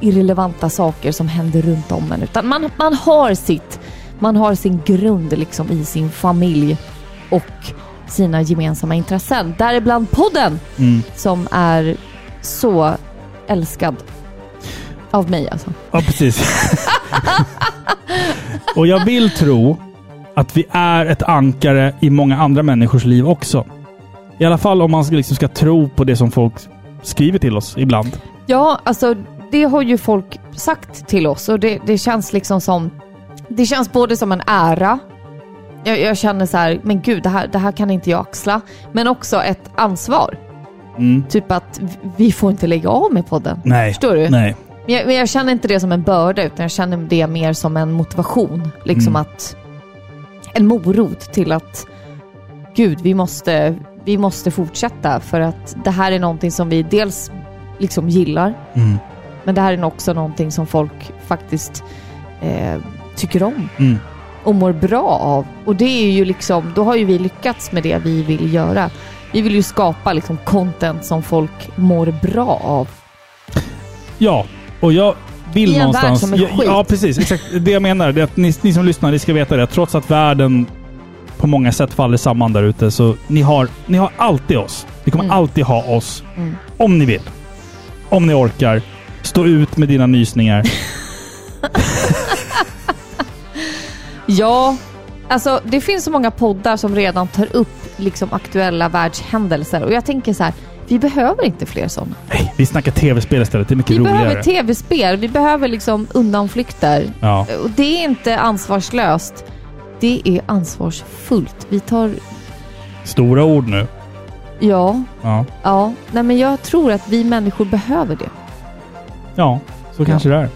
irrelevanta saker som händer runt om en. Utan man, man har sitt, man har sin grund liksom i sin familj och sina gemensamma intressen. Däribland podden Mm. som är så älskad av mig alltså. Ja, precis. och jag vill tro att vi är ett ankare i många andra människors liv också. I alla fall om man ska- liksom ska tro på det som folk skriver till oss ibland. Ja, alltså det har ju folk sagt till oss och det, det känns liksom som... Det känns både som en ära, jag, jag känner så här, men gud det här, det här kan inte jag axla, men också ett ansvar. Mm. Typ att v- vi får inte lägga av med podden. Nej. Förstår du? Nej. Men jag, men jag känner inte det som en börda utan jag känner det mer som en motivation. Liksom Mm. att... En morot till att gud, vi måste, vi måste fortsätta för att det här är någonting som vi dels liksom gillar Mm. men det här är också någonting som folk faktiskt eh, tycker om Mm. och mår bra av. Och det är ju liksom, då har ju vi lyckats med det vi vill göra. Vi vill ju skapa liksom content som folk mår bra av. Ja, och jag vill I en värld någonstans... som är ja, skit. ja, precis. Exakt det jag menar. Det är att ni, ni som lyssnar, ni ska veta det. Trots att världen på många sätt faller samman där ute, så ni har, ni har alltid oss. Ni kommer alltid ha oss. Mm. Om ni vill. Om ni orkar. Stå ut med dina nysningar. Ja, alltså det finns så många poddar som redan tar upp liksom aktuella världshändelser och jag tänker så här, vi behöver inte fler sådana. Nej, vi snackar tv-spel istället. Det är mycket Vi roligare. behöver tv-spel, vi behöver liksom undanflykter. Ja. Och det är inte ansvarslöst. Det är ansvarsfullt. Vi tar... Stora ord nu. Ja, Ja, ja. Nej men jag tror att vi människor behöver det. ja så kanske det är.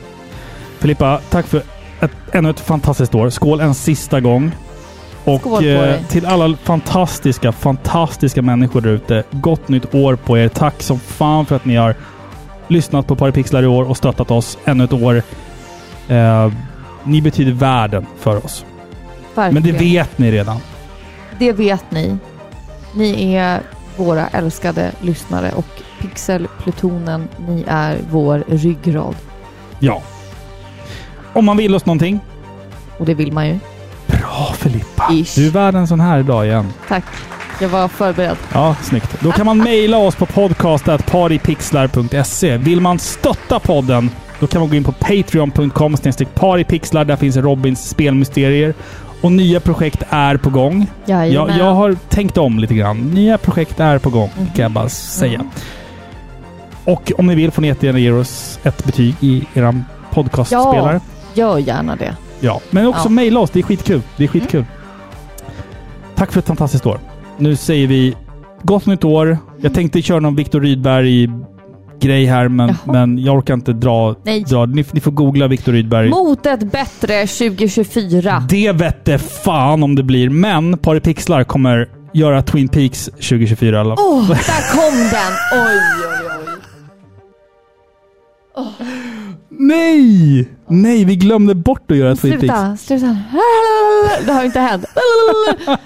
Filippa, tack för ett, ännu ett fantastiskt år. Skål en sista gång. Och Skål på eh, dig. till alla fantastiska, fantastiska människor där ute. Gott nytt år på er. Tack som fan för att ni har lyssnat på Paripixlar i år och stöttat oss ännu ett år. Eh, ni betyder världen för oss. Verkligen. Men det vet ni redan. Det vet ni. Ni är våra älskade lyssnare och Pixelplutonen, ni är vår ryggrad. Ja. Om man vill oss någonting. Och det vill man ju. Bra Filippa! Du är värd en sån här idag igen. Tack. Jag var förberedd. Ja, snyggt. Då kan man mejla oss på podcastetparipixlar.se. Vill man stötta podden, då kan man gå in på patreon.com paripixlar. Där finns Robins spelmysterier. Och nya projekt är på gång. Jajamän. Jag, jag har tänkt om lite grann. Nya projekt är på gång, kan jag bara säga. Och om ni vill får ni jättegärna ge oss ett betyg i er podcastspelare. Ja, gör gärna det. Ja. Ja, men också Ja. Mm. mejla oss. Det är skitkul. Det är skitkul. Tack för ett fantastiskt år. Nu säger vi gott nytt år. Mm. Jag tänkte köra någon Viktor Rydberg-grej här, men, men jag orkar inte dra... Nej. dra. Ni, ni får googla Viktor Rydberg. Mot ett bättre 2024. Det vette fan om det blir, men Pari Pixlar kommer göra Twin Peaks 2024 i alla fall. Åh, där kom den! Oj, oj, oj. Nej! Nej, vi glömde bort att göra Twin Peaks. Sluta, sluta. Det har ju inte hänt.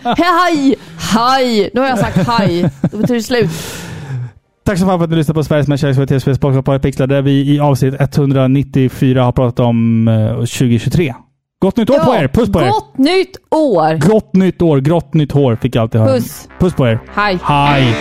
Hej, haj! Nu har jag sagt haj. Det betyder slut. Tack så fan för att ni lyssnade på Sveriges mest kärleksfulla tv-spel Podcast Party Pixlar där vi i avsnitt 194 har pratat om eh, 2023. Gott nytt år på er! Puss på er! Gott nytt år! Grått nytt år, grått nytt hår fick jag alltid höra. Puss. Puss på er! Hej! Hej!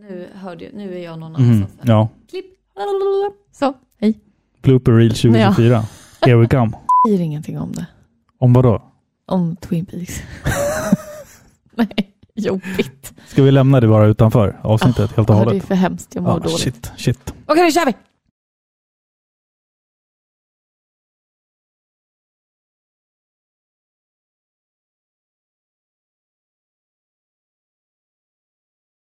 Nu hörde jag, nu är jag någon Mm, ja. Klipp. Så, hej. Blooper Reel 2024. Here we come. Säger ingenting om det. Om vadå? Om Twin Peaks. Nej, jobbigt. Ska vi lämna det bara utanför avsnittet helt och Ah. Ja, det hållet? är för hemskt. Jag mår Ja, dåligt. Shit, shit. Okej, nu kör vi!